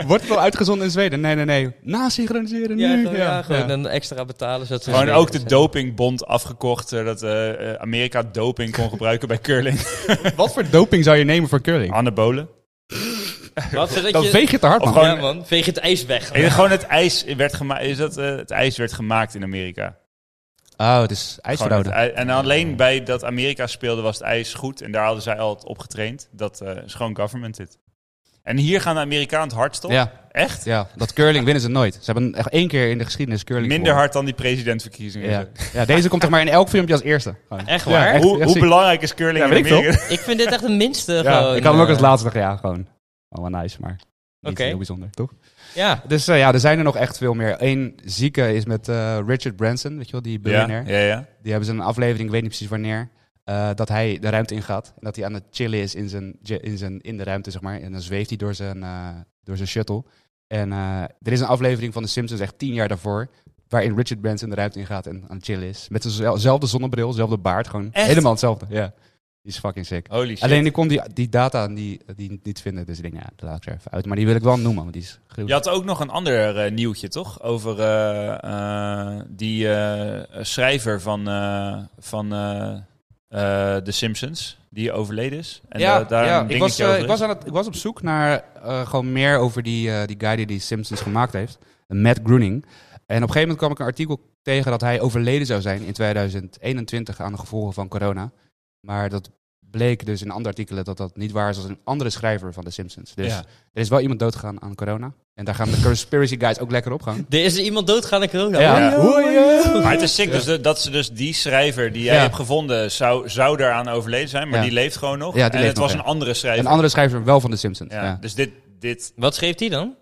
Wordt het wel uitgezonden in Zweden? Nee, nee, nee. Nasynchroniseren
Ja,
nu.
gewoon, ja, gewoon een extra betalen. Zodat ze
Gewoon
Zweden
ook de
zetten.
dopingbond afgekocht, zodat eh, eh, Amerika doping kon gebruiken bij curling.
Wat voor doping zou je nemen voor
Ah,
curling?
Anabolen.
Wat, zodat
Dan
je-
veeg je te hard,
Of
man.
gewoon-
Ja, man. Veeg het ijs weg.
Nee, gewoon het ijs werd gemaakt. Is dat eh, het ijs werd gemaakt in Amerika?
Oh, het is
Gewoon het
ijsverhouden.
ij- en alleen bij dat Amerika speelde was het ijs goed en daar hadden zij al op getraind. Dat eh, is gewoon government dit. En hier gaan de Amerikanen het hardst op.
Ja,
Echt?
ja, dat curling winnen ze nooit. Ze hebben echt één keer in de geschiedenis curling
Minder
gewonnen.
hard dan die presidentverkiezingen.
Ja. ja, deze komt toch maar in elk filmpje als eerste. Gewoon.
Echt waar?
echt.
hoe hoe
ziek.
belangrijk is curling
Ja,
in
weet ik
Amerika?
Ik vind dit echt een minste.
Ja,
gewoon,
ik had hem ook
eh,
als laatste. Ja, gewoon. Oh, wel nice, maar niet
Oké.
heel bijzonder, toch?
Ja.
Dus eh, ja, er zijn er nog echt veel meer. Eén zieke is met eh, Richard Branson, weet je wel, die
Ja,
biljonair.
ja, ja.
Die hebben ze in een aflevering, ik weet niet precies wanneer, eh, dat hij de ruimte ingaat. En dat hij aan het chillen is in, zijn, in, zijn, in de ruimte, zeg maar. En dan zweeft hij door zijn, eh, door zijn shuttle. En eh, er is een aflevering van The Simpsons, echt tien jaar daarvoor, waarin Richard Branson de ruimte ingaat en aan het chillen is. Met zijnzelfde zonnebril, dezelfde baard, gewoon
Echt?
helemaal hetzelfde. Ja, die is fucking sick.
Holy shit.
Alleen ik kon die, die data die, die niet vinden, dus ik denk, ja, dat laat ik er even uit. Maar die wil ik wel noemen, want die is
Je
gruwelijk.
had ook nog een ander eh, nieuwtje, toch? Over eh, eh, die eh, schrijver van, eh, van eh, eh, The Simpsons, die overleden is. En da- daar een
ik,
dingetje
was, eh,
over
ik,
is.
was aan het, ik was op zoek naar eh, gewoon meer over die, eh, die guy die die Simpsons gemaakt heeft. Matt Groening. En op een gegeven moment kwam ik een artikel tegen dat hij overleden zou zijn in 2021 aan de gevolgen van corona. Maar dat bleek dus in andere artikelen dat dat niet waar is als een andere schrijver van de Simpsons. Dus
Ja.
er is wel iemand doodgegaan aan corona. En daar gaan de conspiracy guys ook lekker op gaan.
Er is iemand doodgaan aan corona.
Ja.
Oei, oei, oei.
Maar het is sick dus de- dat ze dus die schrijver die jij
Ja.
hebt gevonden zou, zou daaraan overleden zijn, maar
Ja.
die leeft gewoon nog.
Ja, die
en
leeft
het
nog,
was
ja.
een andere schrijver.
Een andere schrijver wel van de Simpsons.
ja.
Ja.
Dus dit, dit
Wat schreef hij dan?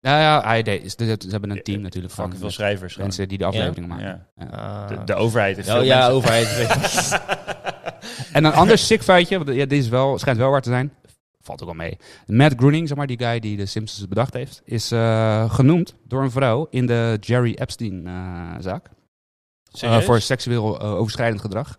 Nou ja, hij deed, ze, ze hebben een team natuurlijk van dus
fucking veel schrijvers. gewoon.
mensen die de afleveringen maken.
Ja.
Ah.
De, de overheid heeft
oh
veel
ja,
mensen.
overheid.
En een ander sick feitje, want ja, dit is wel, schijnt wel waar te zijn. valt ook wel mee. Matt Groening, zeg maar, die guy die de Simpsons bedacht heeft, is eh, genoemd door een vrouw in de Jerry Epstein-zaak.
Serieus?
Ah, voor seksueel eh, overschrijdend gedrag.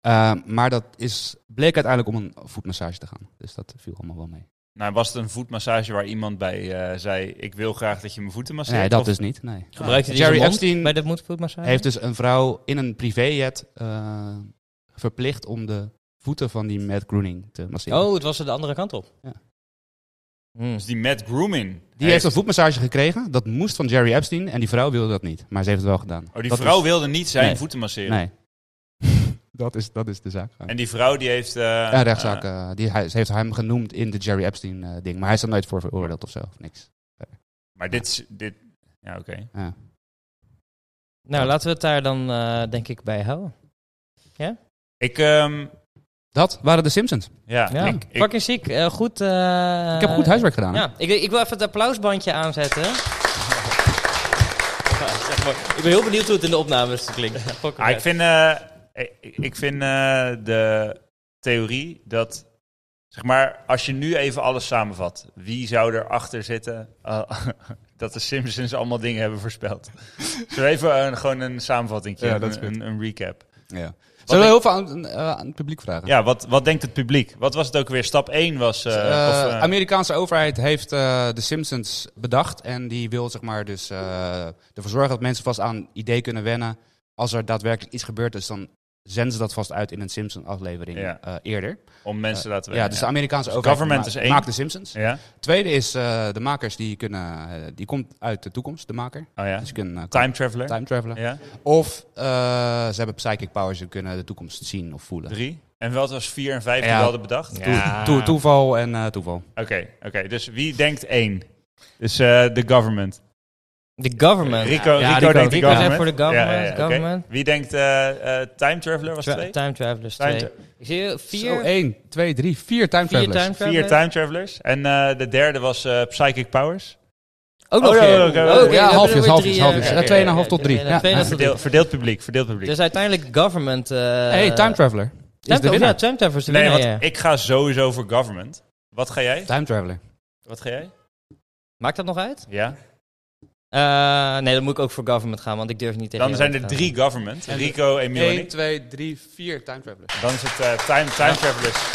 Eh, maar dat is, bleek uiteindelijk om een voetmassage te gaan. Dus dat viel allemaal wel mee.
Nou, was het een voetmassage waar iemand bij eh, zei: Ik wil graag dat je mijn voeten masseert?
Nee, dat
Of-
dus niet. Nee.
Gebruik je die
Jerry
zijn mond
Epstein
bij de moedvoetmassage?
heeft dus een vrouw in een privéjet eh, verplicht om de voeten van die Matt Groening te masseren.
Oh, het was er de andere kant op.
Ja.
Hmm.
Dus die Matt Grooming.
Die heeft een voetmassage gekregen. Dat moest van Jerry Epstein. En die vrouw wilde dat niet. Maar ze heeft het wel gedaan.
Oh, die
Dat
vrouw
is-
wilde niet zijn
Nee.
voeten masseren.
Nee. dat, is, dat is de zaak.
En die vrouw die heeft. eh,
ja, rechtszaak.
eh,
eh, die, hij, ze heeft hem genoemd in de Jerry Epstein eh, ding. Maar hij is er nooit voor veroordeeld of zo. Of niks.
maar dit. is- dit ja, oké.
Ja.
Nou, laten we het daar dan eh, denk ik bij houden.
Ik. ehm,
Dat waren de Simpsons.
ja,
Ja.
Ik, ik,
Fucking ziek. Eh, goed. eh,
ik heb goed huiswerk gedaan. hè?
Ja, ik, ik wil even het applausbandje aanzetten. zeg maar, ik ben heel benieuwd hoe het in de opnames klinkt. Fucking
ah, ik
vet.
vind, eh, ik, ik vind eh, de theorie dat. Zeg maar, als je nu even alles samenvat, wie zou erachter zitten eh, dat de Simpsons allemaal dingen hebben voorspeld? Zo even een, gewoon een samenvatting,
Ja, dat is goed.
een, een recap.
Ja. Zullen we heel veel aan, eh, aan het publiek vragen?
Ja, wat, wat denkt het publiek? Wat was het ook weer? Stap 1 was... eh,
Eh,
of, eh,
Amerikaanse overheid heeft eh, de Simpsons bedacht. En die wil zeg maar, dus, eh, ervoor zorgen dat mensen vast aan een idee kunnen wennen. Als er daadwerkelijk iets gebeurd is, dan zenden ze dat vast uit in een Simpsons-aflevering
Ja.
eh, eerder.
om mensen te laten
Ja,
weten.
dus de
ja.
Amerikaanse
Dus
overheid
government
ma-
is één.
maakt de Simpsons.
Ja?
Tweede is eh, de makers, die, kunnen, eh, die komt uit de toekomst, de maker.
Oh ja.
Dus ze kunnen eh,
Time Traveler.
time travelen.
Ja,
Of eh, ze hebben psychic powers, ze kunnen de toekomst zien of voelen.
drie. En wat was vier en vijf die
Ja.
we hadden bedacht?
Toe- toe- toeval en eh, toeval.
Oké, oké. Dus wie denkt één? Dus eh, de government.
De government.
Rico,
Ja,
Rico, denkt de
Rico is
government.
even voor de government.
oké.
government.
Wie denkt eh, eh, Time Traveler was
Tra-
twee?
Time Travelers
Time
2. Ik zie vier,
Zo, één, twee, drie, vier time
vier
travelers.
Time
tra- vier
Travelers.
Time Travelers. En eh, de derde was eh, Psychic Powers.
Ook
Oh,
nog
ja,
weer.
ja,
Oké,
oké,
dan
oké.
hebben we
Ja, halfjes,
weer
halfjes,
drie, eh,
halfjes.
oké,
Ja,
oké,
2,5 tot
oké,
drie.
oké,
Ja,
2,5
ja,
tot
Verdeel,
drie.
verdeeld publiek, verdeeld publiek.
Dus uiteindelijk government... eh
hey, time traveler. Is
Time
de
Traveler. Ja,
winnaar.
Time Travelers. de
nee,
winnaar,
want
ja.
ik ga sowieso voor government. Wat ga jij?
Time traveler.
Wat ga jij?
Maakt dat nog uit?
Ja.
Eh, nee, dan moet ik ook voor government gaan, want ik durf niet tegen
Dan
jou
zijn er
te gaan.
drie government.
En-
Rico, Emiel en
1,
ik.
2, 3, 4 time traveler.
Dan is het eh, time, time Travelers.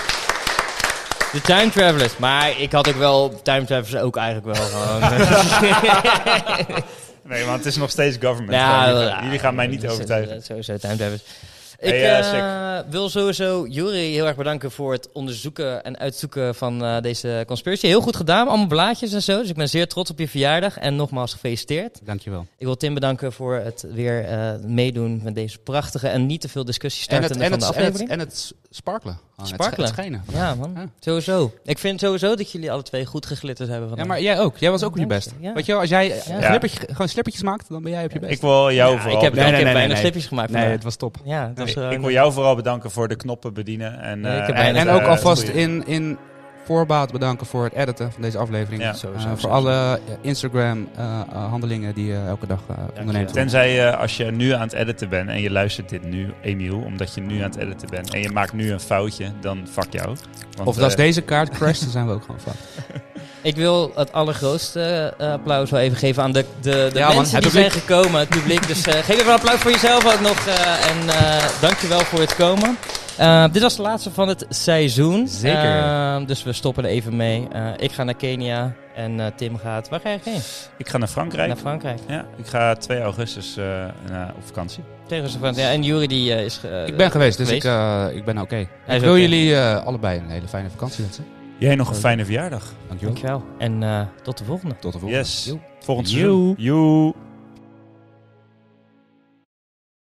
De Time Travelers. Maar ik had ook wel Time Travelers ook eigenlijk wel gewoon.
Nee, want het is nog steeds government.
eh. Ja,
Jullie
Nou, ja,
gaan- jullie gaan mij niet
dus, eh,
overtuigen.
Sowieso Time Travelers. Ik
Hey, eh,
eh, wil sowieso Jury heel erg bedanken voor het onderzoeken en uitzoeken van eh, deze conspiracy. Heel goed gedaan, allemaal blaadjes en zo. Dus ik ben zeer trots op je verjaardag en nogmaals gefeliciteerd.
Dankjewel.
Ik wil Tim bedanken voor het weer eh, meedoen met deze prachtige en niet te veel discussie
En
startende
het, en,
van
het,
de
en, het,
aflevering.
en het sparkelen. Gewoon, het sch-
Sparkelen.
Het schijnen.
Ja man,
Ja.
sowieso. Ik vind sowieso dat jullie alle twee goed geglitterd hebben
Ja,
vandaag.
maar jij ook. Jij was ook op je
Dank je,
best.
ja.
Weet je wel, als jij eh,
Ja.
glippertje- gewoon slippertjes maakt, dan ben jij op je best.
Ik wil jou
Ja,
vooral
ik heb,
Nee,
ik
nee,
heb
nee,
weinig
nee.
slipjes gemaakt
nee,
vandaag.
het was top.
Ja, dat was,
bedanken.
eh,
Ik wil jou vooral bedanken voor de knoppen bedienen. En,
Nee, ik heb
eh,
bijna
En, en
eh,
ook
eh,
alvast
goeie.
in, in voorbaat bedanken voor het editen van deze aflevering.
Ja.
Eh,
Sowieso,
voor
sowieso.
alle eh, Instagram-handelingen eh, die je elke dag eh, onderneemt.
Tenzij eh, als je nu aan het editen bent en je luistert dit nu, Emiel, omdat je nu aan het editen bent en je maakt nu een foutje, dan fuck jou. Want,
Of als
eh,
deze kaart crasht, dan zijn we ook gewoon fout.
Ik wil het allergrootste eh, applaus wel even geven aan de, de, de
Ja, man,
mensen
het
die
publiek.
zijn gekomen, het publiek. Dus eh, geef even een applaus voor jezelf ook nog. eh, en eh dankjewel voor het komen. Eh, dit was de laatste van het seizoen.
Zeker.
Eh, dus we stoppen er even mee. Eh, ik ga naar Kenia en eh, Tim gaat... Waar ga je heen?
Ik ga naar Frankrijk.
Naar Frankrijk.
Ja, ik ga 2 augustus eh, eh, op vakantie.
Tegen zijn vriend. Ja, en Jury die eh, is... eh,
Ik ben geweest, dus
geweest.
ik, eh, ik ben oké.
Hij
Ik
is
wil
oké.
jullie eh, allebei een hele fijne vakantie wensen.
Jij
Oh,
nog een fijne verjaardag.
Dankjewel.
Dankjewel. En eh, tot de volgende.
Tot de volgende.
Yes.
Yo.
Volgend seizoen. Joe.